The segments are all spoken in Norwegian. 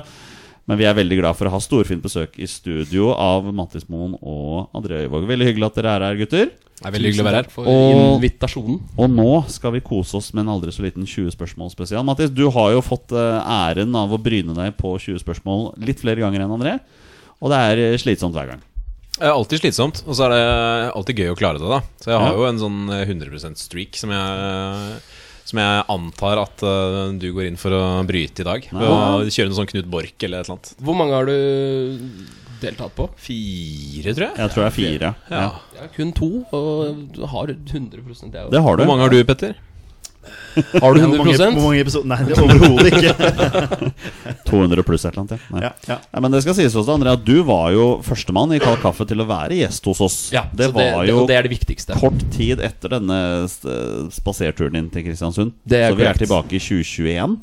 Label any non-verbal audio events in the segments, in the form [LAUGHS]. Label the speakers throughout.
Speaker 1: Men vi er veldig glad for å ha storfint besøk i studio av Mattis Moen og André Øyvåg. Veldig hyggelig at dere er her, gutter.
Speaker 2: Det er veldig hyggelig å være her. For
Speaker 1: Og-
Speaker 2: invitasjonen.
Speaker 1: Og nå skal vi kose oss med en aldri så liten 20 spørsmål spesial. Mattis, du har jo fått eh, æren av å bryne deg på 20 spørsmål litt flere ganger enn André. Og det er eh, slitsomt hver gang.
Speaker 2: Det er alltid slitsomt, og så er det alltid gøy å klare det, da. Så jeg har
Speaker 1: Ja.
Speaker 2: jo en sånn eh, 100 streak som jeg som jeg antar at eh, du går inn for å bryte i dag. Ved å kjøre noe sånn Knut Borch eller et eller annet.
Speaker 3: Hvor mange har du deltatt på?
Speaker 2: Fire, tror jeg.
Speaker 1: Jeg tror det er fire.
Speaker 2: Ja.
Speaker 1: Ja.
Speaker 3: Ja, kun to, og du har 100 jeg også.
Speaker 1: Det har du.
Speaker 2: Hvor mange har du, Petter?
Speaker 3: Har du
Speaker 4: Hvor mange,
Speaker 3: 100
Speaker 4: hvor mange episoder? Nei, det er overhodet [LAUGHS] ikke.
Speaker 1: 200 pluss et eller annet. Ja. Nei.
Speaker 4: Ja, ja.
Speaker 1: Nei, men det skal sies også, André, at du var jo førstemann i Kald kaffe til å være gjest hos oss.
Speaker 3: Ja,
Speaker 1: det
Speaker 3: så
Speaker 1: var
Speaker 3: det,
Speaker 1: jo
Speaker 3: og det er det viktigste.
Speaker 1: kort tid etter denne eh, spaserturen din til Kristiansund.
Speaker 3: Det er
Speaker 1: så vi er
Speaker 3: korrekt.
Speaker 1: tilbake i 2021.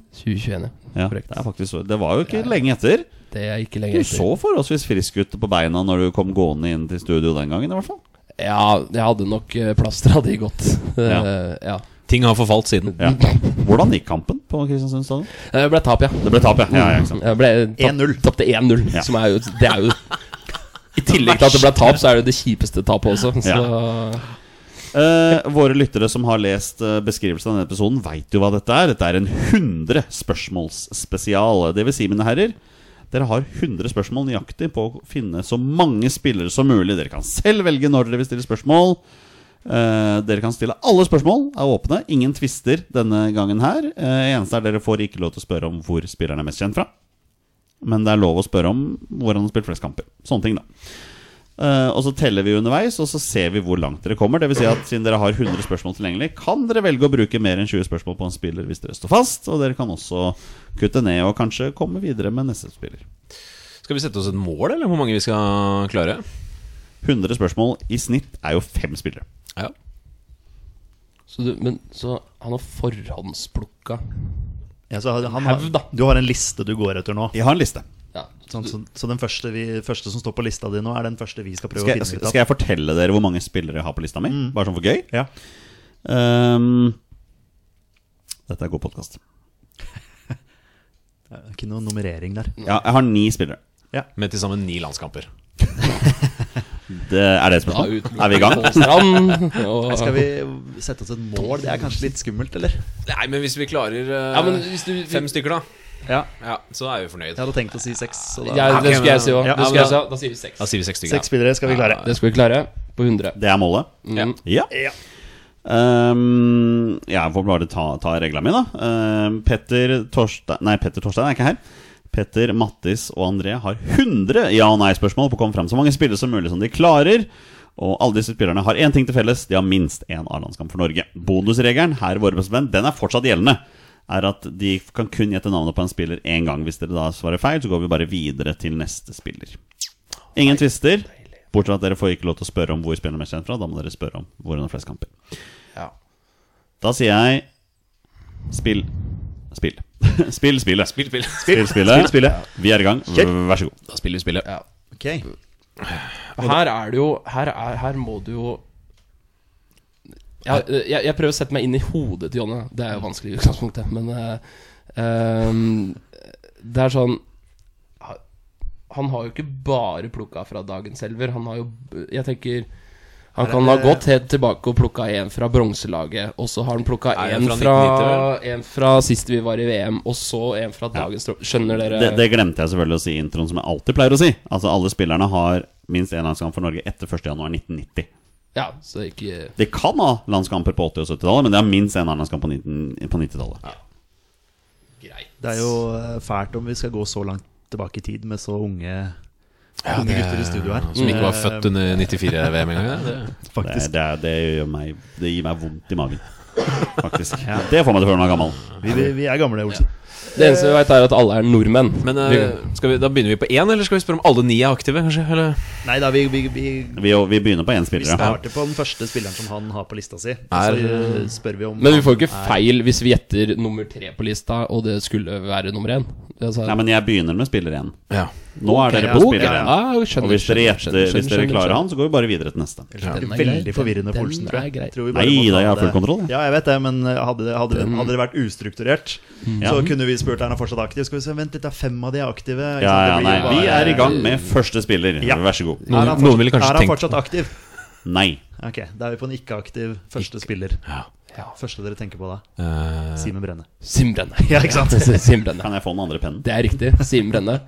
Speaker 1: Ja,
Speaker 3: 2021,
Speaker 1: det,
Speaker 3: Korrekt.
Speaker 1: er faktisk, så- det var jo ikke lenge etter.
Speaker 3: Det er ikke
Speaker 1: Du
Speaker 3: lenger etter.
Speaker 1: så forholdsvis frisk ut på beina når du kom gående inn til studio den gangen, i hvert fall.
Speaker 3: Ja, jeg hadde nok eh, plastra de godt.
Speaker 1: Ja.
Speaker 3: Eh, ja.
Speaker 2: Ting har forfalt siden.
Speaker 1: [LAUGHS] Ja. Hvordan gikk kampen på Kristiansund stadion?
Speaker 3: Det Eh, ble tap, ja.
Speaker 1: Det ble tap, ja. ja, ja ikke sant.
Speaker 3: Jeg ble tap-
Speaker 4: 1-0.
Speaker 3: Tapte 1-0,
Speaker 1: Ja.
Speaker 3: som er jo Det er jo I tillegg til at det ble tap, så er det jo det kjipeste tapet også. Så
Speaker 1: Eh, våre lyttere som har lest eh, beskrivelsen av denne episoden, veit jo hva dette er. Dette er en 100 spørsmålsspesial. Det vil si, mine herrer, dere har 100 spørsmål nøyaktig på å finne så mange spillere som mulig. Dere kan selv velge når dere vil stille spørsmål. Eh, dere kan stille alle spørsmål, er åpne. Ingen tvister denne gangen her. Eh, eneste er dere får ikke lov til å spørre om hvor spilleren er mest kjent fra. Men det er lov å spørre om hvor han har spilt flest kamper. Sånne ting, da. Eh, og så teller vi underveis, og så ser vi hvor langt dere kommer. Det vil si at Siden dere har 100 spørsmål tilgjengelig, kan dere velge å bruke mer enn 20 spørsmål på en spiller hvis dere står fast. Og dere kan også kutte ned og kanskje komme videre med neste spiller.
Speaker 2: Skal vi sette oss et mål, eller hvor mange vi skal klare?
Speaker 1: 100 spørsmål i snitt er jo fem spillere.
Speaker 2: Ja.
Speaker 3: Så, du, men, så han har forhåndsplukka
Speaker 4: Ja, så han
Speaker 3: Hev, da.
Speaker 4: har, du har en liste du går etter nå.
Speaker 1: Jeg har en liste.
Speaker 3: ja.
Speaker 4: Sånn, så, så den første, vi, første som står på lista di nå, er den første vi skal prøve
Speaker 1: Skal,
Speaker 4: å
Speaker 1: jeg-
Speaker 4: finne ut av.
Speaker 1: skal jeg fortelle dere hvor mange spillere jeg har på lista mi? Bare sånn for gøy.
Speaker 4: Ja.
Speaker 1: Ehm, dette er god podkast.
Speaker 4: Det er Ikke noe nummerering der.
Speaker 1: Ja, jeg har ni spillere.
Speaker 2: Med til sammen ni landskamper.
Speaker 1: Det, er det et
Speaker 3: Da
Speaker 1: spørsmål?
Speaker 3: utelukket
Speaker 1: Er vi i
Speaker 3: [LAUGHS]
Speaker 1: gang?
Speaker 3: Pål Strand, og-
Speaker 4: Skal vi sette oss et mål? Det er kanskje litt skummelt, eller?
Speaker 2: Nei, men hvis vi klarer eh,
Speaker 3: Ja, men hvis du
Speaker 2: fem stykker, da,
Speaker 4: Ja.
Speaker 2: ja, så er vi fornøyd.
Speaker 4: Jeg hadde tenkt å si seks. Så da.
Speaker 3: Ja, det skulle jeg si òg.
Speaker 4: Ja,
Speaker 3: skulle jeg si også. Da sier vi seks.
Speaker 2: Da sier vi seks stykker.
Speaker 4: Seks spillere skal vi klare.
Speaker 3: Det skal vi klare på 100.
Speaker 1: Det er målet?
Speaker 2: Ja.
Speaker 1: Ja.
Speaker 4: Ja.
Speaker 1: Ehm, jeg får bare ta, ta regla mi, da. Ehm, Petter Torstein Nei, Petter Torstein er ikke her. Petter, Mattis og André har 100 ja- og nei-spørsmål på å komme fram så mange spillere som mulig som de klarer. Og alle disse spillerne har én ting til felles, de har minst én A-landskamp for Norge. Bonusregelen her, våre beste venn, den er fortsatt gjeldende. Er at de kan kun gjette navnet på en spiller én gang. Hvis dere da svarer feil, så går vi bare videre til neste spiller. Ingen tvister. Bortsett fra at dere får ikke lov til å spørre om hvor spilleren er mest kjent fra. Da må dere spørre om hvor han har flest kamper. Da sier jeg spill Spill. [LAUGHS] Spill spillet.
Speaker 2: Spill, spill.
Speaker 1: Spill spillet. Vi er i gang. Vær så god.
Speaker 2: Da spiller vi spillet.
Speaker 3: Ja.
Speaker 4: Ok
Speaker 3: Og Her er det jo Her, er, her må du jo jeg, jeg, jeg prøver å sette meg inn i hodet til Jonny. Det er jo vanskelig i utgangspunktet, men eh, ehm, Det er sånn ha- Han har jo ikke bare plukka fra dagens elver. Han har jo Jeg tenker han kan ha gått helt tilbake og plukka en fra bronselaget, og så har han plukka
Speaker 2: Nei,
Speaker 3: en
Speaker 2: fra
Speaker 3: fra,
Speaker 2: 1990,
Speaker 3: en fra sist vi var i VM, og så en fra dagens tro- Skjønner dere?
Speaker 1: Det, det glemte jeg selvfølgelig å si i introen, som jeg alltid pleier å si. Altså, alle spillerne har minst én landskamp for Norge etter 1.1.1990.
Speaker 3: Ja, så ikke
Speaker 1: De kan ha landskamper på 80- og 70-tallet, men de har minst én landskamp på 19 på 90-tallet.
Speaker 3: greit.
Speaker 4: Det er jo eh, fælt om vi skal gå så langt tilbake i tid med så unge, unge gutter i studio her.
Speaker 2: Som ikke var
Speaker 4: Eh,
Speaker 2: født under 94-VM engang. ja. Det-
Speaker 1: Det, er-
Speaker 4: Faktisk.
Speaker 1: det, er- det, gjør meg, det gir meg vondt i magen, faktisk. Det får meg til å føle meg gammel.
Speaker 4: Vi, vi, vi er gamle, Olsen.
Speaker 3: Det eneste vi veit, er at alle er nordmenn.
Speaker 2: Men eh,
Speaker 3: vi,
Speaker 2: skal vi, da begynner vi på én, eller skal vi spørre om alle ni er aktive? kanskje? Eller?
Speaker 4: Nei da, vi, vi, vi,
Speaker 1: Vi, vi begynner på én
Speaker 4: vi
Speaker 1: spiller. ja.
Speaker 4: starter på den første spilleren som han har på lista si. og
Speaker 2: Er-
Speaker 4: Så eh, spør vi om
Speaker 3: men vi får ikke feil hvis vi gjetter nummer tre på lista, og det skulle være nummer én. Altså,
Speaker 1: Nei, men jeg begynner med spiller én.
Speaker 2: Ja.
Speaker 1: Nå er dere
Speaker 4: ja,
Speaker 1: på
Speaker 4: ok,
Speaker 1: spiller én.
Speaker 3: ah, jeg skjønner,
Speaker 1: Og hvis dere,
Speaker 3: skjønner,
Speaker 1: gjetter, hvis
Speaker 3: skjønner,
Speaker 1: dere
Speaker 3: skjønner,
Speaker 1: klarer
Speaker 3: skjønner.
Speaker 1: han, så går vi bare videre til neste.
Speaker 2: Ja.
Speaker 4: Det er
Speaker 3: Den er grei.
Speaker 4: Veldig
Speaker 3: Den-
Speaker 4: forvirrende
Speaker 3: den
Speaker 4: for Olsen,
Speaker 3: er
Speaker 4: tror jeg.
Speaker 3: grei.
Speaker 4: tror vi bare
Speaker 1: Nei
Speaker 4: må ta
Speaker 1: da, jeg har
Speaker 4: det-
Speaker 1: full kontroll. jeg.
Speaker 4: Ja, jeg vet det, men eh, hadde det, hadde det, hadde det vært ustrukturert, så
Speaker 1: Ja.
Speaker 4: kunne vi spurt er han fortsatt aktiv. Skal vi se, Vent litt, det er fem av de er aktive. ikke
Speaker 1: Ja,
Speaker 4: sant?
Speaker 1: ja, nei,
Speaker 4: Det blir jo
Speaker 1: vi
Speaker 4: bare-
Speaker 1: er i gang med første spiller.
Speaker 4: Ja.
Speaker 1: Vær så god.
Speaker 4: Er han
Speaker 2: Noen-
Speaker 4: fortsatt-
Speaker 2: noen ville kanskje
Speaker 4: Er han
Speaker 2: tenkt-
Speaker 4: fortsatt aktiv?
Speaker 1: Nei.
Speaker 4: Ok, Da er vi på en ikke-aktiv første spiller.
Speaker 2: Ja.
Speaker 4: Første dere tenker på da?
Speaker 2: Eh,
Speaker 4: Simen Brenne.
Speaker 3: Sim Brenne.
Speaker 4: Ja, ikke
Speaker 3: [LAUGHS]
Speaker 4: sant?
Speaker 3: Sim Brenne.
Speaker 1: Kan jeg få den andre pennen?
Speaker 3: Det er riktig. Simen Brenne.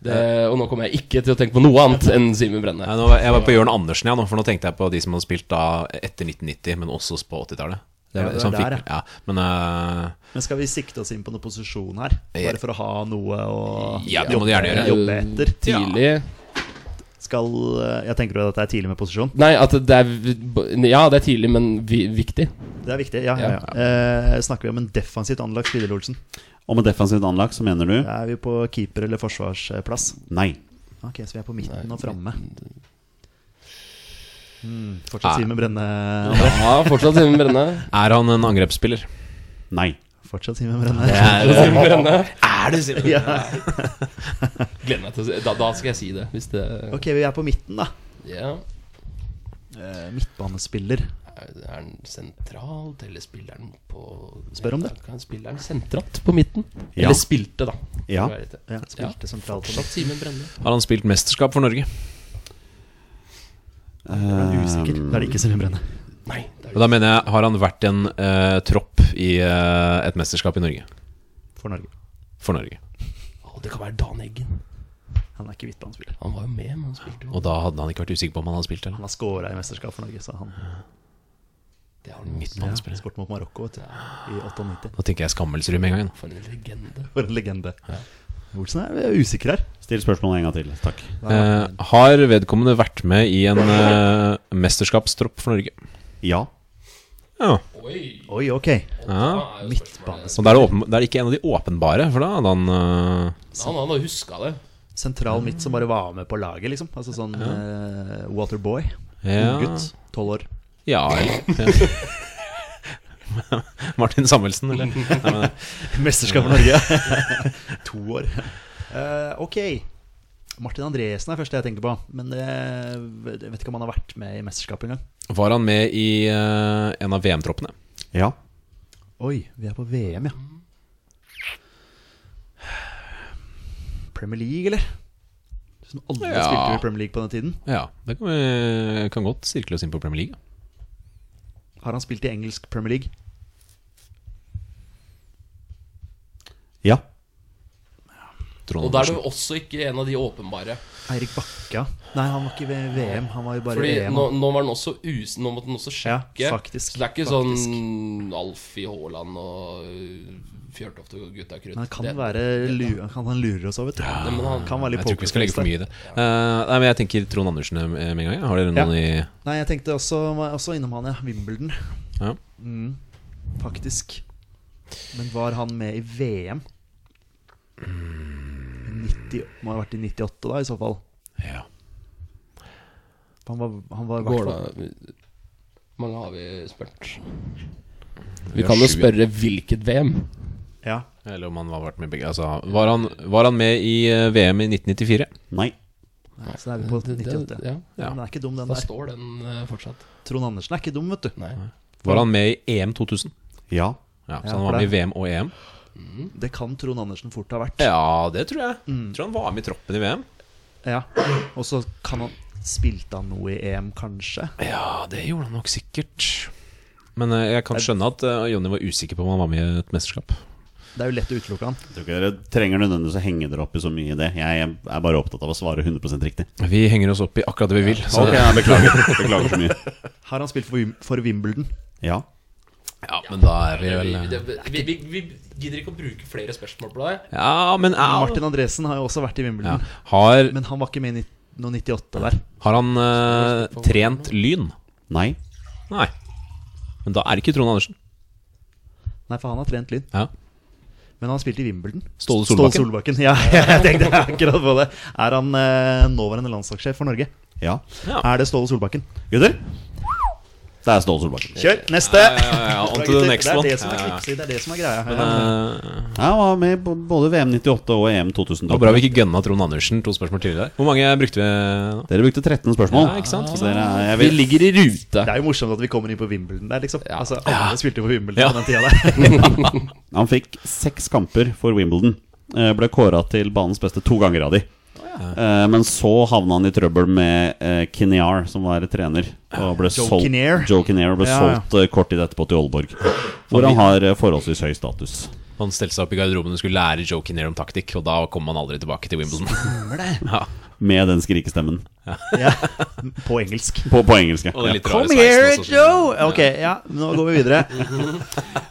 Speaker 3: Det, og nå kommer jeg ikke til å tenke på noe annet enn Simen Brenne.
Speaker 2: Nei, nå, var- jeg var på Jørn Andersen, ja, nå, for nå tenkte jeg på de som hadde spilt da etter 1990, men også på 80-tallet.
Speaker 4: Ja,
Speaker 2: Det var-
Speaker 4: det
Speaker 2: som
Speaker 4: var der,
Speaker 2: fikk- ja. Men eh,
Speaker 4: Men skal vi sikte oss inn på noen posisjon her? Bare for å ha noe å
Speaker 2: ja, det må du gjerne gjøre.
Speaker 4: jobbe etter.
Speaker 3: Eh, Tidlig
Speaker 4: Skal eh, Jeg tenker jo at det er tidlig med posisjon.
Speaker 3: Nei, at det er Ja, det er tidlig, men vi, viktig.
Speaker 4: Det er viktig. ja, ja,
Speaker 3: Ja.
Speaker 4: ja. Eh, Snakker vi om en defensivt anlagt spiller, Olsen?
Speaker 1: Og med defensivt anlag så mener du
Speaker 4: Da er vi på keeper- eller forsvarsplass.
Speaker 1: nei.
Speaker 4: Ok, Så vi er på midten
Speaker 3: Nei,
Speaker 4: og framme. Mm,
Speaker 2: Nei.
Speaker 4: fortsatt Simen Brenne. André.
Speaker 3: Ja, fortsatt Simen Brenne.
Speaker 2: Er han en [LAUGHS] angrepsspiller?
Speaker 1: Nei.
Speaker 4: Fortsatt Simen Brenne.
Speaker 2: [LAUGHS] Er,
Speaker 3: Simen Brenne.
Speaker 2: det Simen?
Speaker 4: [LAUGHS] Ja.
Speaker 3: Gleder meg til å si da, da skal jeg si det, hvis det
Speaker 4: Ok, vi er på midten, da.
Speaker 3: Ja.
Speaker 4: Eh, midtbanespiller.
Speaker 3: Er er han sentralt, eller spiller han på
Speaker 4: Spør om det.
Speaker 3: Kan spiller han sentralt på midten?
Speaker 1: Ja.
Speaker 3: Eller spilte, da.
Speaker 1: Ja.
Speaker 3: for å være riktig.
Speaker 4: Ja, spilte sentralt på midten.
Speaker 3: Simen Brenne.
Speaker 2: Har han spilt mesterskap for Norge?
Speaker 4: Jeg er Usikker. Da er det ikke Simen Brenne.
Speaker 3: Nei, det er
Speaker 2: Og Da mener jeg, har han vært en eh, tropp i eh, et mesterskap i Norge?
Speaker 4: For Norge.
Speaker 2: For Norge.
Speaker 3: Å, det kan være Dan Eggen.
Speaker 4: Han er ikke midtbanespiller.
Speaker 3: Han var jo med, men han spilte jo
Speaker 2: Og da hadde han ikke vært usikker på om han hadde spilt eller?
Speaker 4: Han har scora i mesterskap for Norge, så han
Speaker 3: Det har han midt
Speaker 4: ja,
Speaker 2: spiller.
Speaker 4: spurte mot Marokko vet du, i 98.
Speaker 2: Nå tenker jeg Skammelsrud med en gang. da.
Speaker 3: for en legende.
Speaker 4: For en legende. Olsen er vi er usikker her.
Speaker 1: Still spørsmålet en gang til. Takk.
Speaker 2: Eh, har vedkommende vært med i en eh, mesterskapstropp for Norge?
Speaker 1: Ja.
Speaker 2: Ja.
Speaker 3: Oi!
Speaker 4: Oi, ok.
Speaker 2: ja.
Speaker 4: Midtbanes
Speaker 2: Så da er det, åpen, da er det ikke en av de åpenbare, for da hadde han eh,
Speaker 3: Han han har huska det.
Speaker 4: Sentral midt som bare var med på laget, liksom. Altså sånn eh, Waterboy.
Speaker 2: ja,
Speaker 4: Gutt. Tolv år. [LAUGHS]
Speaker 2: Ja, eller [LAUGHS] Martin Samuelsen, eller? Nei, men,
Speaker 4: Mesterskap for Norge. [LAUGHS] to år. Eh, ok. Martin Andresen er første jeg tenker på. Men det, jeg vet ikke om han har vært med i mesterskapet engang.
Speaker 2: var han med i eh, en av VM-troppene?
Speaker 1: Ja.
Speaker 4: Oi, vi er på VM, ja. Premier League, eller? Du som aldri
Speaker 2: Ja.
Speaker 4: spilte i Premier League på den tiden.
Speaker 2: Ja, det kan, vi, kan godt sirkle oss inn på Premier League. da.
Speaker 4: Har han spilt i engelsk Premier League?
Speaker 1: Ja.
Speaker 2: Trond
Speaker 3: Og da er
Speaker 2: Andersen.
Speaker 3: du også ikke en av de åpenbare.
Speaker 4: Eirik Bakka? Nei, han var ikke ved VM. Han var jo bare
Speaker 3: Fordi
Speaker 4: i E VM.
Speaker 3: nå, nå var den også us... Nå måtte den også sjekke.
Speaker 4: Ja, faktisk,
Speaker 3: så det er ikke
Speaker 4: faktisk.
Speaker 3: sånn Alfie Haaland og øh, Fjørtoft og gutta krutt.
Speaker 4: Men han kan
Speaker 3: Det-
Speaker 4: være lu- han kan han lurer oss òg, vet du.
Speaker 3: Ja, men han-
Speaker 4: kan være litt
Speaker 2: Jeg tror ikke vi skal legge for
Speaker 4: pokerface
Speaker 2: mye i det. Eh, nei, men Jeg tenker Trond Andersen eh, med en gang. ja. Har dere noen
Speaker 4: der. Nei, jeg tenkte også, var også innom han, ja. Wimbledon, Mm.
Speaker 2: i ja.
Speaker 4: faktisk. Men var han med i VM?
Speaker 3: Mm.
Speaker 4: 90, må ha vært i 98, da, i så fall.
Speaker 2: Ja.
Speaker 4: Han var, han var i hvert
Speaker 3: Går
Speaker 4: fall-
Speaker 3: det Mange har vi spurt.
Speaker 2: Vi
Speaker 3: Vi
Speaker 2: har
Speaker 3: kan jo
Speaker 2: sju.
Speaker 3: spørre hvilket VM.
Speaker 4: Ja
Speaker 2: Eller om han har vært med i begge. Altså, var, han, var han med i eh, VM i 1994?
Speaker 1: Nei.
Speaker 4: Nei, så da er vi på
Speaker 3: Det- det-
Speaker 4: 98.
Speaker 3: ja,
Speaker 2: Ja.
Speaker 4: Den er ikke dum, den
Speaker 3: Da
Speaker 4: der.
Speaker 3: står den eh, fortsatt.
Speaker 4: Trond Andersen er ikke dum, vet du.
Speaker 3: Nei.
Speaker 2: Var han med i EM 2000?
Speaker 1: Ja.
Speaker 2: Ja,
Speaker 4: Ja,
Speaker 2: Så han
Speaker 4: for
Speaker 2: var med i
Speaker 4: det.
Speaker 2: VM og EM?
Speaker 4: Det kan Trond Andersen fort ha vært.
Speaker 2: Ja, det tror jeg. Tror han var med i troppen i VM.
Speaker 4: Ja. Og så kan han Spilte han noe i EM, kanskje?
Speaker 2: Ja, det gjorde han nok sikkert. Men eh, jeg kan skjønne at eh, Jonny var usikker på om han var med i et mesterskap.
Speaker 4: Det er jo lett å utelukke han.
Speaker 1: Jeg tror ikke dere trenger nødvendigvis å henge dere opp i så mye i det. Jeg er bare opptatt av å svare 100 riktig.
Speaker 2: Vi henger oss opp i akkurat det vi vil. Så
Speaker 1: Ok, jeg beklager. Beklager så mye.
Speaker 4: Har han spilt for, Wim- for Wimbledon?
Speaker 1: Ja.
Speaker 2: ja, men da er vi vel
Speaker 3: Vi,
Speaker 2: eh,
Speaker 3: det- vi, vi, vi gidder ikke å bruke flere spørsmål på deg.
Speaker 2: Ja, men au.
Speaker 4: Martin Andresen har jo også vært i
Speaker 2: ja.
Speaker 4: Wimbledon.
Speaker 2: har,
Speaker 4: Men han var ikke med i nitt- noe 98 der.
Speaker 2: har han eh, trent Lyn?
Speaker 1: Nei.
Speaker 2: Nei. Men da er det ikke Trond Andersen.
Speaker 4: Nei, for han har trent Lyn.
Speaker 2: Ja.
Speaker 4: Men han spilte i Wimbledon.
Speaker 2: Ståle Solbakken.
Speaker 4: Ståle Solbakken. Ja, [LAUGHS] jeg tenkte akkurat på det. Er han eh, nåværende landslagssjef for Norge?
Speaker 1: Ja.
Speaker 2: Ja.
Speaker 4: Er det Ståle Solbakken?
Speaker 1: Gutter? Det er Ståle Solbakken.
Speaker 4: Kjør! Neste!
Speaker 2: Ja, ja, ja, on to the next
Speaker 4: det er
Speaker 2: one.
Speaker 4: det som er
Speaker 2: Ja, ja.
Speaker 4: knipset, det er det som er greia.
Speaker 2: Men, eh,
Speaker 1: Ja, han var med på både VM 98 og E EM
Speaker 2: det var
Speaker 1: 2012.
Speaker 2: bra vi ikke gønna Trond Andersen to spørsmål tidligere. Hvor mange brukte vi nå?
Speaker 1: Dere brukte 13 spørsmål.
Speaker 2: Ja, ikke sant?
Speaker 1: Så dere er, jeg
Speaker 3: Vi
Speaker 1: vet,
Speaker 3: ligger i rute.
Speaker 4: det er jo morsomt at vi kommer inn på Wimbledon der, liksom.
Speaker 3: Ja.
Speaker 4: Altså, alle spilte jo på Wimbledon
Speaker 2: Ja.
Speaker 4: på den tida der.
Speaker 1: han fikk seks kamper for Wimbledon. Eh, Ble kåra til banens beste to ganger av de. Eh, Men så havna han i trøbbel med eh, Kinnear, som var trener. Og ble
Speaker 4: Joe
Speaker 1: solgt,
Speaker 4: Kinnear.
Speaker 1: Joe Kinnear ble
Speaker 4: Ja, ja.
Speaker 1: solgt eh, kort tid etterpå til Aalborg. Hvor han har eh, forholdsvis høy status.
Speaker 2: Han stelte seg opp i garderoben og skulle lære Joe Kinnear om taktikk, og da kom han aldri tilbake til Wimbledon.
Speaker 1: Med den skrikestemmen.
Speaker 4: ja. [LAUGHS] På engelsk.
Speaker 1: På, på engelsk. ja.
Speaker 2: [LAUGHS] Og den litt rare
Speaker 4: Come
Speaker 2: sveisen
Speaker 4: here,
Speaker 2: også, som-
Speaker 4: Joe! Ok, ja, nå går vi videre.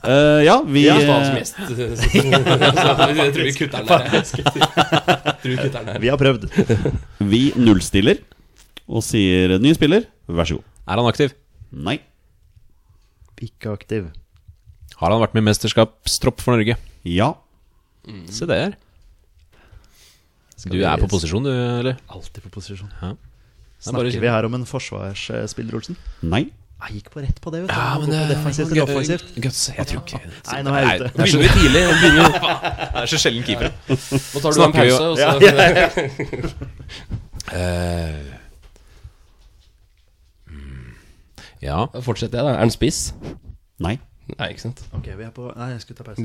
Speaker 1: Eh, ja, vi
Speaker 3: Vi står
Speaker 1: eh,
Speaker 3: som gjest. Så Jeg tror vi kutter den der. Jeg tror vi kutter den der.
Speaker 4: [LAUGHS] Vi har prøvd.
Speaker 1: Vi nullstiller og sier ny spiller, vær så god.
Speaker 2: Er han aktiv?
Speaker 1: Nei.
Speaker 4: Ikke aktiv.
Speaker 2: Har han vært med i mesterskapstropp for Norge?
Speaker 1: Ja.
Speaker 2: Se der.
Speaker 4: Skal
Speaker 2: Du
Speaker 4: vi-
Speaker 2: er på posisjon, du, eller?
Speaker 4: Alltid på posisjon.
Speaker 2: Det er bare å si-
Speaker 4: Snakker vi her om en forsvarsspiller, Olsen?
Speaker 1: Nei.
Speaker 4: Jeg Ah, gikk på rett på det, vet du.
Speaker 2: Ja,
Speaker 4: Gå
Speaker 2: men eh,
Speaker 4: på
Speaker 2: det
Speaker 4: defensivt eller offensivt.
Speaker 2: Guts, jeg tror ikke
Speaker 4: Nei, nå er jeg ute.
Speaker 2: Nå begynner vi tidlig. nå begynner vi- Det er så sjelden keepere.
Speaker 3: Nå tar du en
Speaker 2: Snakker vi
Speaker 3: pause,
Speaker 2: jo-
Speaker 3: og så
Speaker 2: Eh, mm, Ja.
Speaker 3: Da fortsetter jeg, da. Er den spiss?
Speaker 1: Nei.
Speaker 3: Nei, ikke sant.
Speaker 4: Ok, vi er på Nei, jeg skulle ta pause.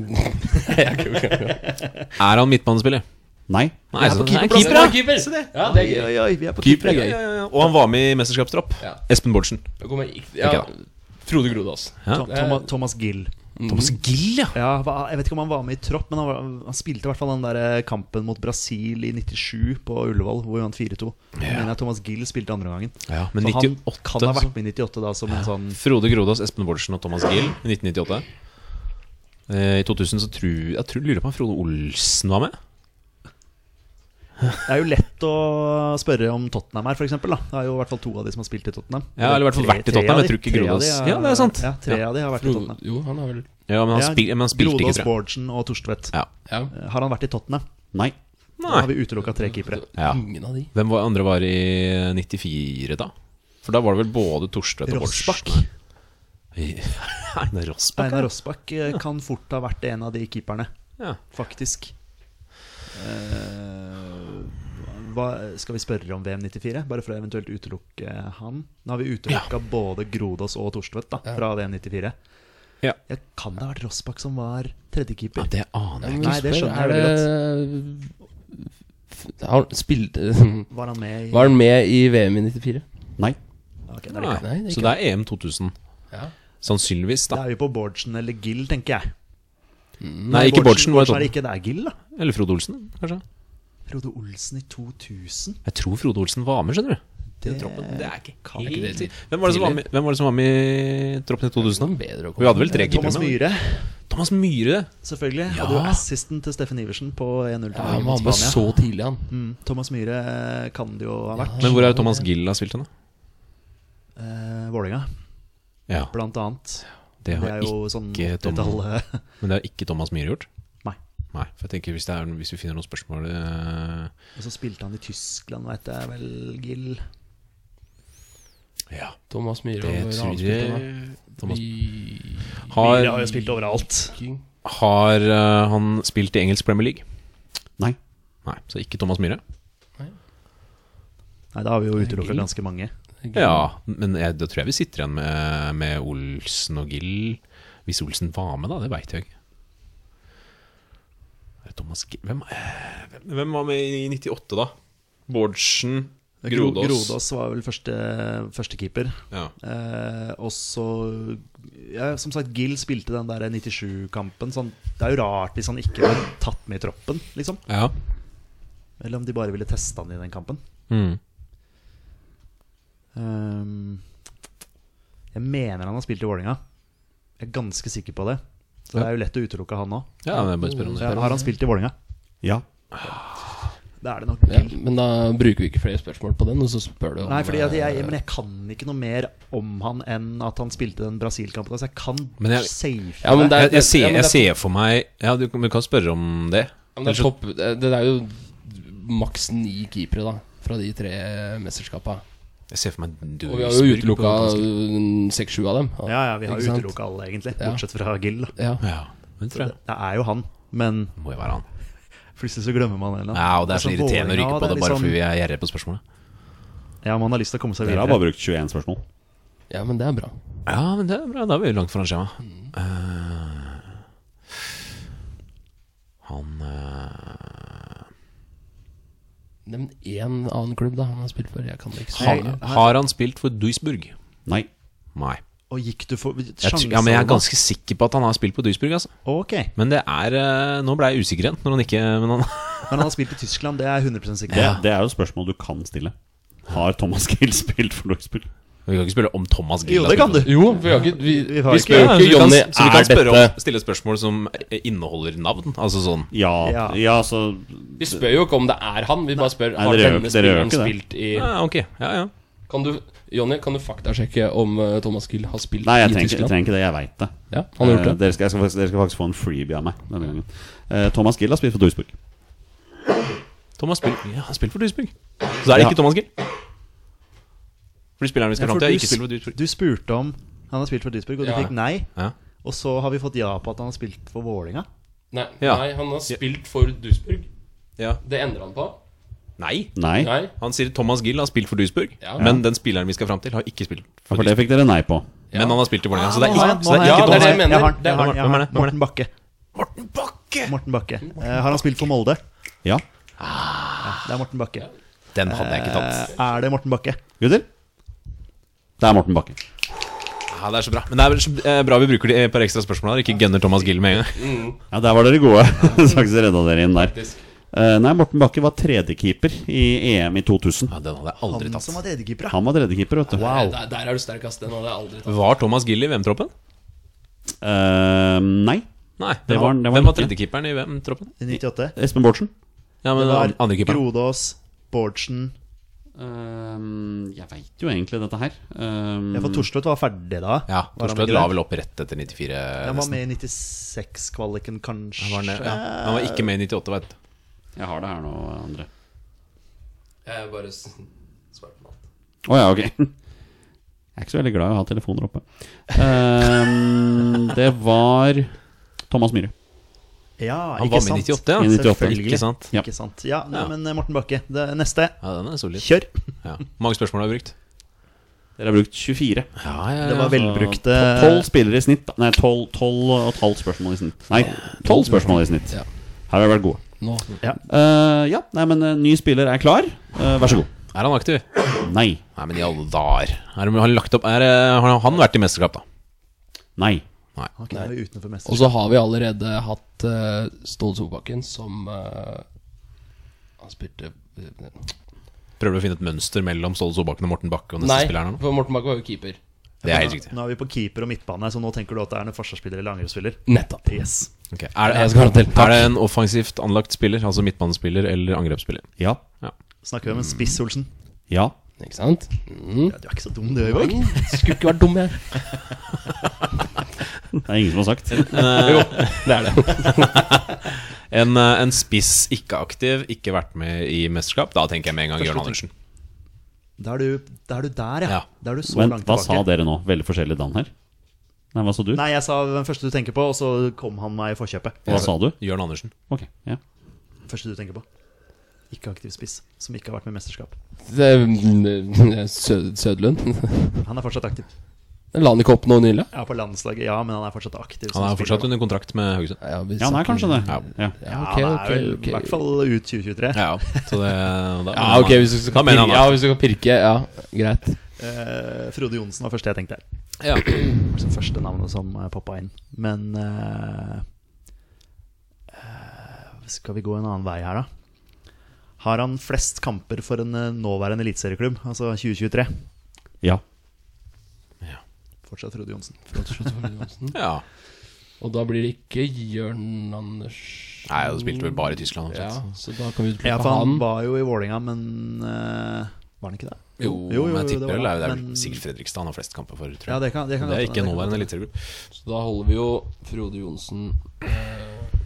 Speaker 2: Er han midtbanespiller?
Speaker 1: Nei.
Speaker 2: Nei, så- nei,
Speaker 3: Keeper,
Speaker 2: keeper, ja.
Speaker 3: Keeper! Ja, det er gøy.
Speaker 4: Oi, oi, vi er på
Speaker 3: Keeper er
Speaker 2: Ja,
Speaker 3: gøy.
Speaker 2: ja, ja. Og han var med i mesterskapstropp.
Speaker 3: Ja.
Speaker 2: Espen Bårdsen.
Speaker 3: Da kommer jeg ikke- Ja,
Speaker 2: Ok,
Speaker 3: Frode Grodås.
Speaker 4: Tom, Thomas, Thomas Gill.
Speaker 2: Thomas Gill, ja.
Speaker 4: Ja, hva- jeg vet ikke om han var med i tropp, men han, var, han spilte i hvert fall den der eh, kampen mot Brasil i 97 på Ullevål, hvor vi vant 4-2. Jeg mener at Thomas Gill spilte andre gangen.
Speaker 2: Ja, men altså.
Speaker 4: Så
Speaker 2: 98
Speaker 4: han kan ha
Speaker 2: så-
Speaker 4: vært med i 98 da, som en sånn
Speaker 2: Mm. Frode Grodås, Espen Bårdsen og Thomas Gill i 1998. Eh, I 2000 så tror jeg tror, lurer på om Frode Olsen var med.
Speaker 4: Det er jo lett å spørre om Tottenham her, for eksempel, da Det er jo i hvert fall to av de som har spilt i Tottenham.
Speaker 2: Ja, eller i hvert fall
Speaker 4: Tre-
Speaker 2: vært i
Speaker 4: tre
Speaker 2: Tottenham,
Speaker 4: av
Speaker 2: jeg
Speaker 4: de-
Speaker 2: tror ikke
Speaker 4: tre av
Speaker 2: Grodås.
Speaker 4: de er-
Speaker 2: Ja, det er sant.
Speaker 4: Ja, tre av de har vært i Tottenham.
Speaker 3: Jo, han har vel
Speaker 2: Ja, men han,
Speaker 4: Ja,
Speaker 2: spil, men han spilte ikke,
Speaker 4: Grodås,
Speaker 2: tror jeg.
Speaker 4: Bårdsen og Torstvedt.
Speaker 2: Ja.
Speaker 3: Ja.
Speaker 4: Har han vært i Tottenham?
Speaker 1: Nei.
Speaker 4: Da har vi
Speaker 2: Nei.
Speaker 4: utelukka tre keepere.
Speaker 2: Ja.
Speaker 3: Ingen av de.
Speaker 2: Hvem var, andre var i 94, da? For da var det vel både Torstvedt og
Speaker 4: Rossbakk.
Speaker 2: [LAUGHS] Bårdsen. Einar Rossbakk.
Speaker 4: Einar Rossbakk eh, kan fort ha vært en av de keeperne,
Speaker 2: Ja.
Speaker 4: faktisk. Eh, hva, skal vi spørre om VM94, bare for å eventuelt utelukke han? Nå har vi utelukka både Grodås og Torstvedt da, fra VM94.
Speaker 2: Ja.
Speaker 4: Jeg kan det ha vært Rossbakk som var tredjekeeper?
Speaker 2: ja, det aner jeg ikke.
Speaker 4: Nei, det skjønner jeg
Speaker 3: Er det- Har han spilt
Speaker 4: Var han med i
Speaker 3: [LAUGHS] Var han med i VM i 94?
Speaker 1: Nei.
Speaker 4: Ok, da er det
Speaker 2: Nei.
Speaker 4: ikke han.
Speaker 3: Nei, det er
Speaker 2: Så
Speaker 3: ikke
Speaker 2: det er EM 2000.
Speaker 3: Ja.
Speaker 2: Sannsynligvis,
Speaker 4: Da
Speaker 2: da.
Speaker 4: er vi på Bårdsen eller Gill, tenker jeg.
Speaker 2: Nei, ikke Bårdsen. var sånn.
Speaker 4: Bårdsen er
Speaker 2: i
Speaker 4: det
Speaker 2: Tottenham.
Speaker 4: ikke, det er Gill, da.
Speaker 2: Eller Frode Olsen, kanskje.
Speaker 4: Frode Olsen i 2000.
Speaker 2: Jeg tror Frode Olsen var med, skjønner du.
Speaker 4: Det,
Speaker 2: Det er ikke
Speaker 4: er ikke
Speaker 2: helt
Speaker 3: det-
Speaker 2: Hvem var det som var med, hvem var det som var med i troppen i 2000? da?
Speaker 3: Bedre å komme
Speaker 2: Vi hadde vel tre keepere
Speaker 4: Thomas
Speaker 2: med?
Speaker 4: Myhre,
Speaker 2: Thomas Myhre.
Speaker 4: selvfølgelig.
Speaker 2: Ja.
Speaker 4: Hadde jo assisten til Steffen Iversen på 1-0 til Norge
Speaker 3: Ja, han var
Speaker 4: mot
Speaker 3: med
Speaker 4: Spania.
Speaker 3: så tidlig, han.
Speaker 4: Mm, Thomas Myhre eh, kan det jo ha vært.
Speaker 2: Men hvor er Thomas Gill har spilt hen, da?
Speaker 4: Eh, Vålerenga,
Speaker 2: Ja,
Speaker 4: blant annet.
Speaker 2: det
Speaker 4: Det
Speaker 2: har
Speaker 4: er
Speaker 2: ikke,
Speaker 4: jo sånn
Speaker 2: ikke Tom-
Speaker 4: detalj...
Speaker 2: men det har ikke Thomas Myhre gjort?
Speaker 4: Nei.
Speaker 2: Nei, for jeg tenker Hvis, det er, hvis vi finner noen spørsmål eh,
Speaker 4: [LAUGHS] Og så spilte han i Tyskland, veit jeg vel, Gill.
Speaker 2: Ja,
Speaker 3: Thomas Myhre
Speaker 2: det
Speaker 3: og
Speaker 2: tror
Speaker 3: Ransbytta, da.
Speaker 2: jeg Thomas
Speaker 3: I-
Speaker 2: har
Speaker 4: Myhre har jo spilt overalt.
Speaker 3: Viking.
Speaker 2: Har eh, han spilt i engelsk Premier League?
Speaker 1: Nei.
Speaker 2: Nei, så ikke Thomas Myhre.
Speaker 4: Nei, da har vi jo utelukket
Speaker 3: Gill.
Speaker 4: ganske mange.
Speaker 2: Ja, men jeg, da tror jeg vi sitter igjen med, med Olsen og Gill. Hvis Olsen var med, da. Det veit jeg ikke. Er det Thomas Gill hvem, eh, hvem- hvem var med i 98, da? Bårdsen,
Speaker 4: Gro-
Speaker 2: Grodås.
Speaker 4: Grodås var vel første, første keeper.
Speaker 2: Ja.
Speaker 4: Eh, og så ja, Som sagt, Gill spilte den der 97-kampen. Sånn, det er jo rart hvis han ikke var tatt med i troppen, liksom.
Speaker 2: ja.
Speaker 4: Eller om de bare ville teste han i den kampen.
Speaker 2: Mm.
Speaker 4: Ehm, jeg mener han har spilt i Vålinga Jeg er ganske sikker på det. Så det er jo lett å utelukke han òg.
Speaker 2: ja men jeg bare spør om det.
Speaker 4: Ja, har han spilt i Vålinga
Speaker 1: Ja.
Speaker 4: Det er det nok.
Speaker 3: Ja, men da bruker vi ikke flere spørsmål på den, og så spør du om
Speaker 4: Nei, fordi at jeg, men jeg kan ikke noe mer om han enn at han spilte den Brasil-kampen. Altså, jeg kan
Speaker 2: Men jeg-
Speaker 4: safe
Speaker 3: Ja, men det er,
Speaker 2: Jeg, jeg, ser,
Speaker 3: ja, men
Speaker 2: jeg
Speaker 3: det er-
Speaker 2: ser for meg Ja, du, kan- du kan spørre om det.
Speaker 3: ja, men det, er topp, det er jo maks ni keepere, da, fra de tre mesterskapene.
Speaker 2: Jeg ser for meg Duisburg.
Speaker 3: Og vi har jo
Speaker 2: på
Speaker 3: utelukka
Speaker 2: ganske-
Speaker 3: uh, seks-sju av dem.
Speaker 4: Ja, ja, vi har
Speaker 3: Ikke sant?
Speaker 4: utelukka alle, egentlig.
Speaker 3: Ja.
Speaker 4: Bortsett fra Gill. da.
Speaker 3: Ja.
Speaker 2: Ja, men det tror jeg det
Speaker 4: Det er jo han, men
Speaker 2: må jo være han.
Speaker 4: plutselig så glemmer man en eller annen.
Speaker 2: Ja, og Det er så
Speaker 4: Altså,
Speaker 2: irriterende å ryke
Speaker 4: Vålerenga,
Speaker 2: på det
Speaker 4: er
Speaker 2: bare
Speaker 4: liksom-
Speaker 2: fordi vi er gjerrige på spørsmålet.
Speaker 4: Ja, man har lyst til å komme seg
Speaker 1: Dere
Speaker 4: videre.
Speaker 1: har bare brukt 21 spørsmål.
Speaker 3: ja, men det er bra.
Speaker 2: Ja, men det er bra. Da er vi jo langt foran skjema. Eh, han eh,
Speaker 3: Nevn én annen klubb da han har spilt for. Jeg kan det ikke så
Speaker 2: han,
Speaker 3: mye.
Speaker 2: Har han spilt for Duisburg?
Speaker 1: Nei.
Speaker 2: Nei.
Speaker 4: Og gikk du for
Speaker 2: Jeg, tr- ja, men jeg er ganske sikker på at han har spilt på Duisburg. Altså.
Speaker 4: Ok, men
Speaker 2: Men det er eh, Nå ble jeg usikker igjen. Når han ikke men han,
Speaker 4: han har spilt i Tyskland, det er jeg 100 sikker
Speaker 1: Det,
Speaker 4: på.
Speaker 1: det er jo et spørsmål du kan stille. Har Thomas [LAUGHS] Gill spilt for Duisburg?
Speaker 2: [LAUGHS] Vi kan ikke spørre om Thomas Gill.
Speaker 4: Jo,
Speaker 2: har
Speaker 4: det kan
Speaker 2: spilt
Speaker 4: du.
Speaker 3: Jo, vi, har ikke, vi,
Speaker 4: Vi har
Speaker 3: vi
Speaker 4: ikke-
Speaker 2: på-
Speaker 3: spør jo
Speaker 2: Ja, så vi
Speaker 3: ikke
Speaker 2: kan,
Speaker 3: Jonny
Speaker 2: så vi kan
Speaker 3: er
Speaker 2: spørre
Speaker 3: dette
Speaker 2: om, stille spørsmål som eh, inneholder navn. Altså sånn
Speaker 1: Ja, ja. altså,
Speaker 4: Ja.
Speaker 1: så
Speaker 3: Vi spør jo ikke om det er han, vi bare spør har
Speaker 1: dere gjør-
Speaker 3: denne
Speaker 1: dere gjør
Speaker 3: spilleren
Speaker 1: ikke
Speaker 3: spilt i
Speaker 2: ja, Ok, ja, ja.
Speaker 3: Kan du, Jonny, kan du faktasjekke om eh, Thomas Gill har spilt
Speaker 1: Nei, jeg trenger,
Speaker 3: i
Speaker 1: ikke- jeg
Speaker 3: Tyskland?
Speaker 1: trenger ikke det. Jeg veit det.
Speaker 3: Ja, han har
Speaker 1: Eh,
Speaker 3: gjort det.
Speaker 1: dere, skal, jeg skal faktisk, dere skal faktisk få en freebie av meg denne gangen. Eh, Thomas Gill har spilt for Duisburg.
Speaker 2: Thomas spill, ja, han har spilt for Duisburg. Så er
Speaker 1: Ja.
Speaker 2: det ikke Thomas Gill. Fordi spilleren vi
Speaker 4: Ja,
Speaker 2: skal fram
Speaker 4: for
Speaker 2: til, har
Speaker 4: du,
Speaker 2: ikke spilt for Duisburg.
Speaker 4: du spurte om han har spilt for Duisburg, og du
Speaker 3: Ja.
Speaker 4: fikk nei.
Speaker 2: Ja.
Speaker 4: Og så har vi fått ja på at han har spilt for Vålinga
Speaker 3: Nei,
Speaker 2: Ja.
Speaker 3: nei, han har spilt for Duisburg.
Speaker 2: Ja.
Speaker 3: Det endrer han på.
Speaker 2: Nei.
Speaker 1: Nei.
Speaker 3: Nei.
Speaker 2: Han sier Thomas Gill har spilt for Duisburg,
Speaker 3: Ja.
Speaker 2: men den spilleren vi skal fram til, har ikke spilt
Speaker 1: Ja,
Speaker 2: for
Speaker 1: For det
Speaker 2: Duisburg.
Speaker 1: fikk dere nei på.
Speaker 2: Men han har spilt i Vålerenga, så
Speaker 4: Ah,
Speaker 2: det er
Speaker 4: Nå har
Speaker 2: ikke,
Speaker 4: jeg-
Speaker 2: så det
Speaker 4: nå
Speaker 2: er
Speaker 4: har
Speaker 2: ikke
Speaker 4: jeg-
Speaker 3: Ja, det
Speaker 2: Thomas
Speaker 3: er
Speaker 2: Gill.
Speaker 3: det jeg mener.
Speaker 4: har den,
Speaker 3: Det er-
Speaker 4: har den,
Speaker 2: Hvem er det? Hvem er
Speaker 4: Morten Bakke.
Speaker 2: Morten Bakke!
Speaker 4: Morten Bakke. Eh, har han spilt for Molde?
Speaker 1: Ja.
Speaker 4: Det er Morten Bakke.
Speaker 2: Den hadde jeg ikke tatt.
Speaker 4: Eh, er det Morten Bakke?
Speaker 1: Gutter? Det er Morten Bakke.
Speaker 2: Ja, det er så bra. Men det er så eh, bra vi bruker de et par ekstra spørsmål her, ikke gunner Thomas Gill med en gang.
Speaker 1: Ja, der var dere gode. [LAUGHS] Straks redda dere inn der.
Speaker 3: Faktisk.
Speaker 1: Eh, nei, Morten Bakke var tredjekeeper i EM i 2000.
Speaker 2: Ja, den hadde jeg aldri
Speaker 4: Han som
Speaker 2: tatt.
Speaker 4: var tredjekeeper, ja.
Speaker 1: Han var tredjekeeper, vet du.
Speaker 3: Der, der er du sterk, ass. Den hadde jeg aldri tatt.
Speaker 2: Var Thomas Gill i VM-troppen?
Speaker 1: Eh, nei.
Speaker 2: Nei.
Speaker 1: Det
Speaker 2: Hvem
Speaker 1: var
Speaker 2: var,
Speaker 1: han- det var
Speaker 2: hvem
Speaker 1: han
Speaker 2: var
Speaker 1: ikke.
Speaker 2: tredjekeeperen i VM-troppen?
Speaker 4: I 98.
Speaker 1: Espen Bårdsen?
Speaker 2: Ja,
Speaker 4: Det
Speaker 2: men
Speaker 4: var
Speaker 2: an- andre keeperen.
Speaker 4: Grodås, Bårdsen
Speaker 1: Ehm, jeg veit jo egentlig dette her. Ehm,
Speaker 4: Ja, for Torstvedt var ferdig da.
Speaker 2: Mm. Ja,
Speaker 4: Var han
Speaker 2: Torstvedt
Speaker 4: ikke
Speaker 2: la
Speaker 4: det?
Speaker 2: vel opp rett etter 94,
Speaker 4: Han var
Speaker 2: nesten.
Speaker 4: med i 96-kvaliken, kanskje.
Speaker 2: Han var, ned, ja. han var ikke med i 98, veit du.
Speaker 1: jeg har det her nå, André.
Speaker 3: Jeg bare s- svarte på alt.
Speaker 1: Å ja, ok. [LAUGHS] Jeg er ikke så veldig glad i å ha telefoner oppe. Ehm, det var Thomas Myhre.
Speaker 4: Ja,
Speaker 2: Han
Speaker 4: ikke
Speaker 2: var med i
Speaker 4: sant?
Speaker 2: 98,
Speaker 1: I
Speaker 2: ja.
Speaker 1: 98.
Speaker 4: Selvfølgelig.
Speaker 2: Ikke sant?
Speaker 1: Ja.
Speaker 4: Ikke sant. Ja, nei,
Speaker 2: Ja.
Speaker 4: men eh, Morten Bakke, det er neste.
Speaker 2: Ja, den er solid.
Speaker 4: Kjør!
Speaker 2: Ja. Hvor mange spørsmål har vi brukt?
Speaker 1: Dere har brukt 24.
Speaker 2: Ja, ja,
Speaker 4: Det
Speaker 1: altså,
Speaker 4: var velbrukte
Speaker 1: Tolv spillere i snitt. da. Nei, tolv tolv og et halvt spørsmål i snitt. Nei, tolv spørsmål i snitt.
Speaker 3: Ja.
Speaker 1: Her har vi vært gode.
Speaker 3: Nå.
Speaker 1: Eh, ja, nei, men eh, ny spiller er klar. Eh, vær så god.
Speaker 2: Er han aktiv?
Speaker 1: Nei.
Speaker 2: Nei, men i alle dager. Er, han lagt opp, er, eh, har han vært i mesterskap, da?
Speaker 1: Nei.
Speaker 4: Han kunne være utenfor
Speaker 3: Og
Speaker 4: mesterskapet.
Speaker 3: så har vi allerede hatt uh, Ståle Solbakken som eh, Han spilte
Speaker 2: Prøver du å finne et mønster mellom Ståle Solbakken og Morten Bakke og neste
Speaker 3: Nei,
Speaker 2: spiller her nå?
Speaker 3: for Morten Bakke var jo keeper.
Speaker 2: Det er helt riktig.
Speaker 4: Nå er vi på keeper og midtbane, så nå tenker du at det er en forsvarsspiller eller angrepsspiller.
Speaker 3: Nettopp.
Speaker 4: Yes.
Speaker 2: Ok, Er, det,
Speaker 3: Jeg skal ha det til.
Speaker 2: er det en offensivt anlagt spiller, altså midtbanespiller eller
Speaker 3: [LAUGHS]
Speaker 2: angrepsspiller?
Speaker 1: Ja.
Speaker 4: Snakker vi om en spiss, Olsen?
Speaker 1: Ja.
Speaker 3: Ikke sant? Mm.
Speaker 4: Ja, du er ikke så dum, du, Øyvåg.
Speaker 3: Oi, Skulle ikke vært dum, jeg.
Speaker 1: Det er ingen som har sagt.
Speaker 2: Eh,
Speaker 3: Det er det.
Speaker 2: [LAUGHS] en, eh, en spiss ikke aktiv, ikke vært med i mesterskap. Da tenker jeg med en gang Jørn Andersen.
Speaker 4: Da er du, da er du der, ja.
Speaker 2: Ja.
Speaker 4: Da er du så
Speaker 1: Vent,
Speaker 4: langt
Speaker 1: hva
Speaker 4: tilbake.
Speaker 1: sa dere nå? Veldig forskjellig Dan her. Nei, hva sa du?
Speaker 4: Nei, jeg sa den første du tenker på, og så kom han meg i forkjøpet.
Speaker 1: Hva sa du?
Speaker 2: Jørn Andersen.
Speaker 1: Ok, ja
Speaker 4: Første du tenker på. Ikke aktiv spiss, som ikke har vært med i mesterskap.
Speaker 3: Det er, mm, Sød, Sødlund.
Speaker 4: Han er fortsatt aktiv.
Speaker 3: La han ikke opp noe nylig?
Speaker 4: Ja, på landslaget, ja, men han er fortsatt aktiv. som
Speaker 2: Han er fortsatt
Speaker 4: spiller.
Speaker 2: under kontrakt med Haugesund.
Speaker 3: Ja, vi
Speaker 1: Ja, han er
Speaker 3: snakker-
Speaker 1: kanskje det.
Speaker 2: Ja.
Speaker 1: Ja.
Speaker 3: Ja,
Speaker 4: Ja,
Speaker 3: ok,
Speaker 4: han
Speaker 3: ok,
Speaker 4: er vel
Speaker 3: ok.
Speaker 4: i hvert fall ut 2023.
Speaker 2: Ja, så det, da,
Speaker 3: Ja, ok, hvis du
Speaker 2: da
Speaker 3: skal,
Speaker 2: mener
Speaker 3: pirke,
Speaker 2: han
Speaker 3: ja,
Speaker 2: at-
Speaker 3: hvis du skal pirke, ja, greit.
Speaker 4: Eh, Frode Johnsen var første jeg tenkte her.
Speaker 2: ja.
Speaker 4: Det var det første navnet som eh, poppa inn. Men eh, eh, Skal vi gå en annen vei her, da? Har han flest kamper for en eh, nåværende eliteserieklubb, altså 2023?
Speaker 1: ja.
Speaker 4: Fortsatt Frode Johnsen.
Speaker 2: ja.
Speaker 3: Og da blir det ikke Jørn Andersen
Speaker 2: Nei, du spilte vel bare i Tyskland.
Speaker 3: Ja,
Speaker 2: omtrent.
Speaker 3: så da kan vi plukke
Speaker 4: Ja, for han
Speaker 3: han.
Speaker 4: var jo i Vålinga, men eh, var han ikke det?
Speaker 2: Jo,
Speaker 4: Jo, jo,
Speaker 2: men jeg
Speaker 4: det
Speaker 2: tipper
Speaker 4: var
Speaker 2: vel det er- det er
Speaker 4: men-
Speaker 2: vel Sigurd Fredrikstad han har flest kamper for, tror jeg.
Speaker 4: Ja, det kan, det kan
Speaker 2: det er
Speaker 4: godt
Speaker 2: ikke
Speaker 4: hende,
Speaker 2: nåværende
Speaker 4: det kan godt
Speaker 2: eliteseriegruppe.
Speaker 3: Så da holder vi jo Frode Johnsen eh,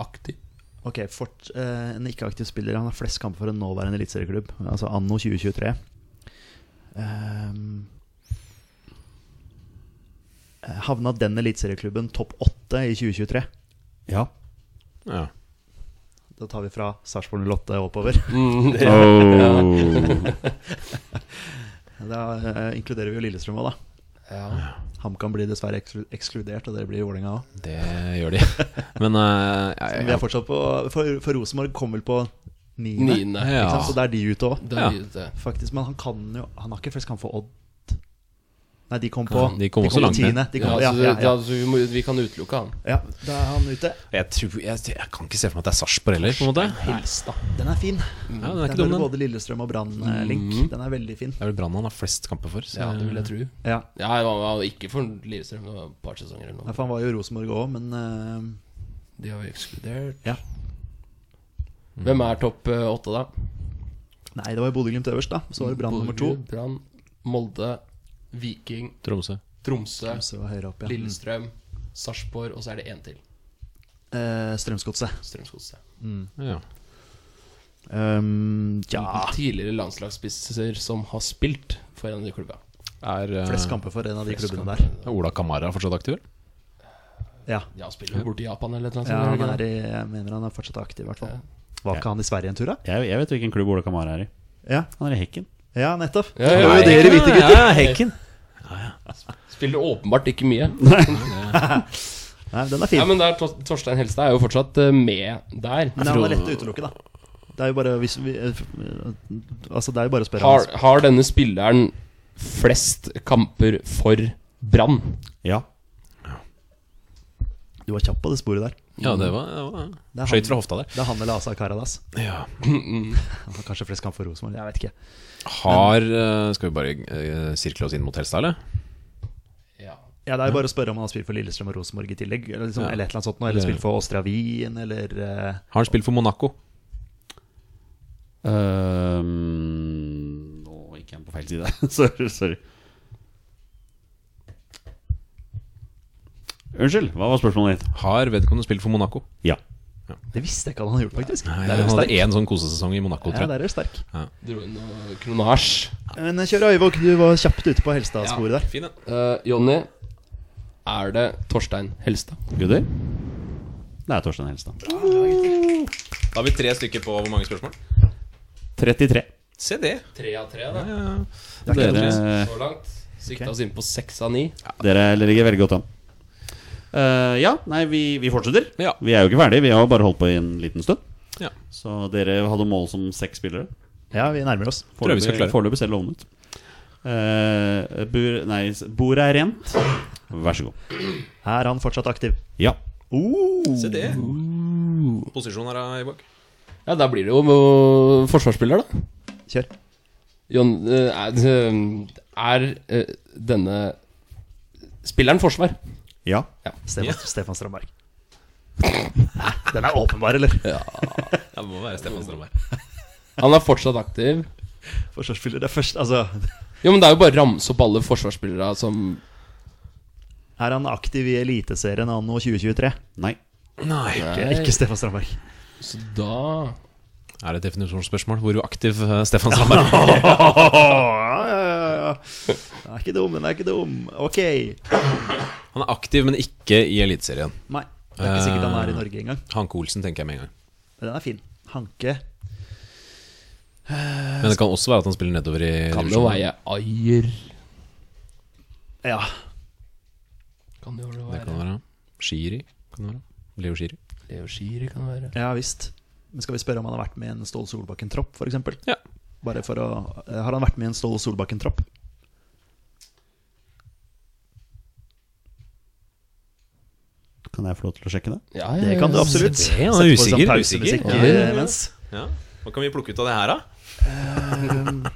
Speaker 3: aktiv.
Speaker 4: hende. Ok, Fort, eh, en ikke-aktiv spiller. Han har flest kamper for en nåværende eliteserieklubb, altså anno 2023. Ehm, havna den eliteserieklubben topp åtte i 2023?
Speaker 1: ja.
Speaker 2: Ja.
Speaker 4: Da tar vi fra Sarpsborg 08 og oppover. [LAUGHS]
Speaker 3: Mm, det,
Speaker 1: Oh.
Speaker 4: Da eh, inkluderer vi jo Lillestrøm òg, da.
Speaker 3: ja.
Speaker 4: HamKam blir dessverre eksklu- ekskludert, og det blir Vålerenga òg. [LAUGHS]
Speaker 2: Det gjør de. Men eh, jeg,
Speaker 4: Vi er fortsatt på For, for Rosenborg kom vel på niende,
Speaker 3: Niende.
Speaker 2: Ja.
Speaker 4: ikke sant? så da er de ute òg.
Speaker 3: Det
Speaker 2: Ja.
Speaker 3: er litt det.
Speaker 4: Faktisk, men han kan jo Han har ikke flest kamp for Odd. Nei, de kom på
Speaker 2: Ja, de kom også langt ned.
Speaker 4: tiende. De kom,
Speaker 3: ja,
Speaker 4: ja,
Speaker 3: så,
Speaker 4: ja, ja,
Speaker 3: ja, så vi, må, vi kan utelukke han.
Speaker 4: ja. Da er han ute.
Speaker 2: jeg, tror, jeg, jeg kan ikke se for meg at det er Sarpsborg heller, på en måte.
Speaker 3: Hils, da.
Speaker 4: Den er fin.
Speaker 2: Ja, den
Speaker 3: Mm.
Speaker 2: er
Speaker 4: Den
Speaker 2: ikke dum,
Speaker 4: har
Speaker 2: den.
Speaker 4: både Lillestrøm og Brann-link. Den er veldig fin.
Speaker 2: Det er vel Brann han har flest kamper for. Så
Speaker 3: Ja, det vil jeg tro.
Speaker 4: Ja,
Speaker 3: Ja, det var, var ikke for Lillestrøm, det var et par sesonger eller
Speaker 4: ja,
Speaker 3: noe.
Speaker 4: for Han var jo i Rosenborg òg, men eh,
Speaker 3: De har jo ekskludert.
Speaker 4: Ja.
Speaker 3: Hvem er topp eh, åtte, da?
Speaker 4: Nei, det var jo Bodø-Glimt øverst, da. Så var det Brann nummer to.
Speaker 3: Borgerud, Brann, Molde, Viking,
Speaker 2: Tromsø.
Speaker 3: Tromsø,
Speaker 4: Så var høyere opp, ja. Mm.
Speaker 3: Lillestrøm, Sarpsborg, og så er det én til.
Speaker 4: Eh, Strømsgodset.
Speaker 3: Strømsgodset.
Speaker 2: Ja.
Speaker 4: Um, ja
Speaker 3: Tidligere landslagsspisser som har spilt for en av de klubba.
Speaker 2: Er eh,
Speaker 4: Flest kamper for en av de
Speaker 3: Flest
Speaker 4: klubbene
Speaker 3: kamper.
Speaker 4: der.
Speaker 2: er Ola Kamara fortsatt aktiv? eller?
Speaker 4: Ja.
Speaker 3: Ja, spiller jo borte i Japan eller noe sånt.
Speaker 4: ja
Speaker 3: er det
Speaker 4: han
Speaker 3: ikke
Speaker 4: er
Speaker 3: det?
Speaker 4: i, jeg mener han er fortsatt aktiv, i hvert fall.
Speaker 3: Ja.
Speaker 4: Var ikke han i Sverige en tur, da?
Speaker 1: jeg, jeg vet hvilken klubb Ola Kamara er i.
Speaker 4: Ja,
Speaker 1: Han er i Hekken.
Speaker 4: ja nettopp.
Speaker 3: Ja,
Speaker 4: Det
Speaker 3: ja,
Speaker 4: var jo
Speaker 3: ja.
Speaker 4: dere hvite gutter.
Speaker 2: Ja, Hekken.
Speaker 3: Spiller åpenbart ikke
Speaker 4: [LAUGHS]
Speaker 3: mye.
Speaker 4: Nei, den er fin.
Speaker 3: Ja, men der, Tor- Torstein Helstad er jo fortsatt eh, med der.
Speaker 4: Men han er lett å utelukke, da. Det er jo bare hvis vi, eh, Altså, det er jo bare å spørre
Speaker 3: Har,
Speaker 4: hans.
Speaker 3: har denne spilleren flest kamper for Brann?
Speaker 1: Ja.
Speaker 4: Du var kjapp på det sporet der.
Speaker 2: Ja, det var, det
Speaker 4: Det er
Speaker 2: var Skøyt
Speaker 4: han,
Speaker 2: fra hofta der.
Speaker 4: det er han eller Asa Karadas.
Speaker 2: Ja.
Speaker 4: Han har kanskje flest kamp for Rosenborg, jeg vet ikke.
Speaker 2: Har eh, Skal vi bare eh, sirkle oss inn mot Helstad, eller?
Speaker 3: Ja.
Speaker 4: Ja, Det er jo bare å spørre om han har spilt for Lillestrøm og Rosenborg i tillegg. Eller, liksom,
Speaker 2: Ja.
Speaker 4: eller et eller annet sånt noe. Eller
Speaker 2: Det-
Speaker 4: spilt for Åstra Wien, eller eh,
Speaker 2: Har han spilt for Monaco?
Speaker 1: Ehm, Nå gikk jeg på feil side. [LAUGHS] sorry, sorry. Unnskyld, hva var spørsmålet ditt?
Speaker 2: Har vedkommende spilt for Monaco?
Speaker 1: Ja.
Speaker 4: Det visste jeg ikke at han hadde gjort, faktisk.
Speaker 2: Nei,
Speaker 4: der er
Speaker 2: han
Speaker 4: du
Speaker 2: hadde
Speaker 4: sterk.
Speaker 2: én sånn kosesesong i Monaco,
Speaker 4: Ja,
Speaker 2: tror jeg.
Speaker 4: der er du sterk.
Speaker 3: Dro inn noe kronasj.
Speaker 4: Men eh, kjør Øyvåg, du var kjapt ute på Helstad-sporet der.
Speaker 2: Fin, ja.
Speaker 3: Eh, Jonny, er det Torstein Helstad?
Speaker 1: Gutter? Det er Torstein Helstad.
Speaker 2: Da har vi tre stykker på hvor mange spørsmål?
Speaker 1: 33.
Speaker 2: Se det.
Speaker 3: Tre av tre, da.
Speaker 1: Dere,
Speaker 3: Så langt. Sikta oss inn på seks av ni.
Speaker 1: dere ligger veldig godt an. Eh, ja, nei, vi, vi fortsetter.
Speaker 2: Ja.
Speaker 1: Vi er jo ikke ferdige. Vi har jo bare holdt på i en liten stund.
Speaker 2: Ja.
Speaker 1: Så dere hadde mål som seks spillere.
Speaker 4: Ja, vi nærmer oss.
Speaker 2: Tror jeg vi skal klare.
Speaker 1: Foreløpig foreløpig ser det lovende ut. Eh, bur, nei, s- bordet er rent. Vær så god.
Speaker 4: Er han fortsatt aktiv?
Speaker 1: Ja.
Speaker 2: Se det. Posisjon her, Ivåg.
Speaker 3: Ja, da blir det jo eh, forsvarsspiller, da.
Speaker 4: Kjør.
Speaker 3: Jon, eh, er, er eh, denne spilleren forsvar?
Speaker 1: Ja.
Speaker 4: Stefan,
Speaker 2: Ja.
Speaker 4: Stefan Strandberg. Hæ? Den er åpenbar, eller?
Speaker 2: Det må være Stefan Strandberg.
Speaker 3: Han er fortsatt aktiv.
Speaker 4: Forsvarsspiller det er først Altså,
Speaker 3: Jo, men det er jo bare å ramse opp alle forsvarsspillere som
Speaker 4: er han aktiv i Eliteserien anno 2023?
Speaker 1: Nei.
Speaker 2: Nei.
Speaker 4: Ikke, ikke Stefan Strandberg.
Speaker 3: Så
Speaker 2: [LAUGHS]
Speaker 3: da
Speaker 2: Er det et definisjonsspørsmål? Hvor aktiv eh, Stefan Strandberg er?
Speaker 4: ja, ja, ja, Den er ikke dum, den er ikke dum. Ok.
Speaker 2: Han er aktiv, men ikke i Eliteserien.
Speaker 4: Nei, det er ikke sikkert han er i Norge engang.
Speaker 2: Hanke Olsen tenker jeg med en gang.
Speaker 4: Men den er fin. Hanke.
Speaker 2: Men det kan også være at han spiller nedover i
Speaker 3: Kan jo
Speaker 2: divisjonen.
Speaker 3: være Ayer.
Speaker 4: Ja.
Speaker 3: Kan det jo
Speaker 2: Det
Speaker 3: være
Speaker 2: kan være Shiri. Kan det være. Leo Shiri.
Speaker 3: Leo Shiri kan det være.
Speaker 4: Ja visst. Men skal vi spørre om han har vært med i en Ståle Solbakken-tropp, f.eks.?
Speaker 2: Ja.
Speaker 4: Bare for å eh, Har han vært med i en Ståle Solbakken-tropp?
Speaker 1: Kan jeg få lov til å sjekke det?
Speaker 3: Ja, ja,
Speaker 4: Det kan du
Speaker 3: ja.
Speaker 4: absolutt.
Speaker 2: Se det, ja,
Speaker 4: Sette på
Speaker 2: usikker,
Speaker 4: sånn
Speaker 2: usikker.
Speaker 4: pausemusikk,
Speaker 3: Ja, ja, ja.
Speaker 4: eh, mens.
Speaker 2: Ja. Hva kan vi plukke ut av det her, da?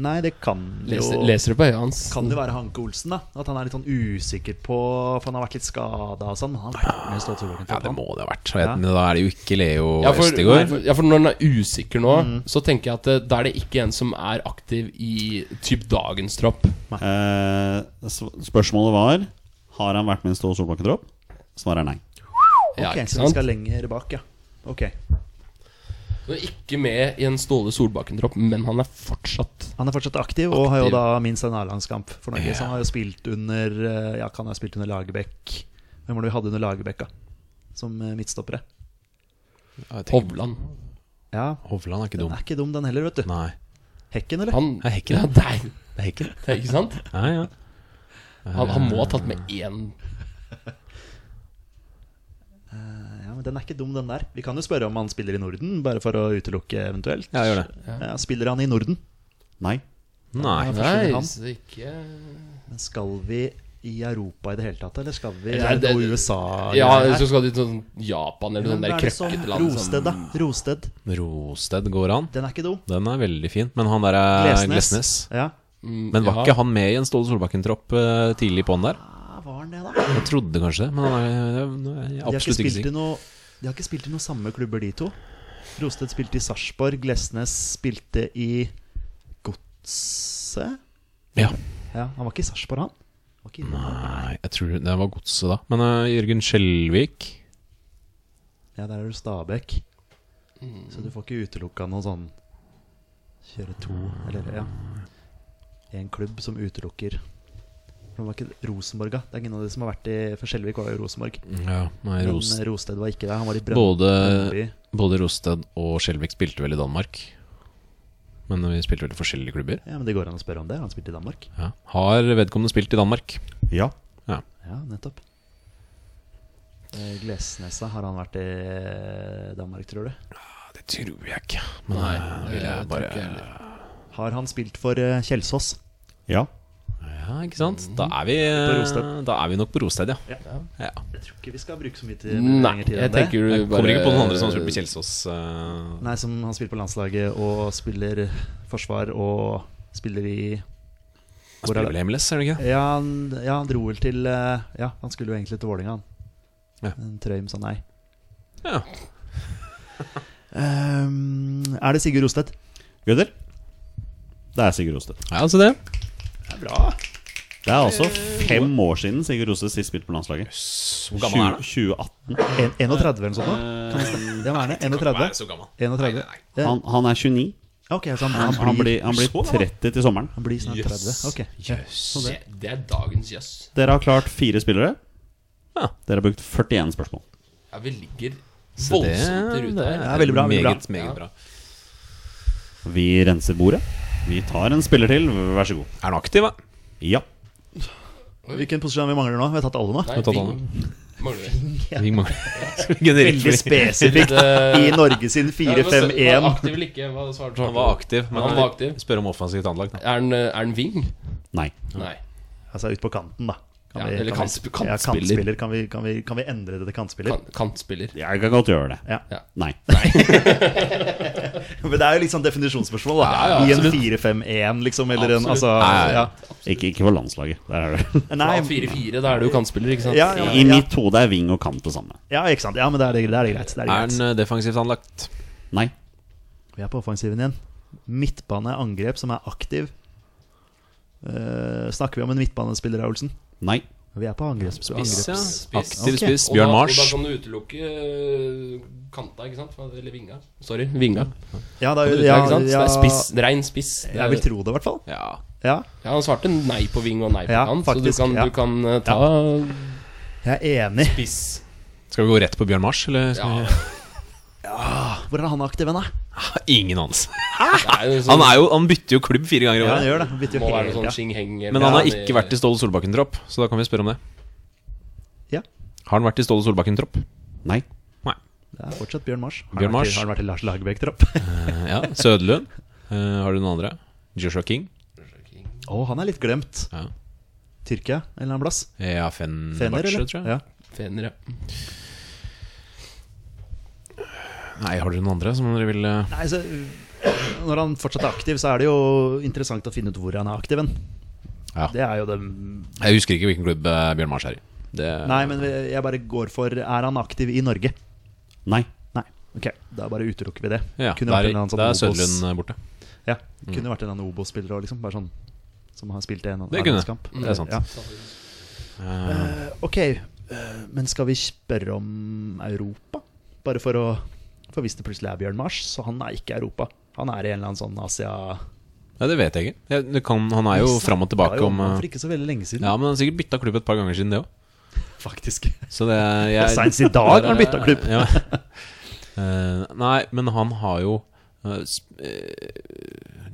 Speaker 4: Nei, det kan jo
Speaker 3: Leser, leser det på øyet hans.
Speaker 4: Kan det være Hanke Olsen, da? At han er litt sånn usikker på For han har vært litt skada og sånn. Men han har vært med i Ståle
Speaker 2: Ja, det
Speaker 4: Solbakken-troppen.
Speaker 2: må det ha vært.
Speaker 4: Ja.
Speaker 2: Men da er det jo ikke Leo
Speaker 3: ja for, nei,
Speaker 2: Østegård.
Speaker 3: for, ja, for når den er usikker nå, så tenker jeg at eh, da er det ikke en som er aktiv i typ dagens tropp.
Speaker 1: Eh, sv- spørsmålet var Har han vært med i en Ståle Solbakken-tropp. Svaret er nei.
Speaker 3: Ja,
Speaker 4: Ok,
Speaker 3: ikke
Speaker 4: så vi
Speaker 3: sant?
Speaker 4: skal lenger bak, ja. Ok.
Speaker 3: Du er ikke med i en Ståle Solbakken-tropp, men han er fortsatt
Speaker 4: Han er fortsatt aktiv, og har jo
Speaker 3: Aktiv.
Speaker 4: da minst en A-landskamp for Norge. Så han har jo spilt under eh, Ja, kan ha spilt under Lagerbäck. Hvem var det vi hadde under Lagerbäck, da? Som eh, midtstoppere.
Speaker 2: Ja, jeg tenker-
Speaker 3: Hovland.
Speaker 4: Ja,
Speaker 2: Hovland er ikke
Speaker 4: den
Speaker 2: dum.
Speaker 4: er ikke dum, den heller, vet du.
Speaker 2: Nei.
Speaker 4: Hekken, eller?
Speaker 3: Han
Speaker 2: Det er Hekken.
Speaker 3: Ja, det er,
Speaker 2: Det er Hekken.
Speaker 3: det er ikke sant?
Speaker 2: Ja, ja.
Speaker 3: Han, han må ha tatt med én
Speaker 4: Eh, Ja, men Den er ikke dum, den der. Vi kan jo spørre om han spiller i Norden, bare for å utelukke eventuelt.
Speaker 2: Ja, gjør det.
Speaker 4: Ja, spiller han i Norden?
Speaker 1: Nei.
Speaker 2: Nei.
Speaker 4: Ja, forsvinner
Speaker 3: Nei,
Speaker 4: han.
Speaker 3: så ikke
Speaker 4: Men skal vi i Europa i det hele tatt, eller skal vi
Speaker 3: Nei,
Speaker 4: Er det
Speaker 3: det-
Speaker 4: noe USA?
Speaker 3: Ja,
Speaker 4: greier her?
Speaker 3: så skal de til sånn Japan eller
Speaker 4: Men
Speaker 3: noen
Speaker 4: hva
Speaker 3: der
Speaker 4: er liksom det som-
Speaker 3: krøkkete land.
Speaker 4: Rosted, da. Rosted.
Speaker 2: Rosted går an.
Speaker 4: Den er ikke dum.
Speaker 2: Den er veldig fin. Men han der er
Speaker 4: Glesnes.
Speaker 2: Eh, Glesnes.
Speaker 4: Ja.
Speaker 3: sånn- mm,
Speaker 2: Men var ikke han med i en Ståle Solbakken-tropp eh, tidlig på'n der?
Speaker 4: ja, var den det, da?
Speaker 2: Jeg trodde kanskje det, men han er, nå er jeg
Speaker 4: De har ikke
Speaker 2: absolutt ikke
Speaker 4: spilt i
Speaker 2: sikker.
Speaker 4: noe De har ikke spilt i noen samme klubber, de to. Rosted spilte i Sarpsborg, Glesnes spilte i Godset.
Speaker 2: Ja.
Speaker 4: Ja, han var ikke i Sarpsborg, han. Han Var ikke inne.
Speaker 2: Nei, jeg tror det var godset da. Men eh, Jørgen Skjelvik
Speaker 4: Ja, der er du Stabæk. Så du får ikke utelukka noe sånn Kjøre to, eller ja. En klubb som utelukker. For Det var ikke Rosenborg, da. Det er ingen av de som har vært i For Skjelvik var jo Rosenborg.
Speaker 2: Ja, nei,
Speaker 4: Men eh,
Speaker 2: Ros-
Speaker 4: Rosted var ikke der. Han var i Brønnby.
Speaker 2: både, både Rosted og Skjelvik spilte vel i Danmark. Men eh, vi spilte vel i forskjellige klubber.
Speaker 4: Ja, men det går an å spørre om det. Han spilte i Danmark.
Speaker 2: Ja. Har vedkommende spilt i Danmark?
Speaker 1: Ja.
Speaker 4: Ja, nettopp. Eh, Glesnesa, har han vært i eh, Danmark, tror du?
Speaker 2: Det tror jeg ikke. Men nei, vil jeg bare
Speaker 4: Har han spilt for eh, Kjelsås?
Speaker 1: Ja.
Speaker 2: Ja, ikke sant? Da er vi, eh,
Speaker 4: Rosted.
Speaker 2: da er vi nok på Rosted, ja. ja.
Speaker 4: Jeg tror ikke vi skal bruke så mye tid
Speaker 3: Nei,
Speaker 4: lenger tid
Speaker 3: jeg
Speaker 4: enn det.
Speaker 3: tenker
Speaker 2: Jeg
Speaker 3: du
Speaker 2: kommer ikke på noen andre som har
Speaker 3: bare-
Speaker 2: spilt på Kjelsås. eh,
Speaker 4: Nei, som han spiller på landslaget og spiller forsvar og spiller i
Speaker 2: Han spiller vel i MLS, er det ikke?
Speaker 4: Ja, han, ja, han dro vel til eh, Ja, han skulle jo egentlig til Vålerenga, han.
Speaker 2: Ja.
Speaker 4: Men Trøim sa nei.
Speaker 2: Ja.
Speaker 4: Ehm, er det Sigurd Rostedt?
Speaker 1: Gutter? Det er Sigurd Rosted.
Speaker 2: ja, altså det.
Speaker 1: Det er altså fem år siden Sigurd Rosted sist spilte på landslaget. 20,
Speaker 2: Hvor gammel er han?
Speaker 1: 2018.
Speaker 4: En- 31 eller noe sånt? nå? Kan det stemme? Det må være det.
Speaker 2: Hva er
Speaker 4: 31?
Speaker 2: så gammel?
Speaker 4: 31. Ja.
Speaker 1: Han, han er 29.
Speaker 4: Ok, så han, han,
Speaker 1: Altså, Han
Speaker 4: blir,
Speaker 1: blir, han blir
Speaker 2: så gammel.
Speaker 1: 30 til sommeren.
Speaker 4: han blir snart 30.
Speaker 2: Jøss.
Speaker 4: Ok.
Speaker 2: Jøss.
Speaker 3: Det, det er dagens jøss.
Speaker 1: Dere har klart fire spillere.
Speaker 2: Ja.
Speaker 1: Dere har brukt 41 spørsmål.
Speaker 3: Ja, vi ligger
Speaker 2: Så det-
Speaker 3: voldsomt i rute her.
Speaker 4: Ja, veldig bra, veldig bra.
Speaker 2: Meget, meget bra.
Speaker 3: Ja.
Speaker 1: Vi renser bordet. Vi tar en spiller til, vær så god.
Speaker 2: Er han aktiv, da?
Speaker 1: Ja.
Speaker 4: Hvilken posisjon vi mangler nå? Vi har tatt alle nå.
Speaker 3: Nei,
Speaker 2: Jeg tar
Speaker 3: vi
Speaker 2: den.
Speaker 3: mangler det.
Speaker 2: Vi mangler [LAUGHS] Skal vi generere [LAUGHS]
Speaker 4: Veldig
Speaker 2: flere?
Speaker 4: spesifikt i Norge sin
Speaker 3: Ja, hva sa-
Speaker 4: 4-5-1.
Speaker 3: var Aktiv eller ikke? Hva svarer du?
Speaker 2: Han var aktiv, men
Speaker 3: Han var aktiv.
Speaker 2: spør om offensivt anlag. Da.
Speaker 3: Er han, eh, er han wing?
Speaker 1: Nei.
Speaker 3: Nei.
Speaker 4: Altså ut på kanten, da. Kan
Speaker 3: Ja,
Speaker 4: vi-
Speaker 3: eller
Speaker 4: kan vi-
Speaker 3: kantsp-
Speaker 4: Ja,
Speaker 3: kantspiller.
Speaker 4: kantspiller. Kan vi, kan, vi, kan vi endre det til kantspiller?
Speaker 3: Kan- Kantspiller.
Speaker 1: Jeg kan godt gjøre det.
Speaker 4: Ja.
Speaker 3: Ja.
Speaker 1: Nei.
Speaker 4: [LAUGHS] Men det er jo litt sånn definisjonsspørsmål, da.
Speaker 3: Ja, ja,
Speaker 4: I en
Speaker 3: absolutt.
Speaker 4: 4-5-1, liksom, eller en
Speaker 3: Absolutt.
Speaker 4: altså,
Speaker 2: Nei,
Speaker 4: ja.
Speaker 1: Ikke, ikke for landslaget. Der er det.
Speaker 4: Nei,
Speaker 3: Ja, 4-4, da er du jo kantspiller, ikke sant?
Speaker 4: Ja, ja.
Speaker 1: I mitt hode er ving og kant det samme.
Speaker 4: ja, ikke sant. Ja, men da er det, da er det greit. Da
Speaker 2: Er
Speaker 4: er det
Speaker 2: han
Speaker 4: greit.
Speaker 2: eh, defensivt anlagt?
Speaker 1: Nei.
Speaker 4: Vi er på offensiven igjen. Midtbane, angrep som er aktiv. Eh, snakker vi om en midtbanespiller, Olsen?
Speaker 1: Nei.
Speaker 4: Vi er på angreps...
Speaker 2: Spiss, ja.
Speaker 4: angreps.
Speaker 2: Aktiv
Speaker 4: Ok.
Speaker 2: spiss.
Speaker 3: Og
Speaker 2: Bjørn
Speaker 3: da-
Speaker 2: Mars.
Speaker 3: Og da kan du utelukke eh, kanta, ikke sant? Eller vinga. Sorry, vinga.
Speaker 4: Ja, da,
Speaker 3: Ja,
Speaker 4: ja,
Speaker 3: ikke sant? Så
Speaker 4: ja,
Speaker 3: det er spiss. Rein spiss. Det er-
Speaker 4: Jeg vil tro det, i hvert fall.
Speaker 2: Ja.
Speaker 4: Ja,
Speaker 3: Ja, han svarte nei på wing og nei på
Speaker 4: Ja,
Speaker 3: kant,
Speaker 4: faktisk,
Speaker 3: så du kan,
Speaker 4: ja.
Speaker 3: du kan eh, ta
Speaker 4: jeg er enig.
Speaker 3: spiss.
Speaker 2: Skal vi gå rett på Bjørn Mars, eller [LAUGHS] skal
Speaker 3: Ja,
Speaker 2: vi
Speaker 4: Hvor er han aktiv hen, da?
Speaker 2: [LAUGHS] Ingen anelse.
Speaker 3: det er jo sånn,
Speaker 2: Han, er jo, han bytter jo klubb fire ganger i
Speaker 4: Ja, han
Speaker 2: året.
Speaker 4: gjør det. Han bytter jo
Speaker 3: må være noe
Speaker 4: hele
Speaker 3: sånn
Speaker 4: tida.
Speaker 3: Xing-heng
Speaker 2: Men han har ikke vært i Ståle Solbakken-tropp, så da kan vi spørre om det.
Speaker 4: Ja.
Speaker 2: Har han vært i Ståle Solbakken-tropp?
Speaker 1: Nei.
Speaker 2: Nei.
Speaker 4: Det er fortsatt Bjørn Mars. Har
Speaker 2: Bjørn
Speaker 4: han vært
Speaker 2: Mars.
Speaker 4: i- Har han vært i Lars
Speaker 2: [LAUGHS]
Speaker 4: Lagerbäck-tropp?
Speaker 2: Eh, Ja, Sødlund. Eh, har du noen andre? Joshua King?
Speaker 4: Å, han er litt glemt.
Speaker 2: Ja,
Speaker 4: Tyrkia en eller annen plass.
Speaker 2: ja
Speaker 4: Fener,
Speaker 2: Fenerbahçe,
Speaker 4: eller?
Speaker 2: tror jeg.
Speaker 4: Ja.
Speaker 3: Fener, ja.
Speaker 2: Nei, har dere noen andre som dere vil eh,
Speaker 4: Nei, så Når han fortsatt er aktiv, så er det jo interessant å finne ut hvor han er aktiv. hen.
Speaker 2: Ja.
Speaker 4: Det er jo det
Speaker 2: Jeg husker ikke hvilken klubb eh, Bjørn Mars er i. Det,
Speaker 4: Nei, men jeg bare går for Er han aktiv i Norge?
Speaker 1: Nei.
Speaker 4: Nei. Ok, da bare utelukker vi det.
Speaker 2: ja,
Speaker 4: Kunne
Speaker 2: der,
Speaker 4: vært en eller annen
Speaker 2: der er
Speaker 4: sånn Obos-
Speaker 2: Sødlund Mm. eh, borte.
Speaker 4: Ja, kunne vært en eller annen Obos-spiller òg, liksom. Bare sånn som har spilt en
Speaker 2: Det kunne.
Speaker 4: arbeidskamp.
Speaker 2: Det er sant.
Speaker 4: Ja.
Speaker 2: Eh,
Speaker 4: Eh, Ok, eh, men skal vi spørre om Europa? Bare for å For hvis det plutselig er Bjørn Mars, så han er ikke Europa. Han er i en eller annen sånn Asia...
Speaker 2: Nei, det vet jeg ikke. Jeg, det kan, han er jo fram og
Speaker 4: Det var
Speaker 2: tilbake
Speaker 4: jo
Speaker 2: om eh,
Speaker 4: For ikke så veldig lenge siden,
Speaker 2: Ja, men han har sikkert bytta klubb et par ganger siden det òg.
Speaker 4: faktisk.
Speaker 2: Så det jeg,
Speaker 4: Seinest i dag
Speaker 2: [LAUGHS]
Speaker 4: har han bytta klubb.
Speaker 2: Ja.
Speaker 4: [LAUGHS]
Speaker 2: Eh, nei, men han har jo eh, sp- eh,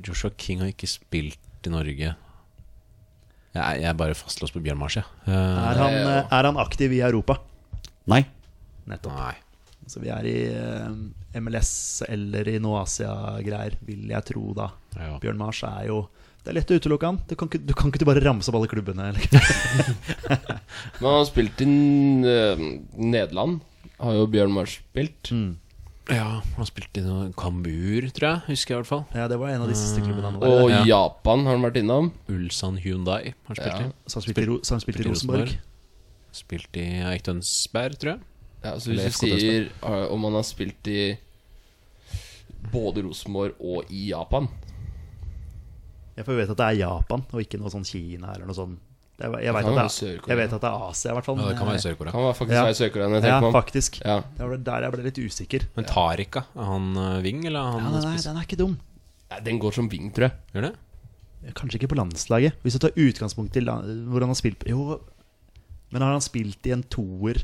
Speaker 2: Joshua King har ikke spilt i Norge. Jeg, er- jeg er bare fastlåst på Bjørn Mars, jeg. Eh,
Speaker 4: [LAUGHS] Er han, eh, er han aktiv i Europa?
Speaker 1: Nei.
Speaker 4: Nettopp.
Speaker 2: nei.
Speaker 4: Så vi er i eh, MLS eller i noe Asia-greier, vil jeg tro, da.
Speaker 2: Ja.
Speaker 4: Bjørn Mars er jo Det er lett å utelukke han. Du kan ikke du, kan ikke du bare ramse opp alle klubbene?
Speaker 2: [LAUGHS]
Speaker 4: Eller?
Speaker 3: Men han har spilt i eh, Nederland, har jo Bjørn Mars spilt.
Speaker 2: Mm. ja, han har spilt i noe Kambur, tror jeg. Husker jeg i hvert fall.
Speaker 4: Ja, det var en av de siste klubbene han var i.
Speaker 3: Og
Speaker 2: Ja.
Speaker 3: Japan har han vært innom.
Speaker 2: Ulsan Hyundai har han spilt
Speaker 3: Ja.
Speaker 2: i.
Speaker 4: Så han spilte i, Ro- så han spilte i Rosenborg.
Speaker 2: Spilt i Eikdønsberg, tror jeg.
Speaker 3: Ja, så hvis
Speaker 2: Eller
Speaker 3: du
Speaker 2: FK
Speaker 3: sier eh, om han har spilt i både Rosenborg og i Japan
Speaker 4: Ja, for jeg vet at det er Japan, og ikke noe sånn Kina eller noe sånn. Jeg, jeg, vet,
Speaker 3: kan
Speaker 4: at det
Speaker 3: være
Speaker 4: er,
Speaker 3: Sør-Korea.
Speaker 4: jeg vet at det er Asia, i hvert fall.
Speaker 2: Ja, det
Speaker 4: men
Speaker 2: kan være
Speaker 4: jeg-
Speaker 2: Sør-Korea.
Speaker 3: Kan være faktisk
Speaker 4: Ja.
Speaker 3: være søkeren jeg
Speaker 4: Ja,
Speaker 3: tenker meg om.
Speaker 4: faktisk.
Speaker 3: Ja.
Speaker 4: Det var der jeg ble litt usikker.
Speaker 2: Men Tariq, da? Er han eh, wing, eller er
Speaker 4: Ja, den
Speaker 2: han
Speaker 4: er,
Speaker 2: spiss?
Speaker 4: den er ikke dum.
Speaker 3: Nei, Den går som wing, tror jeg.
Speaker 2: Gjør det?
Speaker 4: Kanskje ikke på landslaget. Hvis du tar utgangspunkt i la- hvor han har spilt Jo, men har han spilt i en toer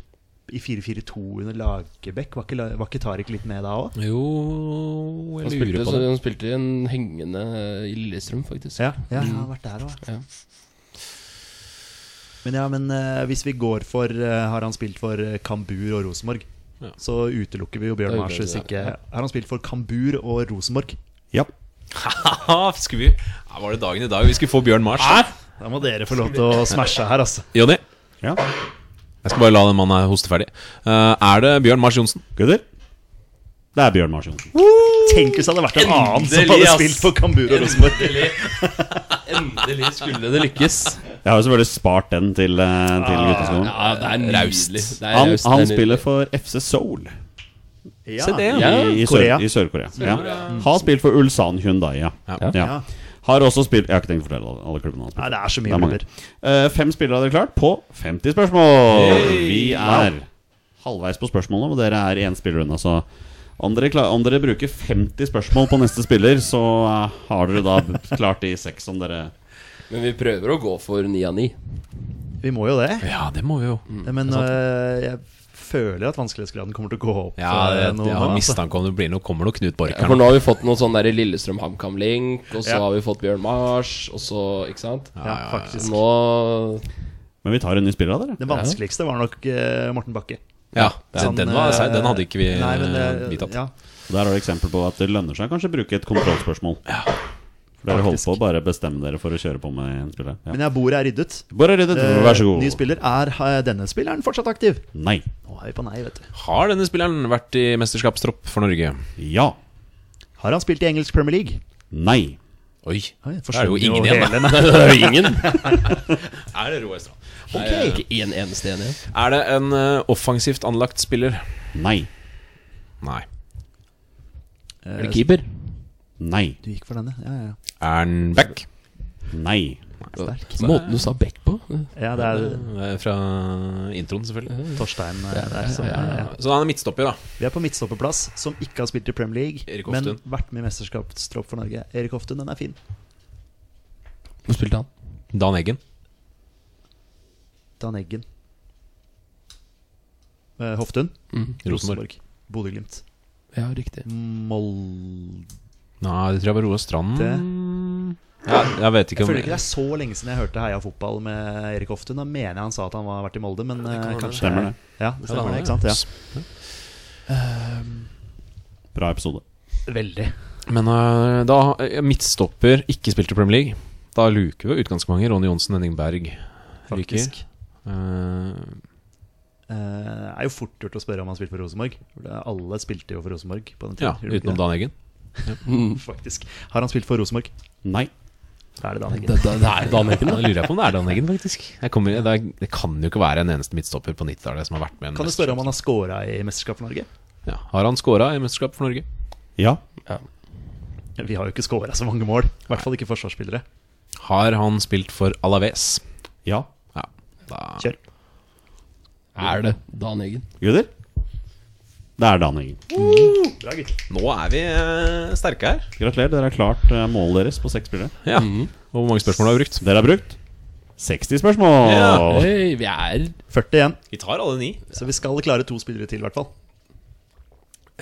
Speaker 4: i 4-4-2 under Lagerbäck? Var ikke, la- var ikke Tariq litt med da òg?
Speaker 2: Jo
Speaker 3: Han
Speaker 2: Jeg
Speaker 3: spilte,
Speaker 2: lurer på
Speaker 3: så,
Speaker 2: det.
Speaker 3: han spilte i en hengende eh, i Lillestrøm, faktisk.
Speaker 4: Ja, ja, han har vært der òg.
Speaker 3: Ja.
Speaker 4: Men ja, men eh, hvis vi går for eh, Har han spilt for eh, Kambur og Rosenborg?
Speaker 2: Ja.
Speaker 4: Så utelukker vi jo
Speaker 3: Da
Speaker 4: Bjørn Mars
Speaker 3: utelukker vi
Speaker 4: hvis
Speaker 3: det,
Speaker 4: ikke
Speaker 3: ja.
Speaker 4: Har han spilt for Kambur og Rosenborg?
Speaker 1: Ja.
Speaker 2: Haha, skulle vi ja, Var det dagen i dag vi skulle få Bjørn Mars?
Speaker 4: Da må dere få lov til å smashe her, altså.
Speaker 2: Jonny,
Speaker 1: Ja.
Speaker 2: jeg skal bare la den mannen her hoste ferdig. Eh, er det Bjørn Mars Johnsen?
Speaker 1: Gutter? Det er Bjørn Mars Johnsen.
Speaker 4: Tenk hvis det hadde vært en annen som
Speaker 2: Endelig,
Speaker 4: hadde
Speaker 2: ass.
Speaker 4: spilt for Kambur og Rosenborg.
Speaker 3: Endelig skulle det lykkes.
Speaker 1: Jeg har jo selvfølgelig spart den til, eh, til gutteskolen.
Speaker 3: Ja, det er nydelig.
Speaker 2: Raust.
Speaker 3: Det er
Speaker 1: Han,
Speaker 3: raust, det
Speaker 1: han
Speaker 3: er nydelig.
Speaker 1: spiller for FC Seoul
Speaker 4: Ja.
Speaker 3: Ja.
Speaker 1: i, i
Speaker 4: Korea.
Speaker 1: Sør- i Sør-Korea. ja. Har spilt for Ulsan Hyundai, ja.
Speaker 2: Ja.
Speaker 1: Ja. Har også spilt Jeg har ikke tenkt å fortelle alle- alle klubbene han har spilt
Speaker 4: Nei, det er så
Speaker 1: Det
Speaker 4: mye
Speaker 1: er mange.
Speaker 4: klubber.
Speaker 1: Eh, fem spillere hadde klart på 50 spørsmål. Vi er halvveis på spørsmålene, og dere er én spiller unna. Så om dere, kla- om dere bruker 50 spørsmål på neste spiller, så eh, har dere da [LAUGHS] b- klart de seks som dere
Speaker 3: Men vi prøver å gå for ni av ni.
Speaker 4: Vi må jo det.
Speaker 2: Ja, Mm. det må vi jo.
Speaker 4: Men øh, jeg føler at vanskelighetsgraden kommer til å gå opp.
Speaker 2: Ja,
Speaker 4: øh,
Speaker 2: jeg,
Speaker 4: nå,
Speaker 2: jeg har
Speaker 4: altså.
Speaker 2: mistanke om det blir noe, kommer noe Knut Borch
Speaker 3: Ja,
Speaker 2: her
Speaker 3: for
Speaker 2: nå.
Speaker 3: nå har vi fått noe sånn der Lillestrøm HamKam Link, og så
Speaker 4: Ja.
Speaker 3: har vi fått Bjørn Mars, og så Ikke sant?
Speaker 4: Ja, faktisk.
Speaker 3: Nå
Speaker 1: Men vi tar en ny spiller av dere.
Speaker 4: Det vanskeligste var nok øh, Morten Bakke.
Speaker 2: Ja, den,
Speaker 4: Han,
Speaker 2: den, var,
Speaker 4: øh,
Speaker 2: seig, den hadde ikke vi
Speaker 4: nei, men,
Speaker 2: eh,
Speaker 4: øh,
Speaker 2: vi tatt.
Speaker 4: Ja,
Speaker 1: Der har du eksempel på at det lønner seg kanskje å bruke et kontrollspørsmål. For dere holdt
Speaker 4: faktisk.
Speaker 1: på å bare bestemme dere for å kjøre på med en spiller. Ja.
Speaker 4: men jeg bordet er ryddet.
Speaker 1: Bare ryddet,
Speaker 4: Eh,
Speaker 1: vær så god.
Speaker 4: Ny spiller. Er øh, denne spilleren fortsatt aktiv?
Speaker 1: Nei.
Speaker 4: Nå er vi på nei, vet du.
Speaker 2: Har denne spilleren vært i mesterskapstropp for Norge?
Speaker 1: Ja.
Speaker 4: Har han spilt i engelsk Premier League?
Speaker 1: Nei.
Speaker 2: Oi,
Speaker 4: Oi,
Speaker 2: da er det jo
Speaker 4: forsvant
Speaker 2: ingen igjen, da.
Speaker 4: hele, nei.
Speaker 3: Ingen?
Speaker 2: Er det Roar Strand?
Speaker 3: Ikke en eneste en igjen.
Speaker 2: Er det en eh, offensivt anlagt spiller?
Speaker 1: Nei.
Speaker 2: Nei.
Speaker 3: Er det keeper?
Speaker 1: Nei.
Speaker 4: Du gikk for denne? Ja, ja, ja.
Speaker 2: Er han back?
Speaker 1: Nei.
Speaker 4: Sterk.
Speaker 3: Måten du sa back på?
Speaker 4: Ja, det er
Speaker 2: Eh, Fra introen, selvfølgelig.
Speaker 4: Torstein øh, der. Som, ja.
Speaker 2: Så han er midtstopper, da.
Speaker 4: Vi er på midtstopperplass, som ikke har spilt i Premier League,
Speaker 2: Erik
Speaker 4: men
Speaker 2: Hoftun.
Speaker 4: vært med i mesterskapstropp for Norge. Erik Hoftun, den er fin.
Speaker 3: Hvor spilte han?
Speaker 2: Dan Eggen.
Speaker 4: Dan Eggen. Eh, Hoftun.
Speaker 3: Mm.
Speaker 2: Rosenborg.
Speaker 4: Bodø-Glimt.
Speaker 3: Ja, riktig.
Speaker 4: Molde
Speaker 2: Nei, det tror jeg var Roar Strand. Ja, jeg vet ikke
Speaker 4: Jeg
Speaker 2: om
Speaker 4: føler ikke det er så lenge siden jeg hørte Heia fotball med Erik Hoftun. Da mener jeg han sa at han har vært i Molde, men eh, kanskje
Speaker 1: Stemmer det.
Speaker 4: Ja, det
Speaker 2: Ja,
Speaker 4: stemmer det,
Speaker 2: det
Speaker 4: ikke sant? Ja.
Speaker 1: Bra episode.
Speaker 4: Veldig.
Speaker 2: Men eh, da eh, midtstopper ikke spilte i Premier League. Da luker vi jo ut ganske mange. Ronny Johnsen, Henning Berg.
Speaker 4: Faktisk.
Speaker 2: Eh,
Speaker 4: Eh, Det er jo fort gjort å spørre om han spilte for Rosenborg. For det- Alle spilte jo for Rosenborg på den
Speaker 2: ja,
Speaker 4: tiden. Gjorde de
Speaker 2: utenom
Speaker 4: ikke
Speaker 2: Dan Eggen.
Speaker 3: Mm.
Speaker 4: det? Faktisk. Har han spilt for Rosenborg?
Speaker 1: Nei.
Speaker 4: Da er det Dan Eggen.
Speaker 3: Det, det, det er Dan Eggen,
Speaker 2: Ja,
Speaker 3: da.
Speaker 2: da lurer jeg på om det er Dan Eggen, faktisk. Jeg kommer, det, er, det kan jo ikke være en eneste midtstopper på 90-tallet som har vært med. i en
Speaker 4: Kan du spørre om han har scora i Mesterskap for Norge?
Speaker 2: mesterskap. ja. Har han scora i mesterskap for Norge?
Speaker 1: Ja.
Speaker 4: Vi har jo ikke scora så mange mål. I hvert fall ikke forsvarsspillere.
Speaker 2: Har han spilt for Alaves?
Speaker 1: Ja.
Speaker 2: Ja. Da,
Speaker 4: Kjør.
Speaker 3: Er det Dan Eggen?
Speaker 1: Gutter? Det er Dan Eggen.
Speaker 4: Bra, gutt.
Speaker 2: nå er vi eh, sterke her.
Speaker 1: Gratulerer, dere har klart eh, målet deres på seks spillere.
Speaker 2: Ja. Og hvor mange spørsmål har vi brukt?
Speaker 1: Dere har brukt 60 spørsmål!
Speaker 2: Ja.
Speaker 3: Hei, vi er
Speaker 4: 40 igjen,
Speaker 2: Vi tar alle ni.
Speaker 4: så vi skal klare to spillere til, i hvert fall.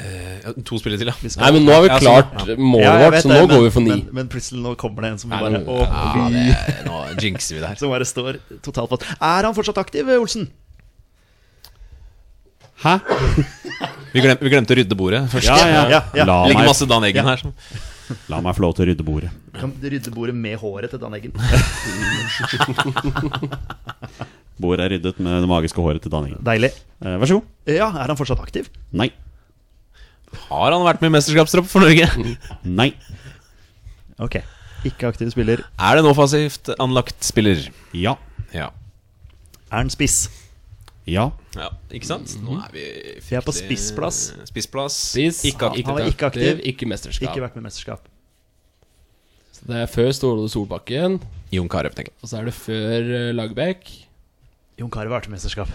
Speaker 2: Ja, to spillere til, ja.
Speaker 3: Nei, men nå har vi
Speaker 2: Ja,
Speaker 3: klart
Speaker 2: sånn,
Speaker 3: målet
Speaker 4: Ja, jeg
Speaker 3: vårt,
Speaker 4: vet
Speaker 3: så
Speaker 4: det,
Speaker 3: nå
Speaker 4: men-
Speaker 3: går vi for ni.
Speaker 4: Men, men plutselig nå kommer det en som
Speaker 3: Nei,
Speaker 4: bare
Speaker 3: nå-
Speaker 4: Å,
Speaker 2: ja
Speaker 4: fy.
Speaker 2: det, nå jinxer vi det her.
Speaker 4: Som bare står totalt fast. Er han fortsatt aktiv, Olsen?
Speaker 1: Hæ?
Speaker 2: Vi, glem, vi glemte å rydde bordet først.
Speaker 1: Ja, ja.
Speaker 4: Ja, ja.
Speaker 1: La,
Speaker 2: Det ligger
Speaker 1: meg,
Speaker 2: masse Dan Eggen her. Som,
Speaker 1: la meg få lov til å rydde bordet.
Speaker 4: Kan du rydde bordet med håret til Dan Eggen?
Speaker 1: Bordet er ryddet med det magiske håret til Dan Eggen.
Speaker 4: [LAUGHS] Deilig.
Speaker 1: Eh, vær så god.
Speaker 4: Ja, er han fortsatt aktiv?
Speaker 1: Nei.
Speaker 2: har han vært med i mesterskapstropp for Norge?
Speaker 1: Nei.
Speaker 4: Ok. Ikke aktiv spiller.
Speaker 2: Er det en offensivt anlagt spiller?
Speaker 1: Ja.
Speaker 2: Ja.
Speaker 4: Er han spiss?
Speaker 1: Ja.
Speaker 2: ja. Ikke sant? Nå er vi
Speaker 4: Vi er på
Speaker 2: fryktelig-
Speaker 4: spissplass.
Speaker 2: Spissplass.
Speaker 3: Spiss.
Speaker 2: Ikke aktiv.
Speaker 4: Han var ikke aktiv.
Speaker 3: Ikke mesterskap.
Speaker 4: Ikke vært med i mesterskap.
Speaker 3: Så det er før Ståle Solbakken,
Speaker 2: Ah. Jon Carew, tenker jeg.
Speaker 3: og så er det før eh, Lagerbäck.
Speaker 4: Jon Carew har vært med i mesterskap.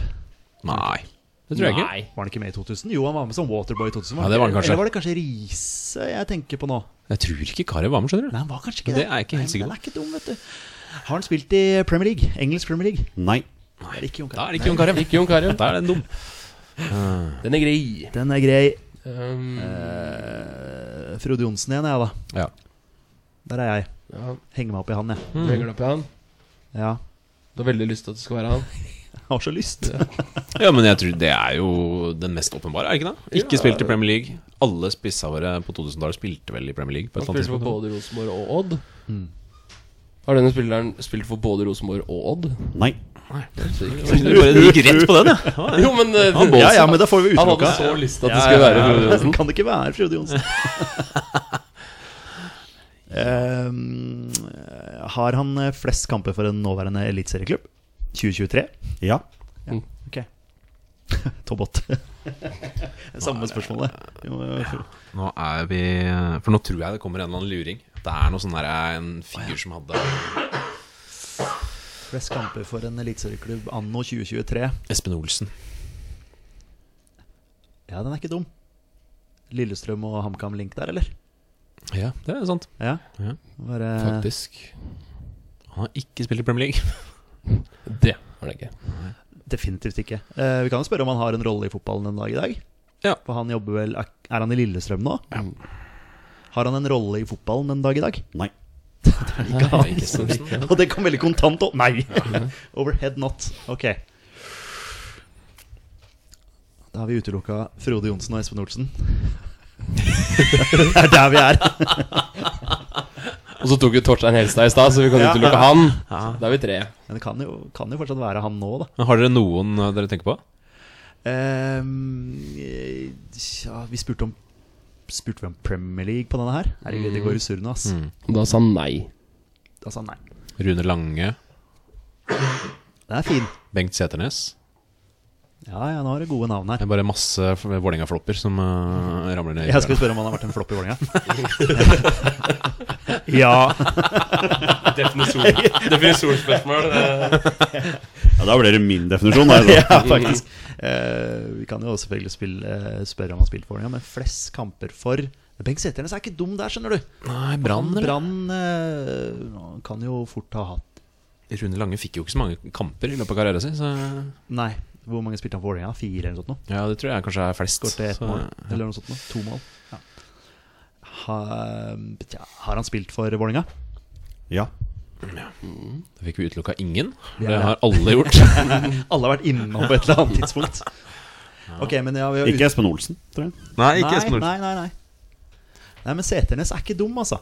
Speaker 2: Nei.
Speaker 3: Det tror jeg ikke.
Speaker 4: Var han ikke med i 2000? Jo, han var med som Waterboy i 2000.
Speaker 2: Ja, det var han kanskje.
Speaker 4: Eller var det kanskje Riise jeg tenker på nå?
Speaker 2: Jeg tror ikke Carew var med, skjønner du.
Speaker 4: Nei, han var kanskje ikke
Speaker 2: Det er jeg ikke helt
Speaker 4: Nei,
Speaker 2: sikker på.
Speaker 4: men Han er ikke dum, vet du. Har han spilt i Premier League? Engelsk Premier League?
Speaker 1: Nei.
Speaker 4: Det er ikke Jon
Speaker 2: Da
Speaker 4: Carew.
Speaker 2: er det ikke Jon Carew.
Speaker 3: Ikke Jon Carew.
Speaker 2: Da er den dum.
Speaker 3: Den er grei.
Speaker 4: Den er grei.
Speaker 3: Um,
Speaker 4: Eh, Frode Johnsen igjen, jeg, da.
Speaker 2: Ja.
Speaker 4: Der er jeg.
Speaker 3: ja,
Speaker 4: Henger meg opp i han, jeg.
Speaker 3: du henger deg opp i han.
Speaker 4: Ja.
Speaker 3: Du har veldig lyst til at det skal være han.
Speaker 4: Jeg har så lyst.
Speaker 2: ja, men jeg tror det er jo den mest åpenbare, er det ikke det? Ikke spilt i Premier League. Alle spissa våre på 2000-tallet spilte vel i Premier League. På et
Speaker 3: Han
Speaker 2: eller
Speaker 3: spilte for
Speaker 2: annet tidspunkt.
Speaker 3: både Rosenborg og Odd. Har denne spilleren spilt for både Rosenborg og Odd?
Speaker 1: Nei.
Speaker 2: Du bare gikk rett på den, ja.
Speaker 3: Jo, men eh,
Speaker 4: Ja, ja, men da får vi
Speaker 3: Han hadde
Speaker 4: utelukka.
Speaker 3: så lyst til at det skulle være
Speaker 4: [LAUGHS]
Speaker 3: Frode Johnsen.
Speaker 4: Kan det ikke være Frode
Speaker 3: [LAUGHS]
Speaker 4: Johnsen? Eh, har han eh, flest kamper for en nåværende eliteserieklubb? 2023?
Speaker 1: Ja.
Speaker 3: Mm.
Speaker 4: Ok. [LAUGHS] Topp åtte. [LAUGHS] Samme spørsmålet. Vi må-
Speaker 2: Nå er vi For nå tror jeg det kommer en eller annen luring. Det er noe sånn der en figur som hadde
Speaker 4: Flest kamper for en eliteserieklubb anno 2023.
Speaker 2: Espen Olsen.
Speaker 4: Ja, den er ikke dum. Lillestrøm og HamKam Link der, eller?
Speaker 2: Ja, det er sant.
Speaker 4: Ja.
Speaker 2: Ja.
Speaker 4: Bare-
Speaker 3: Faktisk.
Speaker 2: Han har ikke spilt i Premier League. [LAUGHS]
Speaker 3: Det har det ikke.
Speaker 4: Definitivt ikke. Eh, vi kan jo spørre om han har en rolle i fotballen en dag i dag.
Speaker 2: Ja.
Speaker 4: For han jobber vel Er er han i Lillestrøm nå? Har han en rolle i fotballen en dag i dag? [LAUGHS]
Speaker 1: Nei.
Speaker 2: Nei, ikke Espen Olsen.
Speaker 4: Og det kom veldig kontant opp. Nei!
Speaker 2: [LAUGHS]
Speaker 4: Overhead not. Ok. Da har vi utelukka Frode Johnsen og Espen Olsen. [LAUGHS] det er der vi er.
Speaker 3: Og så tok jo Torstein Helstad i stad, så vi kan utelukke han. Så Da er vi tre.
Speaker 4: Men det kan jo, kan jo fortsatt være han nå, da.
Speaker 2: Men Har dere noen eh, dere tenker på?
Speaker 4: Ehm, eh, ja, vi spurte om Spurte vi om Premier League på denne her? Herregud, det går i surr nå, ass.
Speaker 3: Da sa han nei.
Speaker 4: Da sa han nei.
Speaker 2: Rune Lange?
Speaker 4: Den er fin.
Speaker 2: Bengt Seternes?
Speaker 4: Ja, ja, nå har du gode navn her.
Speaker 2: Det er bare masse f- Vålerenga-flopper som eh, ramler ned. i
Speaker 4: Jeg skal spørre om han har vært en flopp i Vålerenga. ja.
Speaker 3: Definisjonsspørsmål.
Speaker 1: Ja, Da blir det min definisjon. da, altså.
Speaker 4: ja, faktisk. Eh, vi kan jo selvfølgelig spille, eh, spørre om han har spilt for Vålerenga, men flest kamper for Men Bengt Sæternes er ikke dum der, skjønner du.
Speaker 2: Nei,
Speaker 4: Han
Speaker 2: Brann eller?
Speaker 4: Brann eh, han kan jo fort ha hatt
Speaker 2: Rune Lange fikk jo ikke så mange kamper i løpet av karrieren sin. Så
Speaker 4: Nei, hvor mange spilte han for Vålerenga? Fire eller noe sånt? nå?
Speaker 2: ja, det tror jeg kanskje er flest.
Speaker 4: Skårte ett
Speaker 2: så-
Speaker 4: mål, eller noe sånt nå. To mål. Ja. Ha, tja, har han spilt for Vålerenga?
Speaker 1: [LAUGHS] Ja.
Speaker 2: Da fikk vi utelukka ingen.
Speaker 4: Ja.
Speaker 2: Det har alle gjort. [LAUGHS]
Speaker 4: Alle har vært innom på et eller
Speaker 3: [LAUGHS]
Speaker 4: annet tidspunkt. Ok, men ja, vi har ut-
Speaker 1: Ikke Espen Olsen, tror jeg.
Speaker 2: Nei,
Speaker 4: nei, nei, nei, nei. Nei, men Seternes er ikke dum, altså.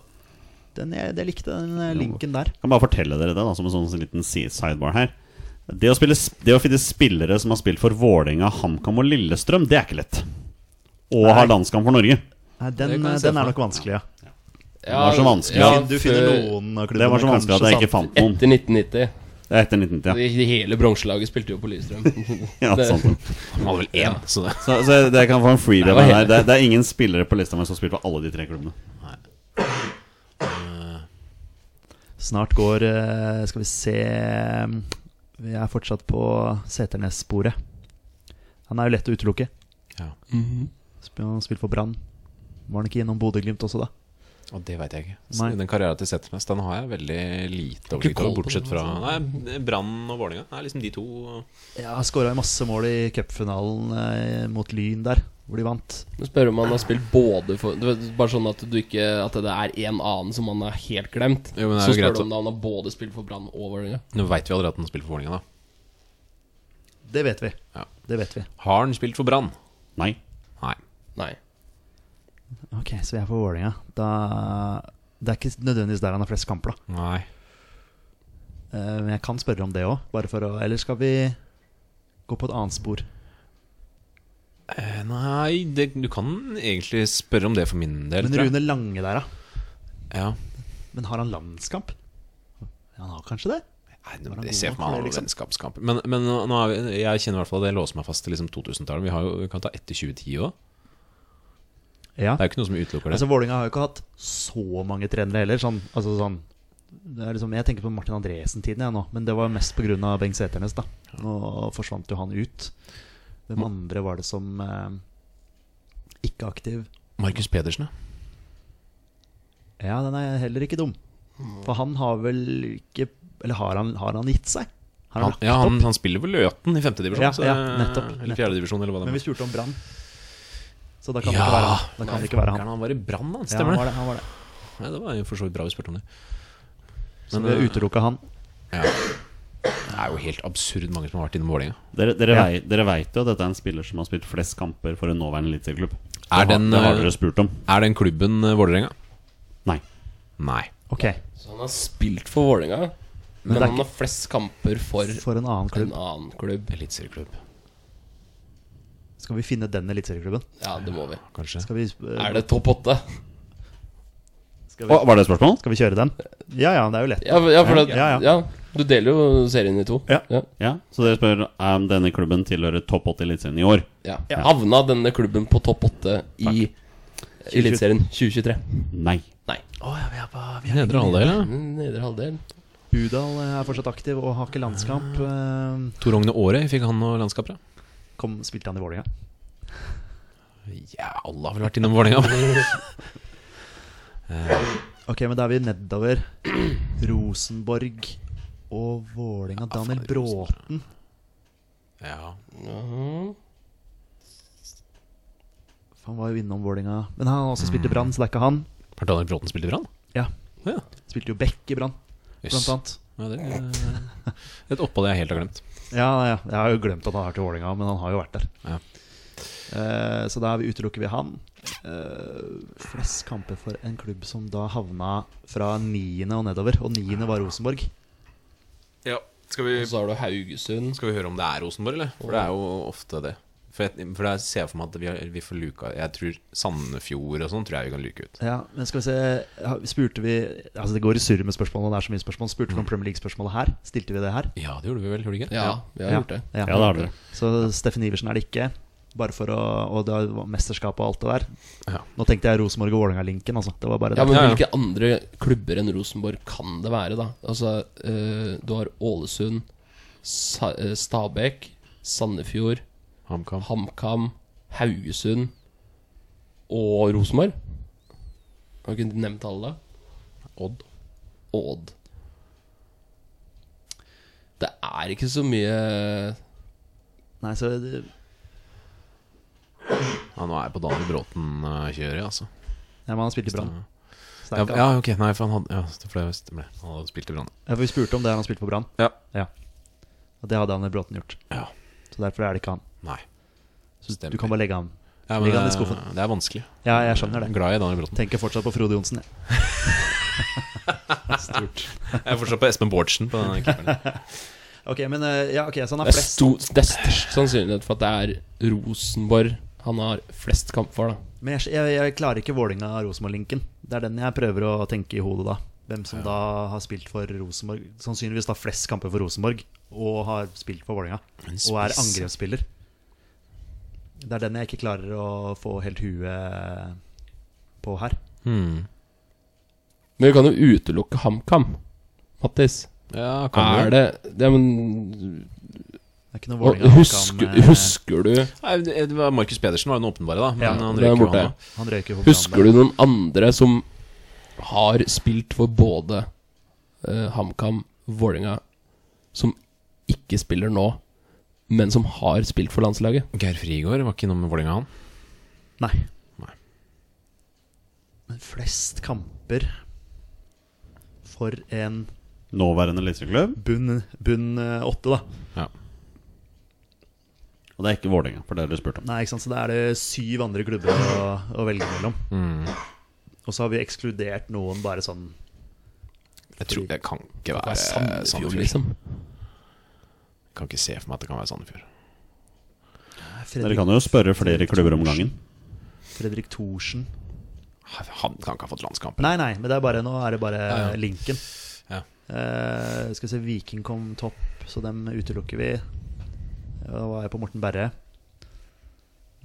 Speaker 4: Den jeg, jeg likte den eh, linken der.
Speaker 1: Kan bare fortelle dere det, da, som en sånn liten si- sidebar her. Det å, spille, det å finne spillere som har spilt for Vålerenga, HamKam og Lillestrøm, det er ikke lett. Og har landskamp for Norge.
Speaker 4: Nei,
Speaker 3: Det
Speaker 4: den, eh,
Speaker 3: kan jeg se
Speaker 4: den
Speaker 3: for
Speaker 4: er nok vanskelig, ja.
Speaker 1: var så vanskelig.
Speaker 3: ja,
Speaker 4: du finner
Speaker 3: før-
Speaker 4: noen av klubbene
Speaker 1: Det var så vanskelig at jeg ikke fant noen.
Speaker 3: Etter 1990.
Speaker 1: Det er Etter 1990, ja.
Speaker 3: Det- Hele bronselaget spilte jo på Lillestrøm.
Speaker 1: ja
Speaker 3: det-
Speaker 1: sant.
Speaker 2: Han hadde vel én, så det
Speaker 1: Så, så det kan få en free
Speaker 3: Nei, det var
Speaker 1: run her.
Speaker 3: helt-
Speaker 1: Det, det er ingen spillere på lista mi som har spilt for alle de tre klubbene.
Speaker 4: Snart går eh, Skal vi se eh, Vi er fortsatt på Seternes-sporet. Han er jo lett å utelukke.
Speaker 2: ja.
Speaker 4: Sp- Han har spilt for Brann. Var han ikke innom Bodø-Glimt også, da?
Speaker 2: Og det veit jeg ikke. Så
Speaker 4: Nei.
Speaker 2: den karrieren til Settemest Den har jeg veldig lite
Speaker 3: Ikke
Speaker 2: oversikt
Speaker 3: koll
Speaker 2: over,
Speaker 3: på
Speaker 2: bortsett
Speaker 3: den,
Speaker 2: fra Nei,
Speaker 3: altså.
Speaker 2: Brann og Vålerenga. Det er liksom de to.
Speaker 4: Ja, Skåra masse mål i cupfinalen eh, mot Lyn der, hvor de vant.
Speaker 3: Du spør om han har spilt både for du vet, Bare sånn at du ikke At det er en annen som han har helt glemt.
Speaker 2: Jo, men det er
Speaker 3: så
Speaker 2: jo greit
Speaker 3: spør du
Speaker 2: å-
Speaker 3: om han har både spilt for Brann og Vålerenga.
Speaker 2: Nå veit vi allerede at han spiller for Vålerenga, da.
Speaker 4: Det vet vi.
Speaker 2: Ja.
Speaker 4: Det vet vi.
Speaker 2: Har han spilt for Brann?
Speaker 1: Nei.
Speaker 2: Nei.
Speaker 3: Nei.
Speaker 4: Ok, så vi er for Vålerenga. Da Det er ikke nødvendigvis der han har flest kamper, da.
Speaker 2: Nei.
Speaker 4: Eh, Men jeg kan spørre om det òg, bare for å Eller skal vi gå på et annet spor?
Speaker 2: Eh, Nei, det, du kan egentlig spørre om det for min del.
Speaker 4: Men
Speaker 2: tror jeg.
Speaker 4: Rune Lange der, da?
Speaker 2: Ja.
Speaker 4: Men har han landskamp? Han har kanskje det?
Speaker 2: Nei,
Speaker 4: Var
Speaker 2: nå-
Speaker 4: han
Speaker 2: jeg
Speaker 4: god
Speaker 2: ser
Speaker 4: nok
Speaker 2: for meg
Speaker 4: for
Speaker 2: alle
Speaker 4: det, liksom?
Speaker 2: vennskapskamper. Men, men nå, nå er vi, jeg kjenner i hvert fall at det låser meg fast til liksom 2000-tallet. Vi, har jo- vi kan ta etter 2010 òg.
Speaker 4: Ja.
Speaker 2: Det er jo ikke noe som utelukker det.
Speaker 4: Altså Vålinga har jo ikke hatt så mange trenere heller. Sånn, altså sånn det er liksom, Jeg tenker på Martin Andresen-tiden, jeg nå. Men det var mest pga. Bengt Sæternes. da Nå forsvant jo han ut. Hvem andre var det som eh, ikke aktiv?
Speaker 2: Markus Pedersen, ja.
Speaker 4: Ja, den er heller ikke dum.
Speaker 2: Mm.
Speaker 4: For han har vel ikke Eller har han, har han gitt seg? Har han
Speaker 2: Han,
Speaker 4: lagt
Speaker 2: ja, han,
Speaker 4: opp?
Speaker 2: han spiller vel Løten i femtedivisjon?
Speaker 4: Ja, ja, nettopp,
Speaker 2: Eller
Speaker 4: nettopp.
Speaker 2: fjerdedivisjon, eller hva det
Speaker 4: Men vi
Speaker 2: var.
Speaker 4: spurte om Brann. Så da kan det
Speaker 2: Ja,
Speaker 4: ikke være han. Da kan det ikke være han.
Speaker 2: Han. han var i Brann, han.
Speaker 4: Ja, han
Speaker 2: Stemmer
Speaker 4: var
Speaker 2: det?
Speaker 4: det, han var det.
Speaker 2: Nei, det var jo for så vidt bra vi spurte om det.
Speaker 4: Så
Speaker 2: Men,
Speaker 4: vi
Speaker 2: eh,
Speaker 4: utelukka han.
Speaker 2: Det er jo helt absurd mange som har vært innom Vålerenga.
Speaker 1: Dere, dere,
Speaker 4: Ja.
Speaker 1: vei, dere vet jo at dette er en spiller som har spilt flest kamper for en nåværende eliteserieklubb. Det,
Speaker 2: Er
Speaker 1: har-
Speaker 2: den,
Speaker 1: det har
Speaker 2: eh,
Speaker 1: dere spurt om.
Speaker 2: Er den klubben eh, Vålerenga?
Speaker 1: Nei.
Speaker 2: Nei.
Speaker 4: Ok,
Speaker 3: Så han har spilt for Vålerenga, men,
Speaker 4: det er
Speaker 3: han har flest kamper for,
Speaker 4: For en annen
Speaker 3: en
Speaker 4: klubb.
Speaker 3: annen klubb.
Speaker 2: Eliteserieklubb,
Speaker 4: Skal vi finne den eliteserieklubben?
Speaker 3: Ja, det må vi.
Speaker 2: kanskje.
Speaker 4: Skal vi, eh,
Speaker 3: Er det topp åtte?
Speaker 4: skal vi
Speaker 1: Å, var det et spørsmål?
Speaker 4: Skal vi kjøre den? Ja ja, det er jo lett.
Speaker 3: Ja, for- ja, for det,
Speaker 4: Ja,
Speaker 3: ja,
Speaker 4: ja.
Speaker 3: du deler jo serien i to.
Speaker 4: Ja.
Speaker 3: Ja.
Speaker 1: Ja, Så dere spør om denne klubben tilhører topp 8 i Eliteserien i år.
Speaker 3: Ja. Havna denne klubben på topp åtte i Eliteserien 2023?
Speaker 1: Nei.
Speaker 3: Nei.
Speaker 2: Nedre halvdel, ja.
Speaker 3: Mm, Nedre halvdel.
Speaker 4: Budal eh, er fortsatt aktiv og har ikke landskamp.
Speaker 3: Ah.
Speaker 4: Eh,
Speaker 2: Tor Ogne Aare, fikk han noe landskap fra?
Speaker 4: Kom, spilte han i Vålerenga?
Speaker 2: Ja, alle har vel [LAUGHS] vært innom Vålerenga.
Speaker 4: Ok, men da er vi nedover. [CLEARS THROAT] Rosenborg og
Speaker 3: Ah,
Speaker 4: Vålerenga. Daniel
Speaker 2: faen,
Speaker 4: Bråten.
Speaker 2: ja.
Speaker 4: Han var jo innom Vålerenga. Men han har også
Speaker 3: Mm.
Speaker 4: spilt i Brann, så det er ikke han.
Speaker 2: Har Daniel Bråten spilt i Brann?
Speaker 4: Ja,
Speaker 2: Ja.
Speaker 4: Spilte jo Beck i Brann, blant
Speaker 2: Jøss.
Speaker 4: annet.
Speaker 2: Ja, det er et opphold jeg helt har glemt.
Speaker 4: Ja, ja, jeg har jo glemt at han har vært i Vålerenga, men han har jo vært der.
Speaker 2: Ja.
Speaker 4: Eh, så da er vi- utelukker vi han. Eh, flest kamper for en klubb som da havna fra niende og nedover, og niende var Rosenborg.
Speaker 2: Ja, skal vi,
Speaker 3: Og så har du Haugesund.
Speaker 2: skal vi høre om det er Rosenborg, eller? For det er jo ofte det. For, jeg, for jeg ser for meg at vi, har, vi får luka Jeg tror Sandefjord og sånn tror jeg vi kan luke ut.
Speaker 4: Ja, men skal vi se ha- Spurte vi Altså, det går i surr med spørsmålene, det er så mye spørsmål. Spurte vi om Premier League-spørsmålet her? Stilte vi det her?
Speaker 2: Ja, det gjorde vi vel, gjorde vi ikke?
Speaker 3: Ja, vi har gjort det.
Speaker 4: Ja.
Speaker 1: Ja, det har dere.
Speaker 4: Så Steffen Iversen er det ikke. Bare for å Og det var mesterskap og alt det der.
Speaker 2: Ja.
Speaker 4: Nå tenkte jeg Rosenborg og Vålerenga-linken, altså. Det var bare
Speaker 3: Ja,
Speaker 4: det.
Speaker 3: men
Speaker 2: Ja, ja.
Speaker 3: Hvilke andre klubber enn Rosenborg kan det være, da? Altså, eh, Du har Ålesund, Sa eh, Stabæk, Sandefjord,
Speaker 2: HamKam.
Speaker 3: HamKam, Haugesund og Rosenborg. Har du ikke nevnt alle? Odd. Odd. Det er ikke så mye
Speaker 4: Nei, så det,
Speaker 2: Ja, nå er jeg på Daniel Bråten-kjøret, altså.
Speaker 4: ja, men han spilte i Brann.
Speaker 2: Ja,
Speaker 4: Sterk,
Speaker 2: ja, ok, nei, for han hadde Ja, det ble, det ble. Han hadde spilt i Brann.
Speaker 4: Ja, for vi spurte om det han spilte for Brann.
Speaker 2: Ja.
Speaker 4: Og det hadde han i Bråten gjort.
Speaker 2: Ja.
Speaker 4: Så derfor er det ikke han.
Speaker 2: Nei.
Speaker 4: Så
Speaker 2: Stemmer.
Speaker 4: du kan bare legge ham.
Speaker 2: Ja,
Speaker 4: Legg han i
Speaker 2: det-
Speaker 4: skuffen.
Speaker 2: Det er vanskelig.
Speaker 4: Ja, jeg skjønner
Speaker 2: Jeg
Speaker 4: det.
Speaker 2: er glad i Daniel Bråten.
Speaker 4: Tenker fortsatt på Frode Johnsen. jeg.
Speaker 2: Jeg er fortsatt på Espen Bårdsen på denne keeperen.
Speaker 4: Ok, men eh, ja, ok, så han
Speaker 3: Det
Speaker 4: har
Speaker 3: er,
Speaker 4: flest.
Speaker 3: stor, det er størst sannsynlighet for at det er Rosenborg han har flest kamp for. da
Speaker 4: Men jeg, jeg, jeg klarer ikke Vålinga-Rosenborg-linken. Det er den jeg prøver å tenke i hodet da. Hvem som da har spilt for Rosenborg. Sannsynligvis da flest kamper for Rosenborg, og har spilt for Vålinga.
Speaker 2: En
Speaker 4: Og er
Speaker 2: spiss.
Speaker 4: angrepsspiller. Det er den jeg ikke klarer å få helt huet på her.
Speaker 2: Hmm.
Speaker 3: Men vi kan jo utelukke HamKam, Mattis.
Speaker 2: Ja,
Speaker 3: Er
Speaker 2: kan du?
Speaker 3: det, det men,
Speaker 4: Det er ikke noe
Speaker 3: og,
Speaker 4: Vålinga
Speaker 3: husker,
Speaker 4: eh,
Speaker 3: husker du
Speaker 2: Nei, det det var Markus Pedersen var jo den åpenbare, da. Men
Speaker 4: Ja,
Speaker 2: han
Speaker 3: det er
Speaker 2: røyker jo
Speaker 3: borte.
Speaker 2: han òg.
Speaker 4: Han røyker hovedet
Speaker 3: Husker du noen andre som har spilt for både eh, HamKam, Vålerenga, som ikke spiller nå, men som har spilt for landslaget?
Speaker 2: Geir Frigård var ikke innom Vålerenga, han.
Speaker 4: Nei.
Speaker 2: Nei.
Speaker 4: Men flest kamper for en
Speaker 1: Nåværende eliteserieklubb.
Speaker 4: bunn, bunn eh, åtte, da.
Speaker 2: Ja.
Speaker 1: Og det er ikke Vålerenga, for det har dere spurt om.
Speaker 4: Nei, ikke sant? Så da er det syv andre klubber å, å velge mellom.
Speaker 2: Mm.
Speaker 4: Og så har vi ekskludert noen bare sånn
Speaker 2: Jeg tror Det kan ikke
Speaker 3: Det
Speaker 2: være
Speaker 3: er Sandefjord,
Speaker 2: Sandefjord.
Speaker 3: liksom.
Speaker 2: Jeg Kan ikke se for meg at det kan være Sandefjord.
Speaker 1: Dere
Speaker 4: Fredrik,
Speaker 1: kan jo spørre flere klubber om gangen.
Speaker 4: Fredrik Thorsen.
Speaker 2: Han kan ikke ha fått landskamp.
Speaker 4: Nei, nei, men det er bare, nå er det bare
Speaker 2: Ja, ja.
Speaker 4: linken.
Speaker 2: Ja.
Speaker 4: Eh, skal vi se, Viking kom topp, så dem utelukker vi. Da var jeg på Morten Berre.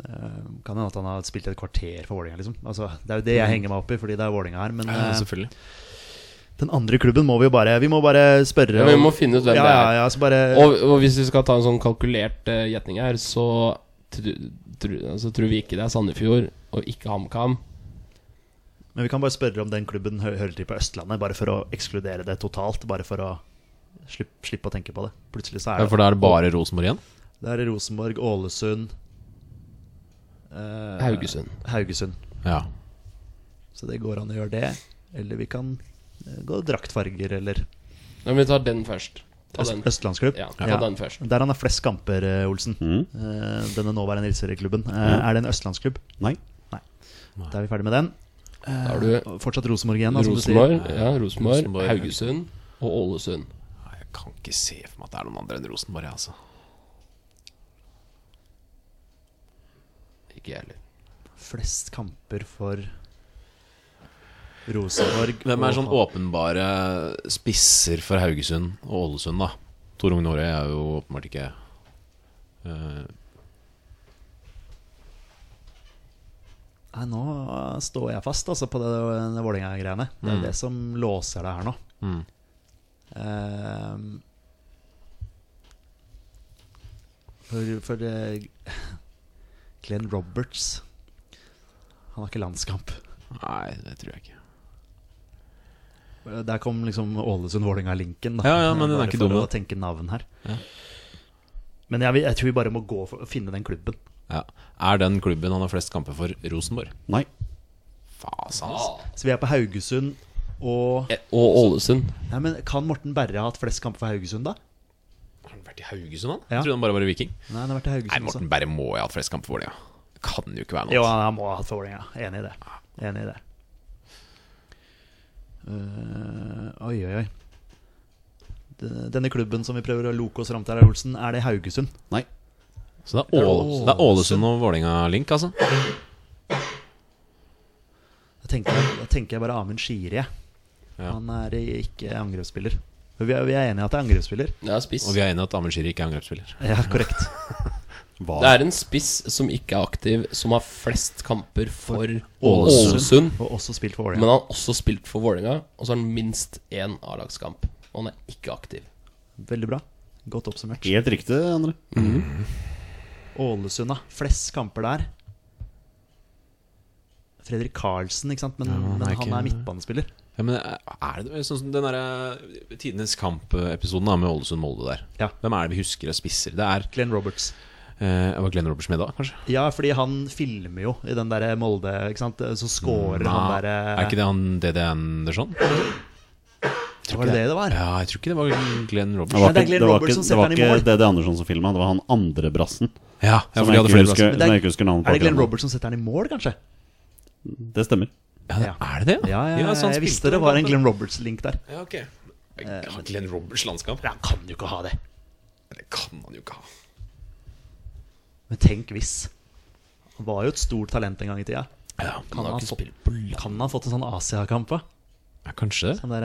Speaker 4: Eh, kan hende at han har spilt et kvarter for Vålerenga, liksom. Altså, det er jo det
Speaker 3: Mm.
Speaker 4: jeg henger meg opp i, fordi det er Vålerenga her. Men
Speaker 2: Ja,
Speaker 3: altså,
Speaker 4: eh,
Speaker 2: selvfølgelig.
Speaker 4: den andre klubben må vi jo bare Vi må bare spørre
Speaker 3: Ja, vi
Speaker 4: om-
Speaker 3: må finne ut hvem
Speaker 4: ja,
Speaker 3: det
Speaker 4: ja,
Speaker 3: er.
Speaker 4: ja, så bare
Speaker 3: Og, og hvis vi skal ta en sånn kalkulert eh, gjetning her, så tru, tru, altså, tror vi ikke det er Sandefjord, og ikke HamKam.
Speaker 4: Men vi kan bare spørre om den klubben hø hører til på Østlandet, bare for å ekskludere det totalt. Bare for å slippe, slippe å tenke på det. Plutselig så
Speaker 2: Ja,
Speaker 4: er
Speaker 2: for
Speaker 4: det
Speaker 2: da er det bare Rosenborg igjen?
Speaker 4: Det er Rosenborg, Ålesund eh,
Speaker 3: Haugesund.
Speaker 4: Haugesund.
Speaker 2: Ja.
Speaker 4: Så det går an å gjøre det. Eller vi kan eh, gå draktfarger, eller
Speaker 3: Ja, men vi tar den først. Ta
Speaker 4: øst
Speaker 3: den.
Speaker 4: østlandsklubb.
Speaker 3: Ja, ta den først.
Speaker 4: Der han har flest kamper, eh, Olsen.
Speaker 3: Mm.
Speaker 4: Eh, denne nåværende Eliteserieklubben. Eh, er det en østlandsklubb?
Speaker 1: Nei.
Speaker 4: Da er vi ferdig med den.
Speaker 3: Da har du
Speaker 4: Og Fortsatt Rosenborg igjen, da, som du sier.
Speaker 3: Rosenborg, ja, Rosenborg,
Speaker 2: Rosenborg,
Speaker 3: Haugesund og Ålesund.
Speaker 2: Nei, Jeg kan ikke se for meg at det er noen andre enn Rosenborg, jeg, altså.
Speaker 3: Ikke jeg heller.
Speaker 4: Flest kamper for Rosenborg.
Speaker 2: Hvem er
Speaker 4: og-
Speaker 2: sånn åpenbare spisser for Haugesund og Ålesund, da? Tor Unge Norøy er jo åpenbart ikke eh,
Speaker 4: Nei, nå står jeg fast altså, på det, det Vålerenga-greiene. Det er det som låser det her nå.
Speaker 2: Mm.
Speaker 4: Ehm, for for eh, Glenn Roberts Han har ikke landskamp.
Speaker 2: Nei, det tror jeg ikke.
Speaker 4: Der kom liksom Ålesund-Vålerenga-linken. da.
Speaker 2: Ja, ja, men den er
Speaker 4: Bare
Speaker 2: ikke
Speaker 4: for
Speaker 2: dum,
Speaker 4: å tenke navn her. Men jeg, vil- jeg tror vi bare må gå for å finne den klubben.
Speaker 2: Ja. Er den klubben han har flest kamper for, Rosenborg?
Speaker 1: Nei.
Speaker 2: Fasan, altså.
Speaker 4: Så vi er på Haugesund og
Speaker 3: Eh, Og Ålesund.
Speaker 4: Nei, men Kan Morten Berre ha hatt flest kamper for Haugesund, da?
Speaker 2: Har han vært i Haugesund, han?
Speaker 4: Ja.
Speaker 2: Jeg trodde han bare var i Viking.
Speaker 4: Nei, han har vært i Haugesund altså.
Speaker 2: Nei,
Speaker 4: også.
Speaker 2: Morten Berre må jo ha hatt flest kamper for det, ja. Kan jo ikke være
Speaker 4: Jo,
Speaker 2: noe annet.
Speaker 4: han må ha hatt for Vålerenga. Enig i det. Enig i det. Eh, oi, oi, oi. De- Denne klubben som vi prøver å loke oss fram til, her, Olsen, er det Haugesund?
Speaker 1: Nei.
Speaker 2: Så det er, Ål
Speaker 4: Ålesund.
Speaker 2: det er Ålesund og Vålerenga-link, altså?
Speaker 4: Da tenker jeg, da tenker jeg bare Amund Skiri. jeg.
Speaker 2: Ja.
Speaker 4: Han er i- ikke angrepsspiller. Men Vi er, vi er enige i at det er angrepsspiller?
Speaker 3: Det er spiss.
Speaker 2: Og vi er enige at Amund Shiri ikke er angrepsspiller.
Speaker 4: Ja, korrekt.
Speaker 1: Hva?
Speaker 3: Det er en spiss som ikke er aktiv, som har flest kamper for
Speaker 4: Ålesund.
Speaker 3: Ålesund.
Speaker 4: Og også spilt for Vålerenga.
Speaker 3: Men han har også spilt for Vålerenga, og så har han minst én A-lagskamp. Og han er ikke aktiv.
Speaker 4: Veldig bra. Godt oppsummert.
Speaker 1: Helt riktig, André.
Speaker 4: Ålesund, da. Flest kamper der. Fredrik Karlsen, ikke sant? men,
Speaker 2: Ja, han
Speaker 4: men
Speaker 2: er
Speaker 4: han
Speaker 2: ikke-
Speaker 4: er midtbanespiller.
Speaker 2: Ja, men er det sånn som den derre eh, Tidenes kamp-episoden da, med Ålesund-Molde der?
Speaker 4: Ja.
Speaker 2: Hvem er det vi husker og spisser? Det er
Speaker 4: Glenn Roberts.
Speaker 2: eh, Var Glenn Roberts med da, kanskje?
Speaker 4: Ja, fordi han filmer jo i den derre Molde, ikke sant. Så scorer han eh,
Speaker 2: Nei,
Speaker 4: derre
Speaker 2: Er ikke det han DD Andersson?
Speaker 4: eh, Var det det det var?
Speaker 2: Ja, jeg tror ikke det var Glenn
Speaker 1: Det
Speaker 2: Roberts.
Speaker 1: var
Speaker 4: Nei, det er
Speaker 1: ikke
Speaker 4: Glenn
Speaker 1: det var
Speaker 4: Roberts
Speaker 1: ikke-
Speaker 4: som
Speaker 1: det var
Speaker 4: setter den i
Speaker 1: ikke DD Andersson som filma, det var han andre brassen.
Speaker 2: Ja, ja,
Speaker 1: Som
Speaker 2: for
Speaker 1: jeg
Speaker 2: de hadde
Speaker 1: ikke
Speaker 2: flere
Speaker 1: husker,
Speaker 4: Men
Speaker 2: plasser.
Speaker 4: det er-
Speaker 1: som jeg ikke husker navnet på.
Speaker 4: Er det Glenn
Speaker 1: akkurat nå.
Speaker 4: Roberts som setter den i mål, kanskje?
Speaker 1: Det stemmer.
Speaker 2: Ja, er det det?
Speaker 4: Ja, ja,
Speaker 2: så han
Speaker 4: jeg
Speaker 2: spilte
Speaker 4: visste det var en Glenn Roberts-link der.
Speaker 2: Ja, ok Har Glenn Roberts landskamp?
Speaker 4: Men han kan jo ikke ha det.
Speaker 2: Det kan han jo ikke ha.
Speaker 4: Men tenk hvis. Han var jo et stort talent en gang i tida.
Speaker 2: Ja,
Speaker 4: Kan han, fått, kan han ha fått en sånn Asiakamp, da?
Speaker 2: ja, kanskje det.
Speaker 4: Den der,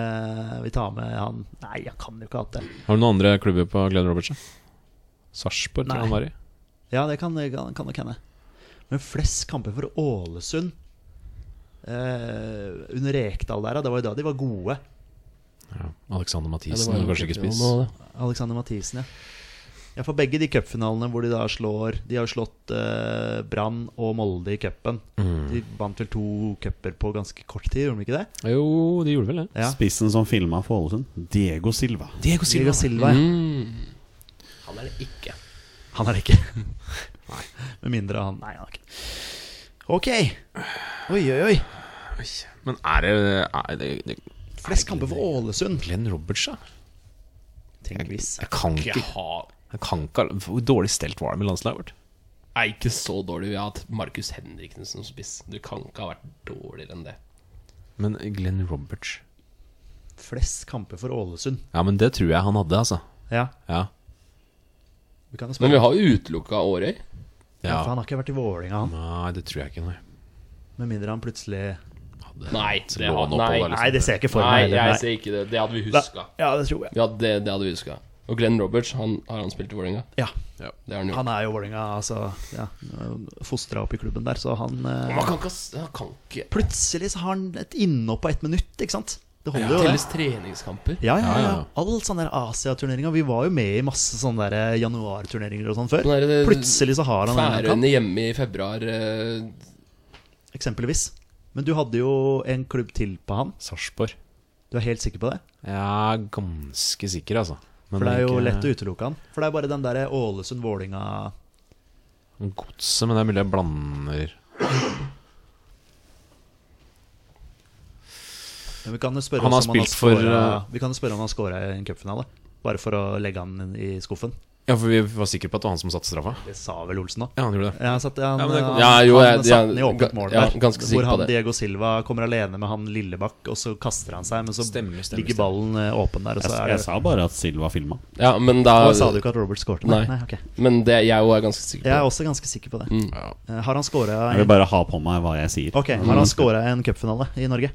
Speaker 4: eh, vi tar med han Nei, han kan jo ikke ha hatt det.
Speaker 2: Har du noen andre klubber på Glenn Roberts? da? Sarpsborg, tror
Speaker 4: Nei.
Speaker 2: jeg han var i.
Speaker 4: Ja, det kan, kan, kan nok hende. Men flest kamper for Ålesund eh, under Rekdal der, ja, det var jo da de var gode.
Speaker 2: Ja. Alexander
Speaker 3: Ja, det
Speaker 2: Mathisen
Speaker 3: var
Speaker 2: var
Speaker 3: jo
Speaker 2: kanskje ikke spiss.
Speaker 3: noe av det.
Speaker 4: Alexander Mathisen, ja. Ja, For begge de cupfinalene hvor de da slår De har jo slått eh, Brann og Molde i cupen. De vant vel to cuper på ganske kort tid, gjorde de ikke det?
Speaker 2: Jo, de gjorde vel det.
Speaker 4: Ja.
Speaker 1: Spissen som filma for Ålesund, Diego Silva.
Speaker 2: Diego
Speaker 4: Diego Silva, ja.
Speaker 3: Mm. Han er det ikke.
Speaker 4: Han er det ikke. [LAUGHS] nei. Med mindre han Nei, han er ikke det. Ok. Oi, oi, oi.
Speaker 2: Men er det, er det, det
Speaker 4: Flest kamper for Ålesund.
Speaker 2: Glenn Roberts, da?
Speaker 4: Tenk hvis.
Speaker 2: Jeg kan ikke ha jeg kan ikke, ha- Hvor dårlig stelt var det med landslaget vårt?
Speaker 3: Nei, ikke så dårlig. Vi har hatt Markus Henriksen som spiss. Du kan ikke ha vært dårligere enn det.
Speaker 2: Men Glenn Roberts
Speaker 4: Flest kamper for Ålesund.
Speaker 2: Ja, men det tror jeg han hadde, altså.
Speaker 4: Ja,
Speaker 2: Ja.
Speaker 4: vi kan jo spørre.
Speaker 3: Men vi har jo utelukka Årøy.
Speaker 4: Ja, for
Speaker 2: ja.
Speaker 4: han har ikke vært i Vålerenga, han.
Speaker 2: Nei, det tror jeg ikke, nei.
Speaker 4: Med mindre han plutselig
Speaker 3: Nei,
Speaker 2: Så
Speaker 3: det
Speaker 2: lå
Speaker 3: har
Speaker 2: han oppå
Speaker 3: nei,
Speaker 2: der, liksom.
Speaker 4: Nei, det ser jeg ikke for
Speaker 3: nei,
Speaker 4: meg
Speaker 3: jeg
Speaker 4: heller. Nei.
Speaker 3: ser ikke det. Det hadde vi
Speaker 4: Nei.
Speaker 3: huska.
Speaker 4: Ja, det tror jeg.
Speaker 3: Ja, det, det hadde vi huska. Og Glenn Roberts, han, har han spilt i Vålerenga?
Speaker 4: Ja,
Speaker 3: Det har han jo.
Speaker 4: Han er jo Vålerenga, altså. Ja, Fostra opp i klubben der, så han eh,
Speaker 3: Man kan ikke, ass- han kan ikke
Speaker 4: Plutselig så har han et innhopp på ett minutt, ikke sant? Det holder jo,
Speaker 3: telles
Speaker 4: det.
Speaker 3: treningskamper.
Speaker 4: Ja, ja,
Speaker 2: Ja,
Speaker 4: ja.
Speaker 2: ja.
Speaker 4: All sånne der Asia-turneringer. Vi var jo med i masse sånne der eh, januarturneringer og sånn før.
Speaker 3: Den der-
Speaker 4: Plutselig så har han en innhopp,
Speaker 3: Færøyene hjemme i februar eh,
Speaker 4: eksempelvis. Men du hadde jo en klubb til på han.
Speaker 2: Sarpsborg.
Speaker 4: Du er helt sikker på det?
Speaker 2: Jeg er ganske sikker, altså. Men
Speaker 4: For det er jo
Speaker 2: ikke-
Speaker 4: lett å utelukke han. For det er bare den derre Ålesund-Vålinga
Speaker 2: Godset, men det er mulig jeg blander
Speaker 4: Men Vi kan jo spørre
Speaker 2: Han har
Speaker 4: oss om han har
Speaker 2: spilt for,
Speaker 3: eh,
Speaker 4: scora- Vi kan jo spørre om han har scora i en cupfinale. Bare for å legge han inn i skuffen.
Speaker 2: Ja, for vi var sikre på at det var han som satte straffa.
Speaker 4: Det sa vel Olsen òg.
Speaker 2: Ja, han gjorde det.
Speaker 4: Ja, han satte han, eh,
Speaker 2: Ja, men det kan-
Speaker 4: han,
Speaker 3: Ja, jo, jeg-
Speaker 4: han satte
Speaker 3: jeg-
Speaker 4: den i åpent mål
Speaker 3: ja,
Speaker 4: der.
Speaker 3: ganske sikker
Speaker 4: Hvor
Speaker 3: på
Speaker 4: han
Speaker 3: det.
Speaker 4: Diego Silva kommer alene med han Lillebakk, og så kaster han seg, men så
Speaker 2: Stemmer, stemmer,
Speaker 4: ligger ballen eh, åpen der, og
Speaker 1: Jeg,
Speaker 4: så er
Speaker 1: jeg
Speaker 4: det
Speaker 1: sa bare at Silva filma.
Speaker 3: Ja, men da
Speaker 4: Nå Sa du ikke at Robert skårte? Nei.
Speaker 3: Nei.
Speaker 4: Nei, ok.
Speaker 3: Men det, jeg òg er ganske sikker på.
Speaker 4: Jeg er også ganske sikker på det.
Speaker 3: Mm.
Speaker 2: Ja.
Speaker 4: Eh, Har han scora
Speaker 1: Jeg vil bare ha på meg hva jeg sier.
Speaker 4: Ok, har han scora i en cupfinale i Norge?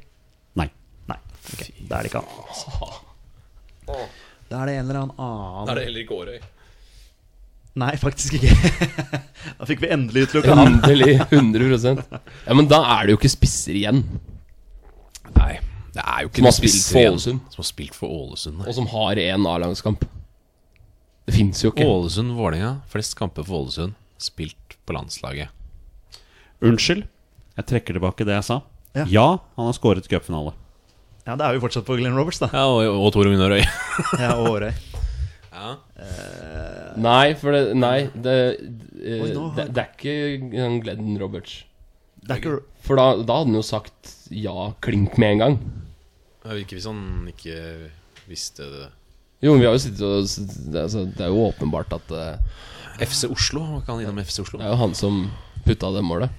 Speaker 1: Nei.
Speaker 4: Nei. ok, Da er det ikke han.
Speaker 3: [LAUGHS]
Speaker 4: Da er det en eller annen annen
Speaker 2: Da er det heller ikke Årøy.
Speaker 4: Nei, faktisk ikke. [LAUGHS] da fikk vi endelig utelukka han.
Speaker 3: Endelig. [LAUGHS] 100 Ja, Men da er det jo ikke spisser igjen.
Speaker 2: Nei. Det er jo ikke
Speaker 3: Som
Speaker 2: noen
Speaker 3: har spilt
Speaker 2: spisser
Speaker 3: for
Speaker 2: igjen
Speaker 3: Ålesund.
Speaker 2: Som har spilt for Ålesund.
Speaker 3: Og
Speaker 2: Nei.
Speaker 3: som har én A-lagskamp. Det fins jo ikke.
Speaker 2: Ålesund-Vålerenga. Flest kamper for Ålesund. Spilt på landslaget.
Speaker 1: Unnskyld, jeg trekker tilbake det jeg sa.
Speaker 4: Ja.
Speaker 1: Ja, han har skåret cupfinale.
Speaker 4: Ja, det er jo fortsatt på Glenn Roberts, da.
Speaker 2: Ja, og, og Tor Gunnar Øy.
Speaker 4: [LAUGHS] Ja, og Årøy.
Speaker 3: Nei, for det Nei, det, eh,
Speaker 4: Oi, nå har-
Speaker 3: det, det er ikke han Glenn Roberts.
Speaker 4: Det er ikke
Speaker 3: For da, da hadde han jo sagt ja klink med en gang.
Speaker 2: Ikke hvis han sånn ikke visste det.
Speaker 3: Jo, men vi har jo sittet og det er- altså, Det er jo åpenbart at eh,
Speaker 2: FC Oslo. Var ikke han innom FC Oslo?
Speaker 3: det er jo han som putta det målet.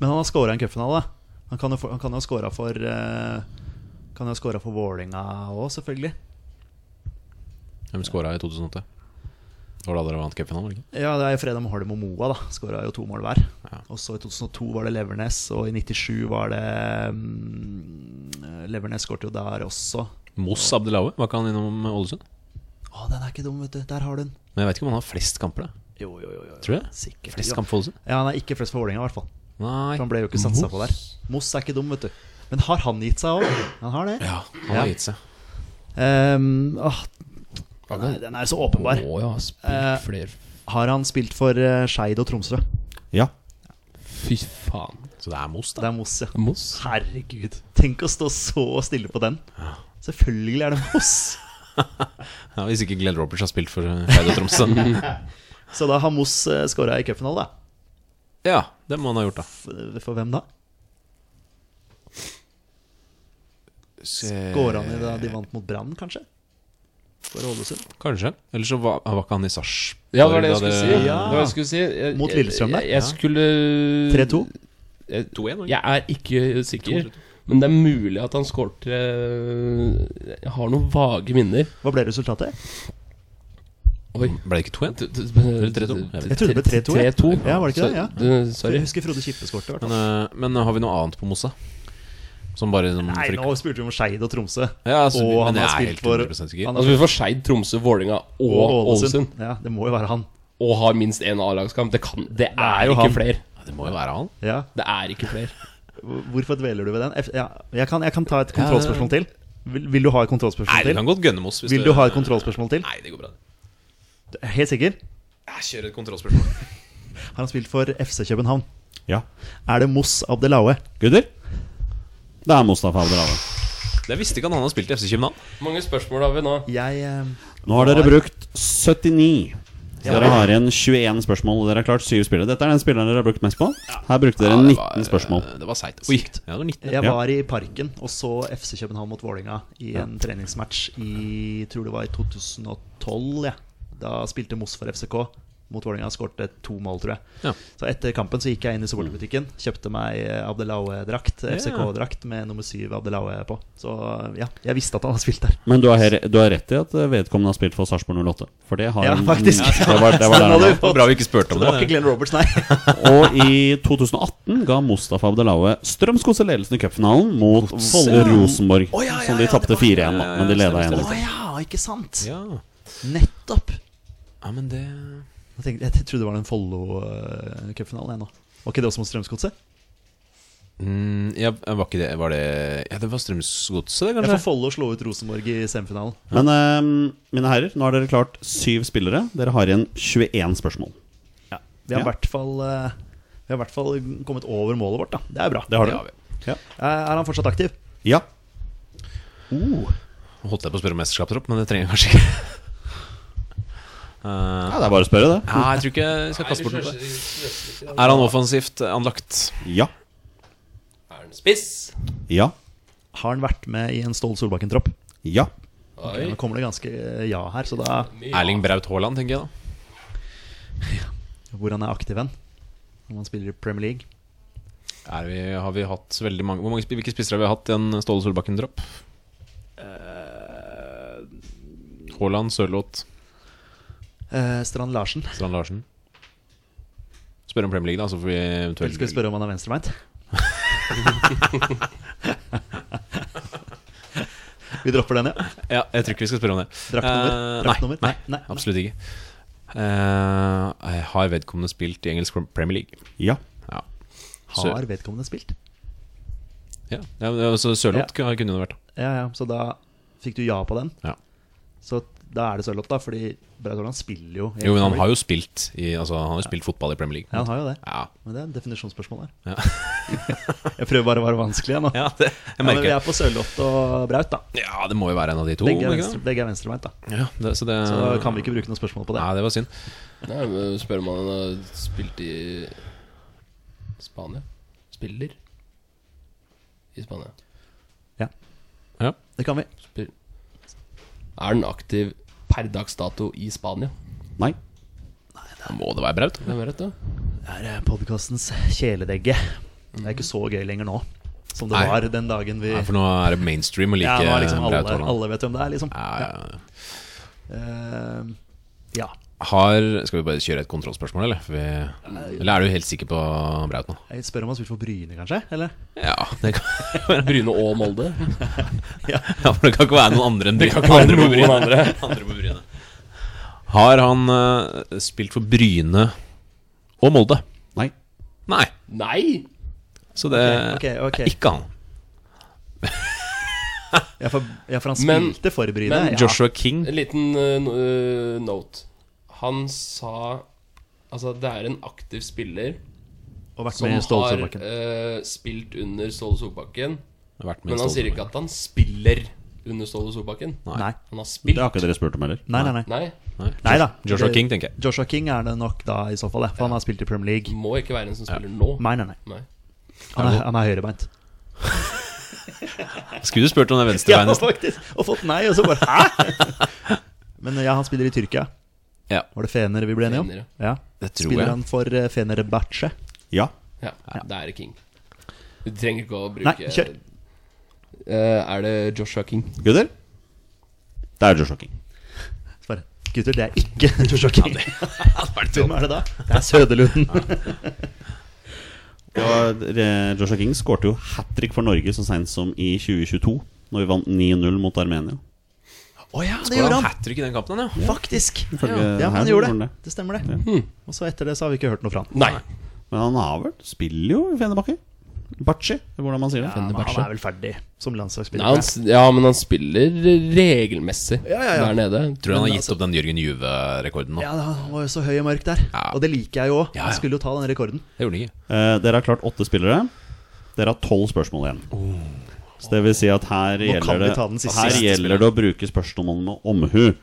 Speaker 4: Men han har scora en cupfinale. da. Han kan jo få- han kan jo ha scora for eh, Kan jo ha scora for Vålinga òg, selvfølgelig.
Speaker 2: Hvem skåra i 2008? Det var da dere vant cupfinalen, var det ikke?
Speaker 4: Ja, det er jo Fredheim Holm og Moa, da. Skåra jo to mål hver.
Speaker 2: Ja.
Speaker 4: Og så i 2002 var det Levernes, og i 97 var det mm, Levernes skåret jo der også.
Speaker 2: Moss Abdelaue. Var ikke han innom eh, Ålesund?
Speaker 4: Å, den er ikke dum, vet du. Der har du den.
Speaker 2: Men jeg vet ikke om han har flest kamper, da.
Speaker 4: Jo, jo, jo. jo.
Speaker 2: Tror du det?
Speaker 4: Sikkert.
Speaker 2: Flest
Speaker 4: ja.
Speaker 2: kamper for Ålesund?
Speaker 4: Ja, han er ikke flest for Vålinga, i hvert fall.
Speaker 2: Nei.
Speaker 4: For han ble jo ikke satsa på der.
Speaker 2: Moss.
Speaker 4: Moss er ikke dum, vet du. Men har han gitt seg òg? Han har det.
Speaker 2: Ja, han har
Speaker 4: Ja.
Speaker 2: gitt seg.
Speaker 4: Ehm, åh, nei, den er så åpenbar.
Speaker 3: Å ja,
Speaker 4: Eh,
Speaker 3: spilt flere
Speaker 4: Har han spilt for eh, Skeid og Tromsø?
Speaker 1: Ja.
Speaker 3: Fy faen.
Speaker 2: Så det er Moss,
Speaker 4: Det
Speaker 2: da.
Speaker 4: er Moss, ja.
Speaker 3: Moss.
Speaker 4: Herregud. Tenk å stå så stille på den. Selvfølgelig er det Moss.
Speaker 2: Ja, hvis ikke Glenn Roberts har spilt for eh, Skeid og Tromsø.
Speaker 4: Så da har Moss skåra i cupfinale, da.
Speaker 2: ja, det må han ha gjort, da.
Speaker 4: For, for hvem da?
Speaker 2: eh,
Speaker 4: Skåra han i da de vant mot Brann, kanskje? For Ålesund?
Speaker 2: Kanskje. Eller så var, var ikke han i Sarpsborg.
Speaker 3: Ja, det var det
Speaker 2: da
Speaker 3: jeg skulle si.
Speaker 4: Ja.
Speaker 3: Det var det jeg skulle si. Jeg,
Speaker 4: Mot Lillestrøm der.
Speaker 3: Jeg, jeg skulle
Speaker 4: 3-2?
Speaker 2: 2-1, var det
Speaker 3: Jeg er ikke sikker. Men det er mulig at han skårte eh, Jeg har noen vage minner.
Speaker 4: Hva ble resultatet?
Speaker 3: Oi.
Speaker 2: ikke? Ble det ikke 2-1?
Speaker 3: Eller
Speaker 2: 3-2? Jeg vet ikke.
Speaker 4: Jeg trodde det ble 3-2, ja.
Speaker 3: 3-2.
Speaker 4: Ja, var det ikke det? Ja.
Speaker 3: Så- du,
Speaker 4: Jeg
Speaker 3: Sorry.
Speaker 4: husker Frode Kippe skårte. i hvert fall.
Speaker 2: Men, eh, men har vi noe annet på Mossa? Som bare sånn som
Speaker 4: Nei,
Speaker 2: frykt-
Speaker 4: nå spurte vi om Skeid og Tromsø.
Speaker 2: eh, Ja, altså,
Speaker 4: og
Speaker 2: men
Speaker 4: han
Speaker 2: jeg
Speaker 4: har
Speaker 2: er
Speaker 4: spilt
Speaker 2: helt
Speaker 4: for
Speaker 2: 100% sikker. Altså,
Speaker 4: han har
Speaker 3: Altså, vi får Skeid, Tromsø, Vålerenga og Ålesund.
Speaker 4: Ja, det må jo være han.
Speaker 3: Og har minst én A-lagskamp. Det, kan, det er
Speaker 4: jo
Speaker 3: ikke
Speaker 4: han.
Speaker 3: flere.
Speaker 2: Ja, Det må jo være han.
Speaker 4: Ja.
Speaker 3: Det er ikke flere.
Speaker 4: Hvorfor dveler du ved den? F ja. jeg, kan, jeg kan ta et kontrollspørsmål til. Vil, vil du ha et
Speaker 2: Nei,
Speaker 4: kontrollspørsmål
Speaker 2: du
Speaker 4: til?
Speaker 2: kan godt gønne Moss. hvis
Speaker 4: Vil du ha et kontrollspørsmål til?
Speaker 2: Nei, det går bra. det.
Speaker 4: Du er Helt sikker?
Speaker 2: Jeg kjører et kontrollspørsmål.
Speaker 4: Har han spilt for FC København?
Speaker 1: Ja.
Speaker 4: Er det Moss Abdelaue?
Speaker 1: Gutter? Det er Mustafa Abdelale.
Speaker 2: Jeg visste ikke at han hadde spilt i FC København.
Speaker 3: mange spørsmål har vi nå?
Speaker 4: Jeg eh,
Speaker 1: Nå har dere brukt 79. Så dere har igjen 21 spørsmål, og dere har klart 7 spillere. Dette er den spilleren dere har brukt mest på. Her brukte dere 19 spørsmål.
Speaker 4: eh,
Speaker 2: Det var seigt. Oi. Ja, det var 19.
Speaker 4: Jeg
Speaker 1: Ja.
Speaker 4: var i parken og så FC København mot Vålerenga i en treningsmatch i tror det var i 2012. Ja. Da spilte Moss for FCK mot Vålerenga. Skårte to mål, tror jeg.
Speaker 2: Ja.
Speaker 4: Så etter kampen så gikk jeg inn i supporterbutikken, kjøpte meg Abdelaue-drakt, FCK-drakt med nummer syv Abdelaue på. Så ja, jeg visste at han hadde spilt der.
Speaker 1: Men du har, her, du har rett i at eh, vedkommende har spilt for Sarpsborg 08. For det har
Speaker 4: Ja,
Speaker 1: han-
Speaker 4: faktisk.
Speaker 1: Det var, det var der han var.
Speaker 2: Det var bra vi ikke spurte
Speaker 4: Så
Speaker 2: om
Speaker 4: det
Speaker 2: det.
Speaker 4: var ikke Glenn Roberts,
Speaker 2: [LAUGHS]
Speaker 4: nei.
Speaker 1: Og i 2018 ga Mustafa Abdelaue Strømskose ledelsen i cupfinalen mot Volle Rosenborg.
Speaker 4: Å, ja, ja,
Speaker 1: som de
Speaker 4: ja,
Speaker 1: tapte
Speaker 4: det var-
Speaker 1: 4-1, da. Men de leda
Speaker 2: Stemmer,
Speaker 4: Å
Speaker 1: 1-0.
Speaker 4: ja, ikke sant?
Speaker 2: Ja.
Speaker 4: Nettopp.
Speaker 2: ja, men det
Speaker 4: Jeg, tenkte, jeg trodde det var den Follo-cupfinalen, jeg nå. Var ikke det også mot Strømsgodset?
Speaker 2: mm, ja, Var ikke det Var det Ja, det var Strømsgodset, det,
Speaker 4: Ja,
Speaker 2: kanskje?
Speaker 4: for Follo slo ut Rosenborg i semifinalen.
Speaker 1: Men eh, mine herrer, nå har dere klart syv spillere. Dere har igjen 21 spørsmål.
Speaker 4: Vi har i
Speaker 1: Ja.
Speaker 4: hvert fall eh, Vi har i hvert fall kommet over målet vårt, da. Det er bra.
Speaker 1: Det har
Speaker 2: Ja,
Speaker 1: dere. Ja.
Speaker 4: Eh, Er han fortsatt aktiv?
Speaker 1: ja.
Speaker 2: Holdt jeg på å spørre om mesterskapstropp, men det trenger jeg kanskje ikke. Eh,
Speaker 1: ja det er bare å spørre, det.
Speaker 2: Nei, jeg tror ikke jeg skal kaste bort noe på det. Er han offensivt anlagt?
Speaker 1: Ja.
Speaker 3: Er den spiss?
Speaker 1: Ja.
Speaker 4: Har han vært med i en Ståle Solbakken-tropp?
Speaker 1: Ja.
Speaker 3: Oi.
Speaker 4: Nå kommer det ganske eh, ja her, så da
Speaker 2: Erling Braut Haaland, tenker jeg da.
Speaker 4: Hvor han er aktiv hen? Om han spiller i Premier League?
Speaker 2: Er vi, har vi hatt veldig mange, hvor mange sp- Hvilke spissere har vi hatt i en Ståle Solbakken-dropp? Eh, Haaland, Sørloth,
Speaker 4: Eh, Strand Larsen.
Speaker 2: Strand Larsen. Spør om Premier League, da, så får vi
Speaker 4: Eller skal vi
Speaker 2: eventuelt
Speaker 4: spørre om han er
Speaker 2: [LAUGHS]
Speaker 4: venstrebeint? vi dropper den, ja.
Speaker 2: Ja, jeg tror ikke vi skal spørre om det. Eh,
Speaker 4: Draktnummer? Draktnummer?
Speaker 2: nei,
Speaker 4: nei, nei.
Speaker 2: absolutt ikke. Eh, har vedkommende spilt i engelsk Premier League?
Speaker 1: Ja.
Speaker 2: Ja. Sør-
Speaker 4: Har vedkommende spilt?
Speaker 2: ja. ja men, altså, Sørloth kunne kunne det vært.
Speaker 4: Ja, ja, så da fikk du ja på den.
Speaker 2: Ja.
Speaker 4: Så da er det Sørloth, da, fordi Braut Haaland spiller jo i-
Speaker 2: Jo, men han har jo spilt, i, altså, han har jo spilt fotball i Premier League.
Speaker 4: Ja, han har jo det.
Speaker 2: Ja,
Speaker 4: Men det er en definisjonsspørsmål her. [LAUGHS] jeg prøver bare å være vanskelig jeg, nå.
Speaker 2: ja det,
Speaker 4: Ja,
Speaker 2: jeg
Speaker 4: men
Speaker 2: merker
Speaker 4: vi
Speaker 2: det.
Speaker 4: er på Sørloth og Braut, da.
Speaker 2: Ja, det må jo være en av de to.
Speaker 4: Begge er,
Speaker 2: må det ikke
Speaker 4: venstre, begge er venstrebeint, da.
Speaker 2: det? Ja, det, så det,
Speaker 4: Så da kan vi ikke bruke noe spørsmål på det.
Speaker 2: Nei, det var synd.
Speaker 3: Nei, men Spør om han har spilt i Spania. Spiller i Spania.
Speaker 2: Ja.
Speaker 4: Det kan vi.
Speaker 3: Spill. Er den aktiv per dags dato i Spania?
Speaker 1: Nei.
Speaker 2: Da må det være Braut.
Speaker 3: Hvem vet det?
Speaker 4: Det er podkastens kjæledegge. Det er ikke så gøy lenger nå som det
Speaker 2: Nei.
Speaker 4: var den dagen vi
Speaker 2: Nei, for nå er det mainstream å like
Speaker 4: Ja, nå er liksom alle,
Speaker 2: Braut Haaland.
Speaker 4: alle vet hvem det er, liksom.
Speaker 2: Ja, ja, ja.
Speaker 4: Eh, ja.
Speaker 2: Har Skal vi bare kjøre et kontrollspørsmål, eller? For vi, eller er du helt sikker på Braut nå?
Speaker 4: Jeg spør om han har spilt for Bryne, kanskje? Eller?
Speaker 2: Ja, [LAUGHS] det kan, [LAUGHS]
Speaker 3: Bryne og Molde?
Speaker 2: ja, for det kan ikke være noen andre enn Bryne.
Speaker 3: Andre på Bryne. Andre.
Speaker 2: [LAUGHS] Andre på Bryne. Har han eh, spilt for Bryne og Molde?
Speaker 1: Nei.
Speaker 2: Nei,
Speaker 3: Nei!
Speaker 2: så det
Speaker 4: Ok, ok.
Speaker 2: er ikke han.
Speaker 4: Ja, for, ja, for han
Speaker 3: Men-
Speaker 4: spilte for Bryne.
Speaker 3: men
Speaker 4: ja.
Speaker 2: Joshua King.
Speaker 3: En liten eh, no- eh, note. Han sa Altså, det er en aktiv spiller
Speaker 4: Og vært
Speaker 3: som
Speaker 4: med i Ståle
Speaker 3: har
Speaker 4: Solbakken.
Speaker 3: eh, spilt under Ståle
Speaker 2: Jeg
Speaker 3: Solbakken.
Speaker 2: har vært med i
Speaker 3: Men han
Speaker 2: Ståle
Speaker 3: sier ikke
Speaker 2: Solbakken.
Speaker 3: at han spiller under Ståle Solbakken.
Speaker 2: Nei.
Speaker 4: Nei.
Speaker 3: Han har
Speaker 1: Det
Speaker 3: spilt.
Speaker 1: har ikke dere spurt om heller.
Speaker 4: Nei, nei, nei.
Speaker 3: Nei,
Speaker 2: Nei.
Speaker 4: Nei da.
Speaker 2: Joshua
Speaker 4: Det-
Speaker 2: King, tenker jeg.
Speaker 4: Joshua King er det nok da, i så fall. Det. For han har spilt i Premier
Speaker 3: det
Speaker 4: League.
Speaker 3: må ikke være en som spiller nå.
Speaker 4: Nei, nei, nei.
Speaker 3: Nei.
Speaker 4: Han er, han er høyrebeint.
Speaker 2: Skulle du spurt om det
Speaker 4: Ja,
Speaker 2: venstrebeinet?
Speaker 4: faktisk! Og fått nei, og så bare hæ?! [LAUGHS] Men ja, han spiller i Tyrkia.
Speaker 2: Ja.
Speaker 4: Var det Fener vi ble enige om?
Speaker 3: Fener,
Speaker 4: Ja.
Speaker 2: Det tror
Speaker 4: Spiller
Speaker 2: jeg.
Speaker 4: han for eh, Fenerbahçe?
Speaker 1: Ja.
Speaker 3: Ja, Da er det King. Du trenger ikke å bruke
Speaker 4: Nei, kjør.
Speaker 3: Eh, Er det Joshua King?
Speaker 1: Gutter? Det er Joshua King.
Speaker 4: Bare, Gutter, det er ikke [LAUGHS] Joshua King.
Speaker 2: [LAUGHS]
Speaker 4: Hvem er det da? Det er Søderlund.
Speaker 1: Og eh, Joshua King skårte jo hat trick for Norge så seint som i 2022, når vi vant 9-0 mot Armenia.
Speaker 4: Å ja, det
Speaker 2: Hvordan
Speaker 4: gjorde han!
Speaker 2: hat trick i den kampen, han, ja?
Speaker 4: Faktisk!
Speaker 1: Ifølge
Speaker 4: Ja,
Speaker 1: her
Speaker 4: han gjorde
Speaker 1: han
Speaker 4: det. Det stemmer, det. Og så etter det så har vi ikke hørt noe fra han.
Speaker 3: Nei.
Speaker 1: Men han har vel Spiller jo i Fenebakke. Bachi, hvordan man sier det.
Speaker 4: Ja, men han
Speaker 3: Fenerbahçe.
Speaker 4: er vel ferdig som landslagsspiller.
Speaker 3: Nei han, s- ja, men han spiller regelmessig
Speaker 4: Ja, ja, ja.
Speaker 3: der nede.
Speaker 2: Tror du han har
Speaker 4: Men altså-
Speaker 2: gitt opp den Jørgen Juve-rekorden nå?
Speaker 4: Ja, han var jo så høy og mørk der.
Speaker 2: Ja.
Speaker 4: Og det liker jeg jo òg.
Speaker 2: Ja,
Speaker 4: Han
Speaker 2: ja.
Speaker 4: skulle jo ta den rekorden.
Speaker 2: Det gjorde han ikke.
Speaker 1: Eh, dere har klart åtte spillere. Dere har tolv spørsmål igjen. Så det vil si at her
Speaker 4: kan
Speaker 1: gjelder,
Speaker 4: vi
Speaker 1: det,
Speaker 4: ta den siste
Speaker 1: her
Speaker 4: siste
Speaker 1: gjelder det å bruke spørsmålene med omhu.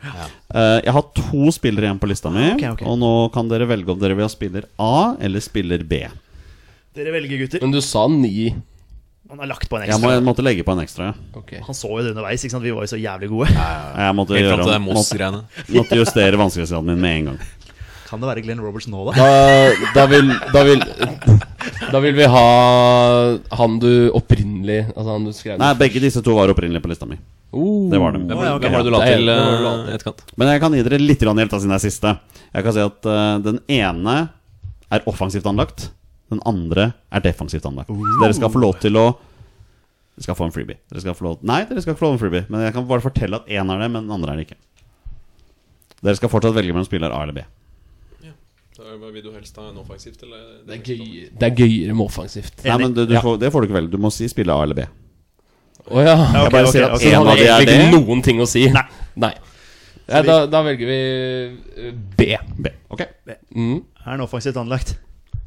Speaker 1: Eh, jeg har to spillere igjen på lista mi,
Speaker 4: Ah, ok, ok.
Speaker 1: og nå kan dere velge om dere vil ha spiller A eller spiller B.
Speaker 4: Dere velger, gutter.
Speaker 3: Men du sa ni.
Speaker 4: Han har lagt på en
Speaker 1: Jeg må,
Speaker 4: ekstra.
Speaker 1: jeg måtte legge på en ekstra. ja.
Speaker 3: Ok.
Speaker 4: Han så jo det underveis. ikke sant? Vi var jo så jævlig gode.
Speaker 1: Jeg måtte,
Speaker 2: Helt
Speaker 1: gjøre,
Speaker 2: fram til det
Speaker 1: om- måtte,
Speaker 2: Moss-greiene.
Speaker 1: måtte justere vanskelighetsgraden min med en gang.
Speaker 4: Kan det være Glenn Roberts nå, da?
Speaker 3: Da, da, vil, da vil Da vil vi ha han du opprinnelig Altså han du skrev
Speaker 1: Nei, Begge disse to var opprinnelig på lista mi.
Speaker 3: Oh.
Speaker 1: Det var dem.
Speaker 2: Hvem var det-
Speaker 3: ok.
Speaker 2: hvem var det du la
Speaker 3: Det er-
Speaker 2: til
Speaker 3: det var det du la
Speaker 2: eh, etterkant?
Speaker 1: Men jeg kan gi dere litt grann hjelp da, siden det er siste. Jeg kan si at eh, den ene er offensivt anlagt. Den andre er defensivt anlagt. Så dere skal få lov til å Dere skal få en freebie. Dere skal få lov... Nei, dere skal ikke få lov til en freebie. Men jeg kan bare fortelle at én er det, men den andre er det ikke. Dere skal fortsatt velge mellom spiller A eller B.
Speaker 2: Vil du helst ha en eh, offensivt eller
Speaker 3: Det er, gøy, det er gøyere med offensivt.
Speaker 1: Nei, men du, du får, Det får du ikke velge. Du må si spiller A eller B.
Speaker 3: Å ja.
Speaker 1: Jeg bare
Speaker 4: ok,
Speaker 1: sier at
Speaker 4: ok.
Speaker 3: Så
Speaker 1: en
Speaker 3: han
Speaker 1: av
Speaker 3: har
Speaker 1: de er
Speaker 3: egentlig
Speaker 1: det.
Speaker 3: ikke noen ting å si. Nei. Nei, da, da velger vi eh, B.
Speaker 1: B. Ok.
Speaker 3: Mm.
Speaker 4: Er han offensivt anlagt?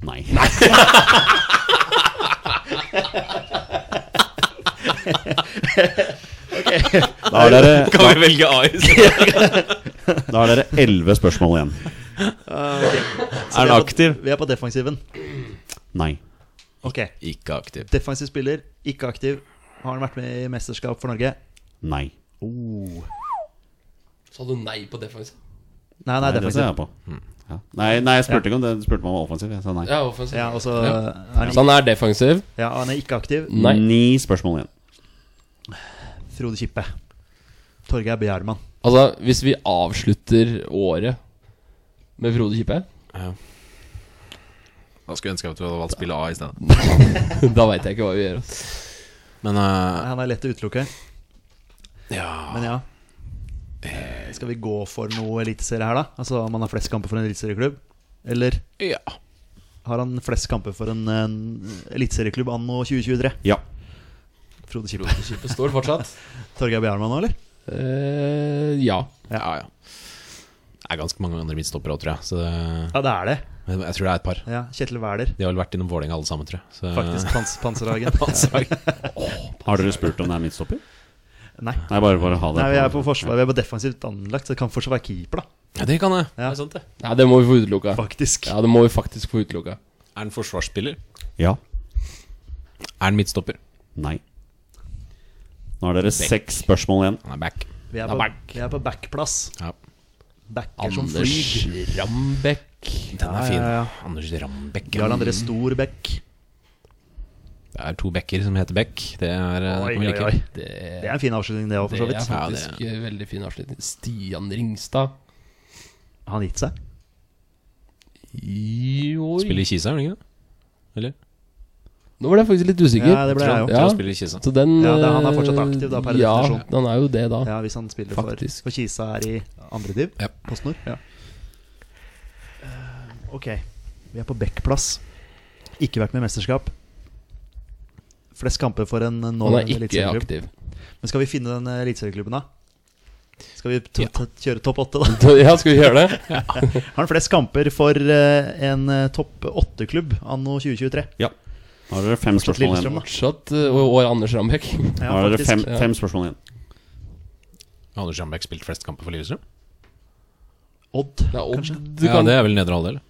Speaker 1: Nei.
Speaker 4: [LAUGHS]
Speaker 1: Da har dere
Speaker 2: [LAUGHS] Kan vi velge A [LAUGHS] i
Speaker 1: Da har dere elleve spørsmål igjen.
Speaker 4: Så
Speaker 2: Er
Speaker 4: vi
Speaker 2: han
Speaker 4: på-
Speaker 2: aktiv?
Speaker 4: Vi er på defensiven.
Speaker 1: Nei.
Speaker 4: Ok.
Speaker 2: Ikke aktiv.
Speaker 4: Defensiv spiller, ikke aktiv. Har han vært med i mesterskap for Norge?
Speaker 1: Nei.
Speaker 4: Oh.
Speaker 3: Sa du nei på defensiv?
Speaker 4: Nei, nei,
Speaker 1: Nei, det ser
Speaker 4: defensiv.
Speaker 1: jeg på. Ja. Nei, nei, jeg spurte ikke om det. Du spurte meg om offensiv. Jeg sa nei.
Speaker 3: Ja, offensiv.
Speaker 4: Hmm. Ja, og så
Speaker 3: Ja.
Speaker 4: er han,
Speaker 3: Så han er defensiv?
Speaker 4: ja, han er ikke aktiv.
Speaker 3: Nei.
Speaker 1: Ni spørsmål igjen.
Speaker 4: Frode Kippe. Torgeir Bjerman.
Speaker 3: Altså, hvis vi avslutter året med Frode Kippe, [LAUGHS]
Speaker 2: Da skulle jeg ønske at vi hadde valgt spille A i stedet.
Speaker 3: da veit jeg ikke hva vi gjør. ass.
Speaker 2: Men
Speaker 4: Nei,
Speaker 2: eh,
Speaker 4: Han er lett å utelukke.
Speaker 2: ja
Speaker 4: Men ja. Eh, Skal vi gå for noe eliteserie her, da? Altså om han har flest kamper for en eliteserieklubb? Eller
Speaker 2: Ja.
Speaker 4: har han flest kamper for en, en eliteserieklubb anno 2023?
Speaker 1: Ja.
Speaker 4: Frode Kippe.
Speaker 3: Kippe står fortsatt.
Speaker 4: Torgeir Bjarman nå, eller?
Speaker 3: Eh, ja.
Speaker 2: Ja, ja. Det er ganske mange andre midtstoppere òg, tror jeg. Så det,
Speaker 4: Ja, det er det.
Speaker 2: men jeg tror det er et par.
Speaker 4: Ja, Kjetil Wæler.
Speaker 2: De har vel vært innom Vålerenga alle sammen, tror jeg. Så, [LAUGHS]
Speaker 4: Faktisk. Pans panserhagen.
Speaker 1: Har dere spurt om det er midtstopper?
Speaker 4: Nei.
Speaker 1: Nei, bare for å ha det
Speaker 4: Nei, vi er på forsvar. Vi er på defensivt anlagt, så det kan fortsatt være keeper, da.
Speaker 2: Ja, det kan jeg.
Speaker 4: Ja.
Speaker 2: Det er sant, det.
Speaker 3: Nei, det må vi få utelukka.
Speaker 4: Faktisk.
Speaker 3: Ja, det må vi faktisk få utelukka.
Speaker 2: Er han forsvarsspiller?
Speaker 1: Ja.
Speaker 2: Er han midtstopper?
Speaker 1: Nei. Nå har dere seks spørsmål igjen.
Speaker 2: Han er back.
Speaker 4: Vi er
Speaker 3: Da
Speaker 4: på,
Speaker 3: back.
Speaker 4: vi er på backplass.
Speaker 2: Ja.
Speaker 4: Backer som
Speaker 3: Anders
Speaker 4: flyr.
Speaker 3: Rambekk.
Speaker 2: Den er
Speaker 4: Ja,
Speaker 2: fin.
Speaker 4: ja, ja.
Speaker 2: Anders Rambeck.
Speaker 4: Jarl André Storbekk.
Speaker 2: Det er to bekker som heter Beck. Det er eh,
Speaker 4: Oi,
Speaker 2: det kan vi
Speaker 4: oi,
Speaker 2: like.
Speaker 4: oi.
Speaker 3: Det,
Speaker 4: Det er en fin avslutning, det òg, for så
Speaker 3: det er
Speaker 4: vidt.
Speaker 2: Ja, det-
Speaker 3: faktisk eh, veldig fin avslutning. Stian Ringstad.
Speaker 4: Har han gitt seg?
Speaker 3: Joi.
Speaker 2: Spiller i Kisa, gjør han ikke det? Eller?
Speaker 3: Nå ble jeg faktisk litt usikker.
Speaker 4: Ja, det ble jeg
Speaker 2: Jeg
Speaker 4: òg.
Speaker 2: tror
Speaker 3: Ja.
Speaker 2: han spiller i Kisa.
Speaker 3: Så den
Speaker 4: Ja, det er- han er
Speaker 3: eh,
Speaker 4: fortsatt aktiv da, per definisjon.
Speaker 3: Ja, han er jo det da.
Speaker 4: Ja, hvis han spiller for,
Speaker 3: Faktisk.
Speaker 4: for Kisa er i andre div.
Speaker 2: Ja.
Speaker 4: PostNord. Ja. Eh, ok, vi er på Bekkplass. Ikke vært med i mesterskap. Flest kamper for en
Speaker 3: Han er
Speaker 4: nåværende
Speaker 3: ikke
Speaker 4: eliteserieklubb.
Speaker 3: aktiv. [LAUGHS]
Speaker 4: Men skal vi finne den eliteserieklubben, eh, da? Skal vi to ta- kjøre topp åtte, da?
Speaker 3: Ja, skal vi gjøre det?
Speaker 4: Har han flest kamper for eh, en eh, topp åtte-klubb anno 2023?
Speaker 1: Ja. Nå har dere fem
Speaker 4: Fortsatt
Speaker 1: spørsmål
Speaker 4: Lillestrøm,
Speaker 1: igjen.
Speaker 4: da.
Speaker 3: Fortsatt eh, og, og Anders Rambekk. [LAUGHS]
Speaker 4: Ja,
Speaker 1: Nå har dere
Speaker 4: faktisk.
Speaker 1: fem,
Speaker 3: ja.
Speaker 1: fem spørsmål igjen.
Speaker 2: Anders Jambekk spilt flest kamper for Lillestrøm?
Speaker 4: Odd,
Speaker 3: Det er Odd.
Speaker 4: kanskje?
Speaker 3: Du
Speaker 2: Ja,
Speaker 3: kan,
Speaker 2: det er vel nedre halvdel.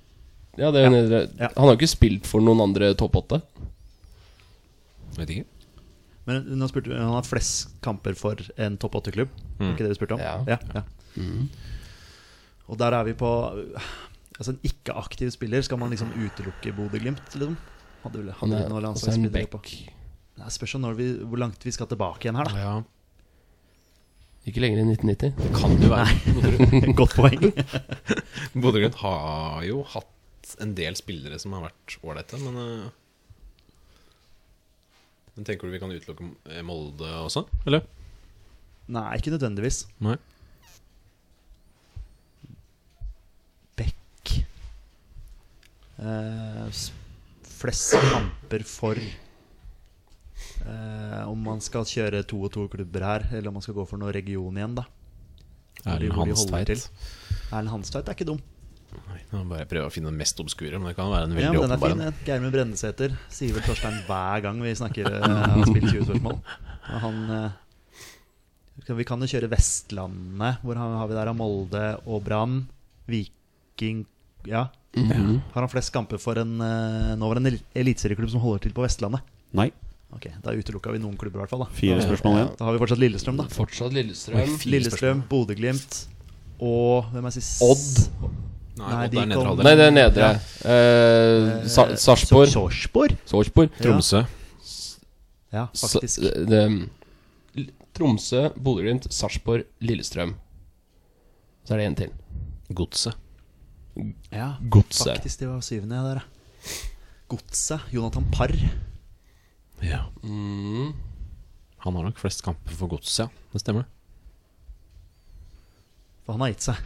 Speaker 3: ja, det er jo nedre.
Speaker 4: Ja.
Speaker 3: Han har jo ikke spilt for noen andre topp åtte.
Speaker 2: Vet ikke.
Speaker 4: Men nå spurte, han har flest kamper for en topp åtte-klubb. Var ikke det vi spurte om?
Speaker 3: Ja.
Speaker 4: Ja, ja. Og der er vi på Altså En ikke-aktiv spiller, skal man liksom utelukke Bodø-Glimt? Liksom? Hadde vel
Speaker 3: Han
Speaker 4: hadde
Speaker 3: er
Speaker 4: noen
Speaker 3: også en
Speaker 4: landslagsspillere på
Speaker 3: back.
Speaker 4: Det spørs jo når vi, hvor langt vi skal tilbake igjen her, da.
Speaker 2: Ja,
Speaker 3: Ikke lenger enn 1990.
Speaker 2: det kan jo
Speaker 4: [LAUGHS]
Speaker 2: være.
Speaker 4: Godt poeng.
Speaker 2: Bodø-Glimt har jo hatt en del spillere som har vært ålreite, men eh, Men tenker du vi kan utelukke eh, Molde også, eller?
Speaker 4: Nei, ikke nødvendigvis.
Speaker 2: Nei.
Speaker 4: Beck eh, s- Flest kamper for eh, Om man skal kjøre to og to klubber her, eller om man skal gå for noen region igjen, da. Hvor de-
Speaker 2: Erlend
Speaker 4: hvor de
Speaker 2: Hans
Speaker 4: holder
Speaker 2: Tveit.
Speaker 4: til. Erlend Hanstveit er ikke dum.
Speaker 2: Nei, nå må jeg bare prøve å finne den mest obskure, men det kan være en
Speaker 4: Ja,
Speaker 2: veldig
Speaker 4: men den er
Speaker 2: åpenbar
Speaker 4: fin.
Speaker 2: en.
Speaker 4: ja. Geirmund Brendesæter sier vel Torstein hver gang vi
Speaker 2: [LAUGHS]
Speaker 4: snakker eh, har spilt 20 spørsmål. Og Han eh, skal- Vi kan jo kjøre Vestlandet. Hvor har har vi der? av Molde og Brann. Viking Ja. Har han flest kamper for en eh, Nå var det en el- eliteserieklubb som holder til på Vestlandet.
Speaker 1: Nei.
Speaker 4: Ok, Da utelukka vi noen klubber, i hvert fall. Da.
Speaker 1: Fire spørsmål igjen.
Speaker 4: da har vi fortsatt Lillestrøm, da.
Speaker 3: Fortsatt Lillestrøm.
Speaker 4: Lillestrøm, Bodø-Glimt og hvem er sist?
Speaker 3: Odd.
Speaker 2: Nei,
Speaker 4: Nei,
Speaker 2: Odd
Speaker 4: de
Speaker 2: er nedre
Speaker 4: kom-
Speaker 2: halvdel.
Speaker 3: Nei, det er nedre. Eh, Sa- Sarpsborg.
Speaker 4: Sarpsborg?
Speaker 3: Sarpsborg.
Speaker 2: Tromsø.
Speaker 4: Ja,
Speaker 3: Sa-
Speaker 4: faktisk.
Speaker 3: det- det- L- Tromsø, Bodø-Glimt, Sarpsborg, Lillestrøm. Så er det en til.
Speaker 2: Godset.
Speaker 4: Ja,
Speaker 3: Godset.
Speaker 4: Faktisk, det var syvende ja, der, ja. Godset. Jonathan Parr.
Speaker 2: Ja.
Speaker 4: Mm.
Speaker 2: Han har nok flest kamper for Godset, ja. Det stemmer.
Speaker 4: For han har gitt seg.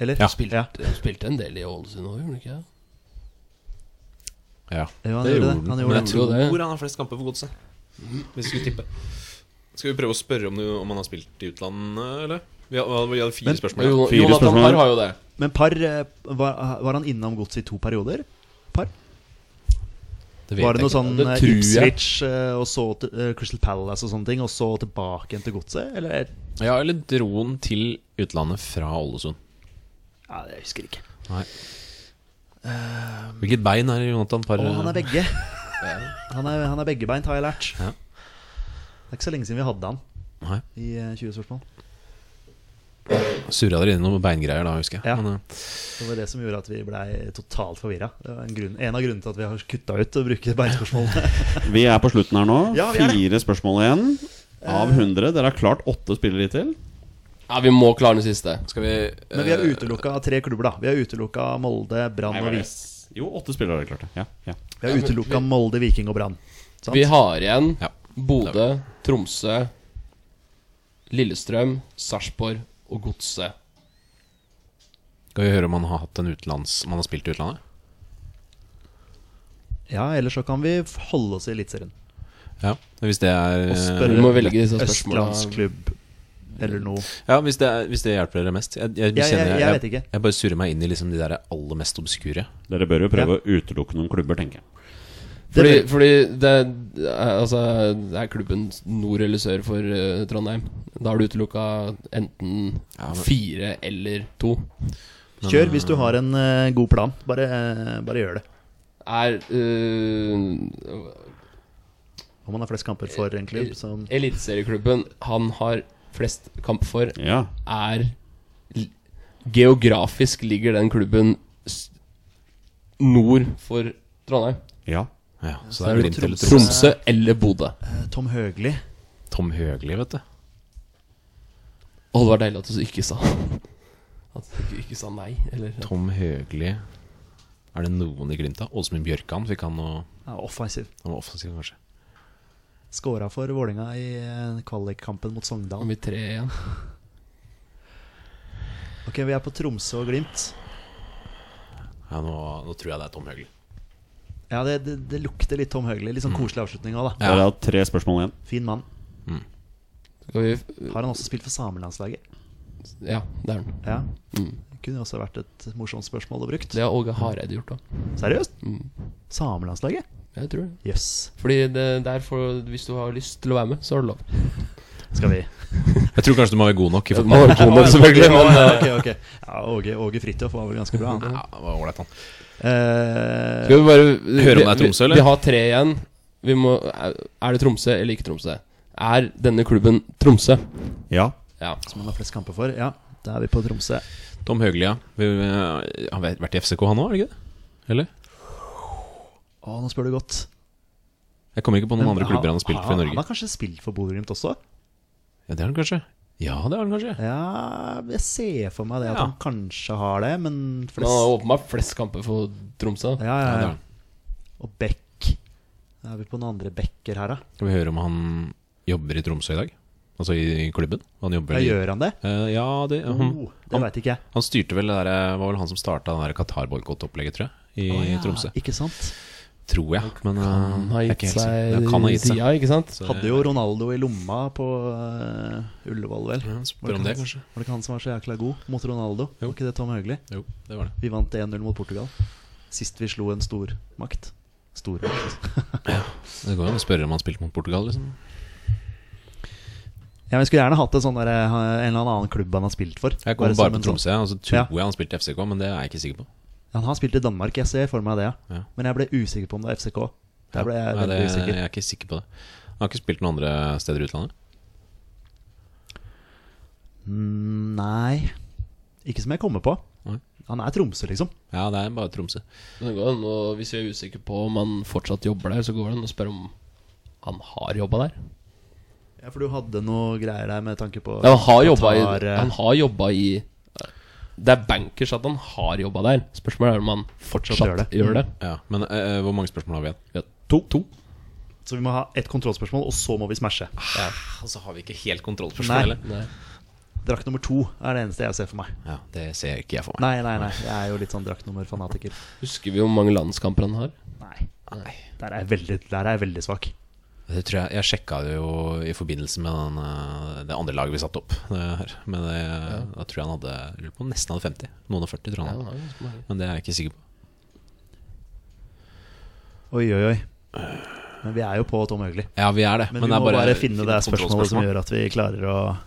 Speaker 4: Eller?
Speaker 2: Ja.
Speaker 4: Spilte. Ja.
Speaker 3: Han spilte en del i Ålesund òg, gjorde han ikke? det?
Speaker 2: Ja,
Speaker 4: Jo, han gjorde det. Han
Speaker 2: Men
Speaker 4: gjorde
Speaker 2: jeg
Speaker 3: det.
Speaker 2: tror
Speaker 3: Jo, det.
Speaker 2: han har flest kamper for Godset. Hvis vi skulle tippe. Skal vi prøve å spørre om, du, om han har spilt i utlandet, eller? Vi hadde, vi hadde fire
Speaker 4: Men-
Speaker 2: spørsmål.
Speaker 3: Jo,
Speaker 1: Fire
Speaker 3: Jonathan
Speaker 1: spørsmål.
Speaker 3: Parr har jo det.
Speaker 4: Men Parr, eh, var, var han innom Godset i to perioder? Parr?
Speaker 2: Det
Speaker 4: Var det noe
Speaker 2: ikke.
Speaker 4: sånn
Speaker 3: Det
Speaker 4: eh,
Speaker 3: tror jeg.
Speaker 4: Ipswich eh, og så til, eh, Crystal Palace og sånne ting, og så tilbake igjen til Godset? Eller?
Speaker 2: Ja, eller dro han til utlandet fra Ålesund?
Speaker 4: Ja, jeg husker ikke.
Speaker 2: Nei. Eh, Hvilket bein er det Jonathan Parr
Speaker 4: Å, han er begge. Han er, han er beggebeint, har jeg lært.
Speaker 2: Ja.
Speaker 4: Det er ikke så lenge siden vi hadde han
Speaker 2: Nei.
Speaker 4: i eh, 20 spørsmål.
Speaker 2: Surra dere inn i noen beingreier da, husker jeg.
Speaker 4: Ja.
Speaker 2: Men, eh,
Speaker 4: Det var det som gjorde at vi blei totalt forvirra. Det var en, grunn, en av grunnene til at vi har kutta ut å bruke beinspørsmålene.
Speaker 3: [LAUGHS]
Speaker 1: Vi er på slutten her nå.
Speaker 4: Ja, vi er det. Eh.
Speaker 1: Fire spørsmål igjen av 100. Dere har klart åtte spillere hittil.
Speaker 3: Ja, vi må klare den siste.
Speaker 2: Skal vi eh,
Speaker 4: Men vi har utelukka tre klubber, da. Vi har utelukka Molde, Brann og Viking.
Speaker 1: Jo, åtte spillere har dere klart det. Ja, ja.
Speaker 4: Vi har utelukka Molde, Viking og Brann. Sant?
Speaker 3: Vi har igjen
Speaker 2: Ja.
Speaker 3: Bodø, Tromsø, Lillestrøm, Sarpsborg og Godset.
Speaker 2: Skal vi høre om han har hatt en utenlands Om han har spilt i utlandet?
Speaker 4: Ja, ellers så kan vi holde oss i Eliteserien.
Speaker 2: Ja, hvis det er
Speaker 4: Og
Speaker 2: eh,
Speaker 4: spørre
Speaker 3: Vi må velge disse spørsmåla.
Speaker 4: Østlandsklubb eller noe.
Speaker 2: eh, Ja, hvis det, er, hvis det hjelper dere mest. Jeg, jeg,
Speaker 4: Jeg, jeg,
Speaker 2: kjenner-
Speaker 4: jeg,
Speaker 2: jeg-
Speaker 4: vet ikke.
Speaker 2: Jeg bare surrer meg inn i liksom de der aller mest obskure.
Speaker 1: Dere bør jo prøve å utelukke noen klubber, tenker jeg.
Speaker 3: Fordi,
Speaker 4: Det-
Speaker 3: fordi det, er- altså, det er klubben nord eller sør for eh, Trondheim. Da har du utelukka enten
Speaker 2: Ja, men-
Speaker 3: fire eller to.
Speaker 4: Kjør hvis du har en eh, god plan. Bare, eh, bare gjør det.
Speaker 3: Er eh,
Speaker 4: Om man har flest kamper for en klubb som
Speaker 3: eliteserieklubben han har flest kamp for,
Speaker 1: Ja.
Speaker 3: er l- Geografisk ligger den klubben s nord for Trondheim.
Speaker 1: ja.
Speaker 2: Ja, så
Speaker 3: Så
Speaker 2: det
Speaker 3: er
Speaker 2: er
Speaker 3: det
Speaker 2: Glimt eller
Speaker 4: Tromsø.
Speaker 2: Tromsø.
Speaker 3: Tromsø eller Bodø.
Speaker 4: eh, Tom Høgli.
Speaker 2: Tom Høgli, vet du.
Speaker 3: Å, det var deilig at du ikke sa [LAUGHS] At du ikke- ikke sa nei, eller
Speaker 2: Tom Høgli Er det noen i Glimt, da? Åsmund Bjørkan fikk han noe
Speaker 4: Ja, offensiv.
Speaker 2: Han var offensiv, kanskje.
Speaker 4: Skåra for Vålinga i eh, kvalikkampen mot
Speaker 3: Nå har
Speaker 4: Sogndal.
Speaker 3: vi tre igjen.
Speaker 4: Ok, Vi er på Tromsø og Glimt.
Speaker 2: Ja, nå, nå tror jeg det er Tom Høgli.
Speaker 4: Ja, Det, det, det lukter litt Tom Høgli. Litt sånn
Speaker 2: Mm.
Speaker 4: koselig avslutning òg, da.
Speaker 2: Ja.
Speaker 1: Dere har tre spørsmål igjen.
Speaker 4: Fin mann.
Speaker 3: Skal vi
Speaker 4: Har han også spilt for samelandslaget?
Speaker 3: Ja, det er den.
Speaker 4: Ja.
Speaker 3: Mm.
Speaker 4: Det kunne jo også vært et morsomt spørsmål å brukt.
Speaker 3: Det har Åge Hareide gjort òg.
Speaker 4: Seriøst?
Speaker 3: Mm.
Speaker 4: Samelandslaget?
Speaker 3: Jeg tror det.
Speaker 4: Jøss.
Speaker 3: Fordi det der får, hvis du har lyst til å være med, så har du lov.
Speaker 4: Yes. Skal vi
Speaker 2: Jeg tror kanskje du må være god nok i fotball.
Speaker 3: Man har ikke noe, selvfølgelig, men
Speaker 4: Ja,
Speaker 3: eh,
Speaker 4: ok, ok. Ja, Åge, Åge Fridtjof var vel ganske bra, han.
Speaker 2: [LAUGHS] Ja, det var ålreit, han.
Speaker 4: Eh,
Speaker 3: Skal vi bare
Speaker 2: Hører om det er
Speaker 3: vi-
Speaker 2: Tromsø, eller?
Speaker 3: Vi, vi har tre igjen. Vi må, er er det Tromsø eller ikke Tromsø? Er denne klubben Tromsø?
Speaker 1: Ja.
Speaker 3: Ja.
Speaker 4: som han har flest kamper for. Ja, da er vi på Tromsø.
Speaker 2: Tom Høgli, ja. Vi- vi- Han har vært i FCK, han òg, er det ikke det? Eller?
Speaker 4: Å, nå spør du godt.
Speaker 2: Jeg kommer ikke på noen
Speaker 4: Men
Speaker 2: andre klubber han har spilt for i
Speaker 4: Han
Speaker 2: Norge.
Speaker 4: har kanskje spilt for Bodø-Glimt også?
Speaker 2: Ja, Det har han kanskje. Ja, det har han kanskje.
Speaker 4: Ja, jeg ser for meg det at
Speaker 2: Ja.
Speaker 4: han kanskje har det, men
Speaker 3: Men han har
Speaker 4: flest
Speaker 3: åpenbart flest kamper for
Speaker 4: Ja,
Speaker 2: Ja,
Speaker 3: Tromsø.
Speaker 2: det
Speaker 4: ja,
Speaker 2: har
Speaker 4: ja.
Speaker 2: han.
Speaker 4: Og Beck. Da er vi på noen andre Becker her, da.
Speaker 2: Skal vi høre om han jobber i Tromsø i dag? Altså i klubben? Han jobber
Speaker 4: Ja,
Speaker 2: i
Speaker 4: gjør han det?
Speaker 2: Eh, ja, det, han,
Speaker 4: Oh, det veit ikke jeg.
Speaker 2: han styrte vel det der, eh, var vel han som starta det der Qatar-boikott-opplegget, tror jeg. I
Speaker 4: Å, ja,
Speaker 2: Tromsø.
Speaker 4: Ikke sant?
Speaker 2: Tror jeg, men eh,
Speaker 3: Han har
Speaker 2: jeg er
Speaker 3: gitt
Speaker 2: ikke helt sikker.
Speaker 3: seg
Speaker 2: Ja, kan ha gitt seg.
Speaker 3: tida, ikke sant?
Speaker 2: Så- eh,
Speaker 4: Hadde jo Ronaldo i lomma på eh, Ullevål, vel.
Speaker 2: ja,
Speaker 4: Var
Speaker 2: Spør om det,
Speaker 4: ikke
Speaker 2: kanskje.
Speaker 4: han- Var det ikke han som var så jækla god mot Ronaldo?
Speaker 2: Jo.
Speaker 4: Var ikke det Tom Høgli?
Speaker 2: Jo, det var det.
Speaker 4: Vi vant 1-0 mot Portugal. Sist vi slo en stormakt. Stormakt.
Speaker 2: Det går jo an å spørre om han spilte mot Portugal, liksom.
Speaker 4: Ja, men jeg skulle gjerne hatt en, sånn der, eh, en eller annen klubb han har spilt for.
Speaker 2: Jeg kommer
Speaker 4: som
Speaker 2: bare på
Speaker 4: en sånn-
Speaker 2: Tromsø, og så tror jeg han spilte i FCK, men det er jeg ikke sikker på.
Speaker 4: Han har spilt i Danmark, jeg ser for meg det.
Speaker 2: Ja.
Speaker 4: Men jeg ble usikker på om det er FCK. Der ble jeg
Speaker 2: Nei,
Speaker 4: veldig
Speaker 2: det, jeg
Speaker 4: usikker.
Speaker 2: er ikke sikker på det. Han har ikke spilt noen andre steder i utlandet.
Speaker 4: Mm, Nei Ikke som jeg kommer på.
Speaker 2: Nei.
Speaker 4: Han er Tromsø, liksom.
Speaker 2: Ja, det er bare Tromsø.
Speaker 3: Men det går an å- hvis vi er usikre på om han fortsatt jobber der, så går det an å spørre om han har jobba der.
Speaker 4: Ja, For du hadde noe greier der med tanke på
Speaker 3: Ja, han har jobba i,
Speaker 4: Qatar, eh,
Speaker 3: han har jobba i Det er bankers at han har jobba der. Spørsmålet er om han fortsatt
Speaker 4: Gjør det.
Speaker 3: gjør det.
Speaker 2: Ja, men eh, hvor mange spørsmål har vi igjen?
Speaker 3: Ja.
Speaker 2: To. to.
Speaker 4: Så vi må ha ett kontrollspørsmål, og så må vi smashe.
Speaker 2: Og så Altså, har vi ikke helt kontroll på
Speaker 4: Nei.
Speaker 2: spillet.
Speaker 3: Nei.
Speaker 4: Drakt nummer to er det eneste jeg ser for meg.
Speaker 2: Ja, det ser ikke jeg for
Speaker 4: Nei,
Speaker 2: meg.
Speaker 4: nei, nei. Jeg er jo litt sånn draktnummer-fanatiker.
Speaker 3: Husker vi hvor mange landskamper han har?
Speaker 4: Nei. Der er jeg veldig, der er jeg veldig svak.
Speaker 2: Det tror jeg, jeg sjekka det jo i forbindelse med den, eh, det andre laget vi satte opp. Det her. Men det, da tror jeg han hadde jeg lurer på om nesten hadde 50. Noen og 40, tror jeg.
Speaker 3: Ja,
Speaker 2: han hadde.
Speaker 3: han har ganske mange.
Speaker 2: Men det er jeg ikke sikker på.
Speaker 4: Oi, oi, oi. Men vi er jo på Tom Høgli.
Speaker 2: Ja, vi er det.
Speaker 4: Men, vi
Speaker 2: det
Speaker 4: må
Speaker 2: er
Speaker 4: bare, finne det spørsmålet som
Speaker 2: kontrollspørsmål.
Speaker 4: gjør at vi klarer å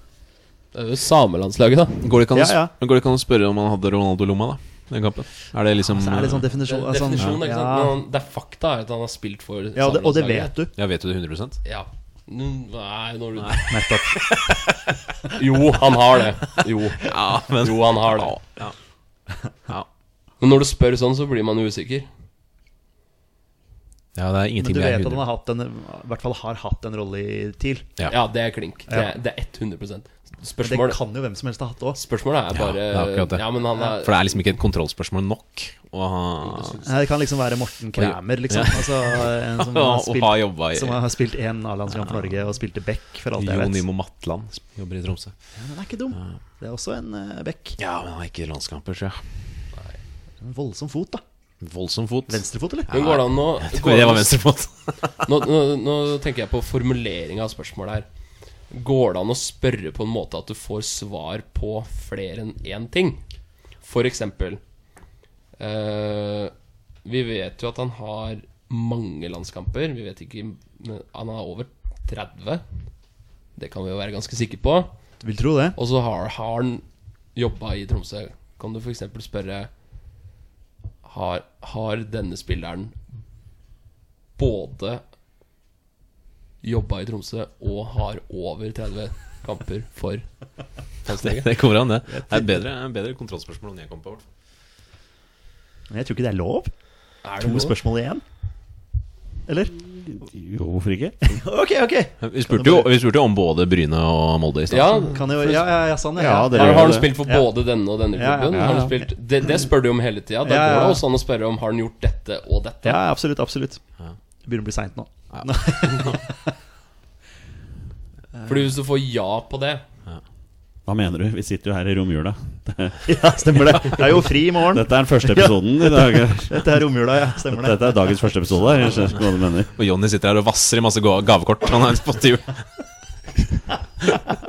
Speaker 3: Det er jo samelandslaget, da.
Speaker 2: Går det ikke an, å
Speaker 4: Ja, ja.
Speaker 2: sp- går det ikke an å spørre om han hadde Ronaldo i lomma, da? Den kampen? Er det liksom
Speaker 4: Så er det sånn
Speaker 3: Det
Speaker 4: definisjon,
Speaker 3: er definisjon,
Speaker 4: sånn,
Speaker 3: ikke sant? Men han, det er fakta er at han har spilt for
Speaker 4: Ja, og det, og det vet du.
Speaker 2: Ja, vet du det 100
Speaker 3: Ja. Mm, Nei, når du
Speaker 4: Nettopp.
Speaker 3: [LAUGHS] Jo, han har det. Jo.
Speaker 2: Ja, men
Speaker 3: jo, han har det.
Speaker 2: Ja.
Speaker 3: Men når du spør sånn, så blir man jo usikker.
Speaker 2: Ja, det er
Speaker 4: Men
Speaker 2: ingenting
Speaker 4: du
Speaker 2: vi er
Speaker 4: vet at han
Speaker 2: 100
Speaker 4: har hatt en, i hvert fall har hatt en rolle i TIL.
Speaker 2: Ja.
Speaker 3: Ja, det er klink. Det
Speaker 4: Ja.
Speaker 3: er, det er 100
Speaker 4: Det
Speaker 3: Spørsmålet
Speaker 4: kan jo hvem som helst ha hatt òg.
Speaker 3: Spørsmålet er
Speaker 2: Ja,
Speaker 3: bare
Speaker 2: det er akkurat det.
Speaker 3: Ja, men han er,
Speaker 2: For det er liksom ikke et kontrollspørsmål nok å ha
Speaker 4: Det kan liksom være Morten Kræmer, liksom. Altså, en som har
Speaker 2: å ha
Speaker 4: spilt
Speaker 2: jobba i
Speaker 4: som har spilt én A-landskamp for Norge og spilte back, for alt jeg
Speaker 2: Jon
Speaker 4: vet.
Speaker 2: Imo Matland, som jobber i Tromsø.
Speaker 4: Ja, Den er ikke dum. Det er også en eh, back.
Speaker 2: Ja, men han er ikke landskamper, tror jeg.
Speaker 4: En voldsom fot, da.
Speaker 2: Voldsom fot.
Speaker 4: Venstrefot, eller?
Speaker 3: Men går det an å går det
Speaker 2: [LAUGHS] Det
Speaker 3: an
Speaker 2: var
Speaker 3: å-
Speaker 2: venstrefot.
Speaker 3: [LAUGHS] nå, nå, nå tenker jeg på formuleringa av spørsmålet her. Går det an å spørre på en måte at du får svar på flere enn én ting? For eksempel eh, Vi vet jo at han har mange landskamper. Vi vet ikke men Han er over 30. Det kan vi jo være ganske sikre på.
Speaker 4: Du vil tro det.
Speaker 3: Og så har, har han jobba i Tromsø. Kan du f.eks. spørre har, har denne spilleren både jobba i Tromsø og har over 30 kamper for landslaget?
Speaker 2: Det kommer an, det. Det er bedre, det er bedre kontrollspørsmål enn jeg kom på.
Speaker 4: Men jeg tror ikke det er lov.
Speaker 3: Er det
Speaker 4: To
Speaker 3: noe?
Speaker 4: spørsmål igjen. Eller? [LAUGHS]
Speaker 1: Jo, hvorfor ikke?
Speaker 4: Ok, ok.
Speaker 2: Vi spurte jo vi spurte jo om både Bryne og Molde i stad.
Speaker 3: Ja,
Speaker 4: Kan jo, ja, ja, ja, sånn, ja.
Speaker 1: Ja, det
Speaker 3: har, har
Speaker 1: det.
Speaker 3: han spilt for
Speaker 4: Ja.
Speaker 3: både denne og denne
Speaker 4: Ja, ja,
Speaker 3: klubben?
Speaker 4: ja,
Speaker 3: Har han
Speaker 4: ja.
Speaker 3: spilt, det, det spør du om hele tida.
Speaker 4: Ja,
Speaker 3: Da
Speaker 4: ja,
Speaker 3: går
Speaker 4: ja.
Speaker 3: det også an å spørre om har han gjort dette og dette.
Speaker 4: ja absolutt. absolutt Det begynner å bli seint nå.
Speaker 3: Fordi hvis du får ja på det
Speaker 1: Hva mener du? Vi sitter jo her i romjula.
Speaker 4: Ja, stemmer det. Det er jo fri i
Speaker 1: [LAUGHS]
Speaker 4: morgen.
Speaker 1: Dette er den
Speaker 4: [LAUGHS]
Speaker 1: første episoden i dag.
Speaker 4: Dette er romjula, ja. Stemmer det.
Speaker 1: Dette er dagens første episode. Jeg skjønner ikke hva du mener.
Speaker 2: Og Jonny sitter her og vasser i masse ga- gavekort. Han er på tur.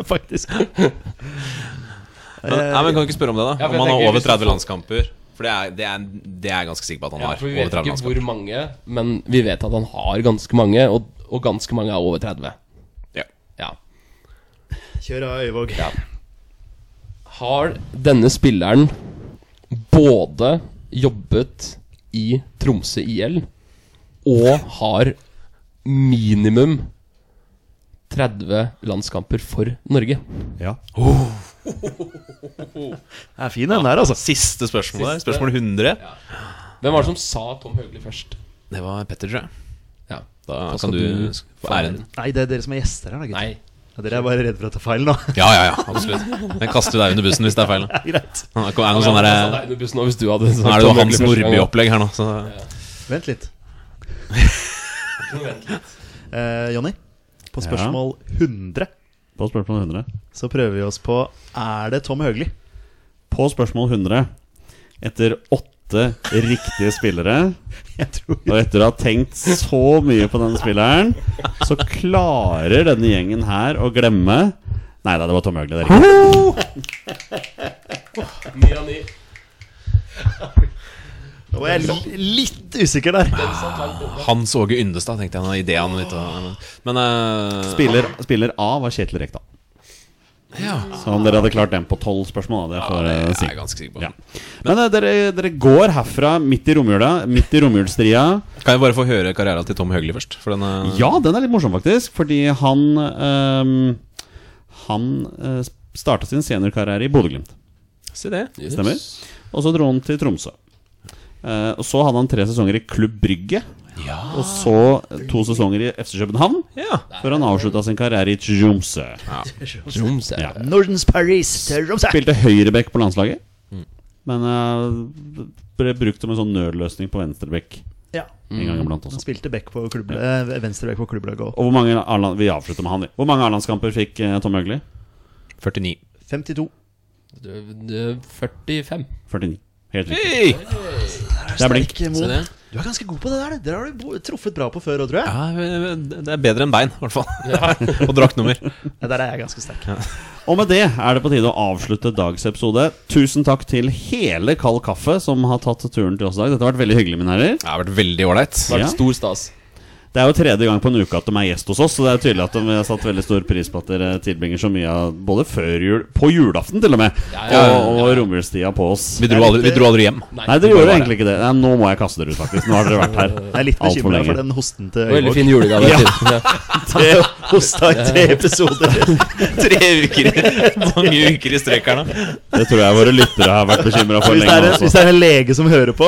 Speaker 4: Faktisk.
Speaker 2: Men, nei, men kan vi ikke spørre om det, da?
Speaker 3: Eh, Ja, for jeg
Speaker 2: om han
Speaker 3: tenker
Speaker 2: har over
Speaker 3: hvis du
Speaker 2: 30
Speaker 3: får-
Speaker 2: landskamper? For det er, det, er, det er jeg ganske sikker på at han
Speaker 3: Ja,
Speaker 2: har.
Speaker 3: for vi
Speaker 2: Over
Speaker 3: vet
Speaker 2: 30
Speaker 3: ikke
Speaker 2: landskamper.
Speaker 3: hvor mange, men vi vet at han har ganske mange, og, og ganske mange er over 30.
Speaker 2: Ja.
Speaker 3: Ja.
Speaker 4: Kjør av Øyvåg.
Speaker 3: Har denne spilleren både jobbet i Tromsø IL og har minimum 30 landskamper for Norge?
Speaker 1: Ja.
Speaker 4: Det er fin den der, altså.
Speaker 2: Siste spørsmål der.
Speaker 3: Siste.
Speaker 2: Spørsmål 100.
Speaker 3: Hvem var det som sa Tom Høgli først?
Speaker 2: Det var Petter, tror jeg.
Speaker 3: Ja.
Speaker 2: Da
Speaker 3: Da
Speaker 2: kan
Speaker 3: skal
Speaker 2: du
Speaker 3: du
Speaker 2: få æren.
Speaker 4: Nei, det er dere som er gjester her, da, gutter.
Speaker 3: Nei.
Speaker 4: Ja, dere er bare redde for å ta feil nå.
Speaker 2: Ja, ja, ja. Absolutt. Den kaster du deg under bussen hvis det er feil. da.
Speaker 4: [LAUGHS] Greit.
Speaker 2: Nå Er det noe sånn
Speaker 3: Jeg satt
Speaker 2: der,
Speaker 3: deg under bussen nå hvis du hadde
Speaker 2: nå er det jo Hans Nordby-opplegg her nå. Så.
Speaker 4: Vent litt. Eh, Jonny, på
Speaker 1: Ja.
Speaker 4: spørsmål 100
Speaker 1: På spørsmål 100.
Speaker 4: så prøver vi oss på Er det Tom Høgli?
Speaker 1: På spørsmål 100, etter åtte riktige spillere
Speaker 4: Jeg tror
Speaker 1: Og etter å ha tenkt så mye på denne spilleren, så klarer denne gjengen her å glemme Nei da, det var Tom Høgli. det er riktig.
Speaker 3: Ni av ni.
Speaker 4: Nå var jeg li litt usikker der.
Speaker 2: Hans Åge Yndestad, tenkte jeg. Han har ideen, vet du. Men eh,
Speaker 1: Spiller, spiller A var Kjetil Rekdal.
Speaker 2: Ja,
Speaker 1: Så om dere hadde klart den på tolv spørsmål, da, det får
Speaker 2: det
Speaker 1: dere
Speaker 2: er
Speaker 1: si.
Speaker 2: jeg ganske sikker på.
Speaker 1: Ja. Men eh, dere, dere går herfra midt i romjula, midt i romjulsstria.
Speaker 2: Kan jeg bare få høre karrieren til Tom Høgli først? For den, eh,
Speaker 1: Ja, den er litt morsom, faktisk, fordi han ehm, Han eh, starta sin seniorkarriere i Bodø-Glimt.
Speaker 2: Se det.
Speaker 1: Stemmer. Og så dro han til Tromsø. Eh, og så hadde han tre sesonger i Klubb Brygge. Og så to sesonger i FC København,
Speaker 2: Ja.
Speaker 1: før han avslutta sin karriere i Tromsø.
Speaker 3: Tromsø.
Speaker 1: Ja.
Speaker 4: Nordens Paris til Romsdal.
Speaker 1: Spilte høyrebekk på landslaget, men eh, ble brukt som en sånn nødløsning på venstrebekk
Speaker 4: Ja.
Speaker 1: en gang iblant
Speaker 4: Han
Speaker 1: også.
Speaker 4: spilte back på klubble, eh, venstre back på klubblaget òg.
Speaker 1: Og hvor mange A-land- Vi avslutter med han, vi. Hvor mange A-landskamper fikk eh, Tom Høgli?
Speaker 2: 49.
Speaker 4: 52.
Speaker 3: Du, du, 45.
Speaker 1: 49. Helt riktig.
Speaker 2: Hei!
Speaker 1: Det er blink.
Speaker 4: Sterk mot-
Speaker 2: Se det.
Speaker 4: Du er ganske god på det der. du. Dere har du bo- truffet bra på før òg, tror jeg.
Speaker 2: Ja, det er bedre enn bein, i hvert fall. [LAUGHS] og draktnummer.
Speaker 4: Ja, der er jeg ganske sterk.
Speaker 1: Og med det er det på tide å avslutte dags episode. Tusen takk til hele Kald Kaffe som har tatt turen til oss i dag. Dette har vært veldig hyggelig, mine herrer.
Speaker 2: Det har vært veldig ålreit.
Speaker 3: Det har
Speaker 1: Ja.
Speaker 3: vært stor stas.
Speaker 1: Det er jo tredje gang på en uke at de er gjest hos oss, så det er tydelig at de har satt veldig stor pris på at dere tilbringer så mye av både før jul, på julaften til og med,
Speaker 3: Ja, ja, ja,
Speaker 1: og, og romjulstida på oss.
Speaker 2: Vi dro, aldri, vi dro aldri hjem.
Speaker 1: Nei, dere gjorde egentlig ikke det. Nei, nå må jeg kaste dere ut, faktisk. Nå har dere vært her
Speaker 4: Jeg er litt
Speaker 1: altfor
Speaker 4: bekymra for
Speaker 1: lenge.
Speaker 4: den hosten til
Speaker 3: Det var Veldig
Speaker 4: Øyvåg.
Speaker 3: fin julegave.
Speaker 1: Ja.
Speaker 3: til- [LAUGHS] Ja.
Speaker 4: Tre hosta i tre [LAUGHS] episoder.
Speaker 2: [LAUGHS] Tre uker Mange uker i [LAUGHS] strek her nå.
Speaker 1: [LAUGHS] Det tror jeg våre lyttere har vært bekymra for
Speaker 4: Hvis det,
Speaker 1: lenge
Speaker 4: er en,
Speaker 1: også.
Speaker 4: hvis det er en lege som hører på,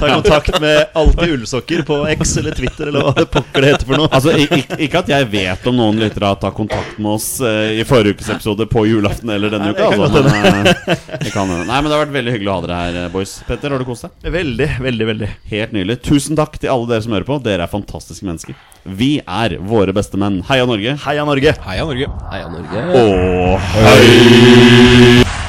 Speaker 4: ta kontakt med Alltid ullsokker på X eller Twitter eller hva det pokker det heter for noe.
Speaker 1: Altså, ik- ik- Ikke at jeg vet om noen lyttere har tatt kontakt med oss eh, i forrige ukes episode på julaften eller denne uka.
Speaker 4: det kan
Speaker 1: Altså, men, eh, det kan hende. Nei, men det har vært veldig hyggelig å ha dere her, eh, boys. Petter, har du kost deg?
Speaker 4: Veldig, veldig, veldig.
Speaker 1: Helt nydelig. Tusen takk til alle dere som hører på. Dere er fantastiske mennesker. Vi er våre beste menn. Heia Norge.
Speaker 4: Heia Norge.
Speaker 2: Heia Norge.
Speaker 3: Heia Norge.
Speaker 1: Og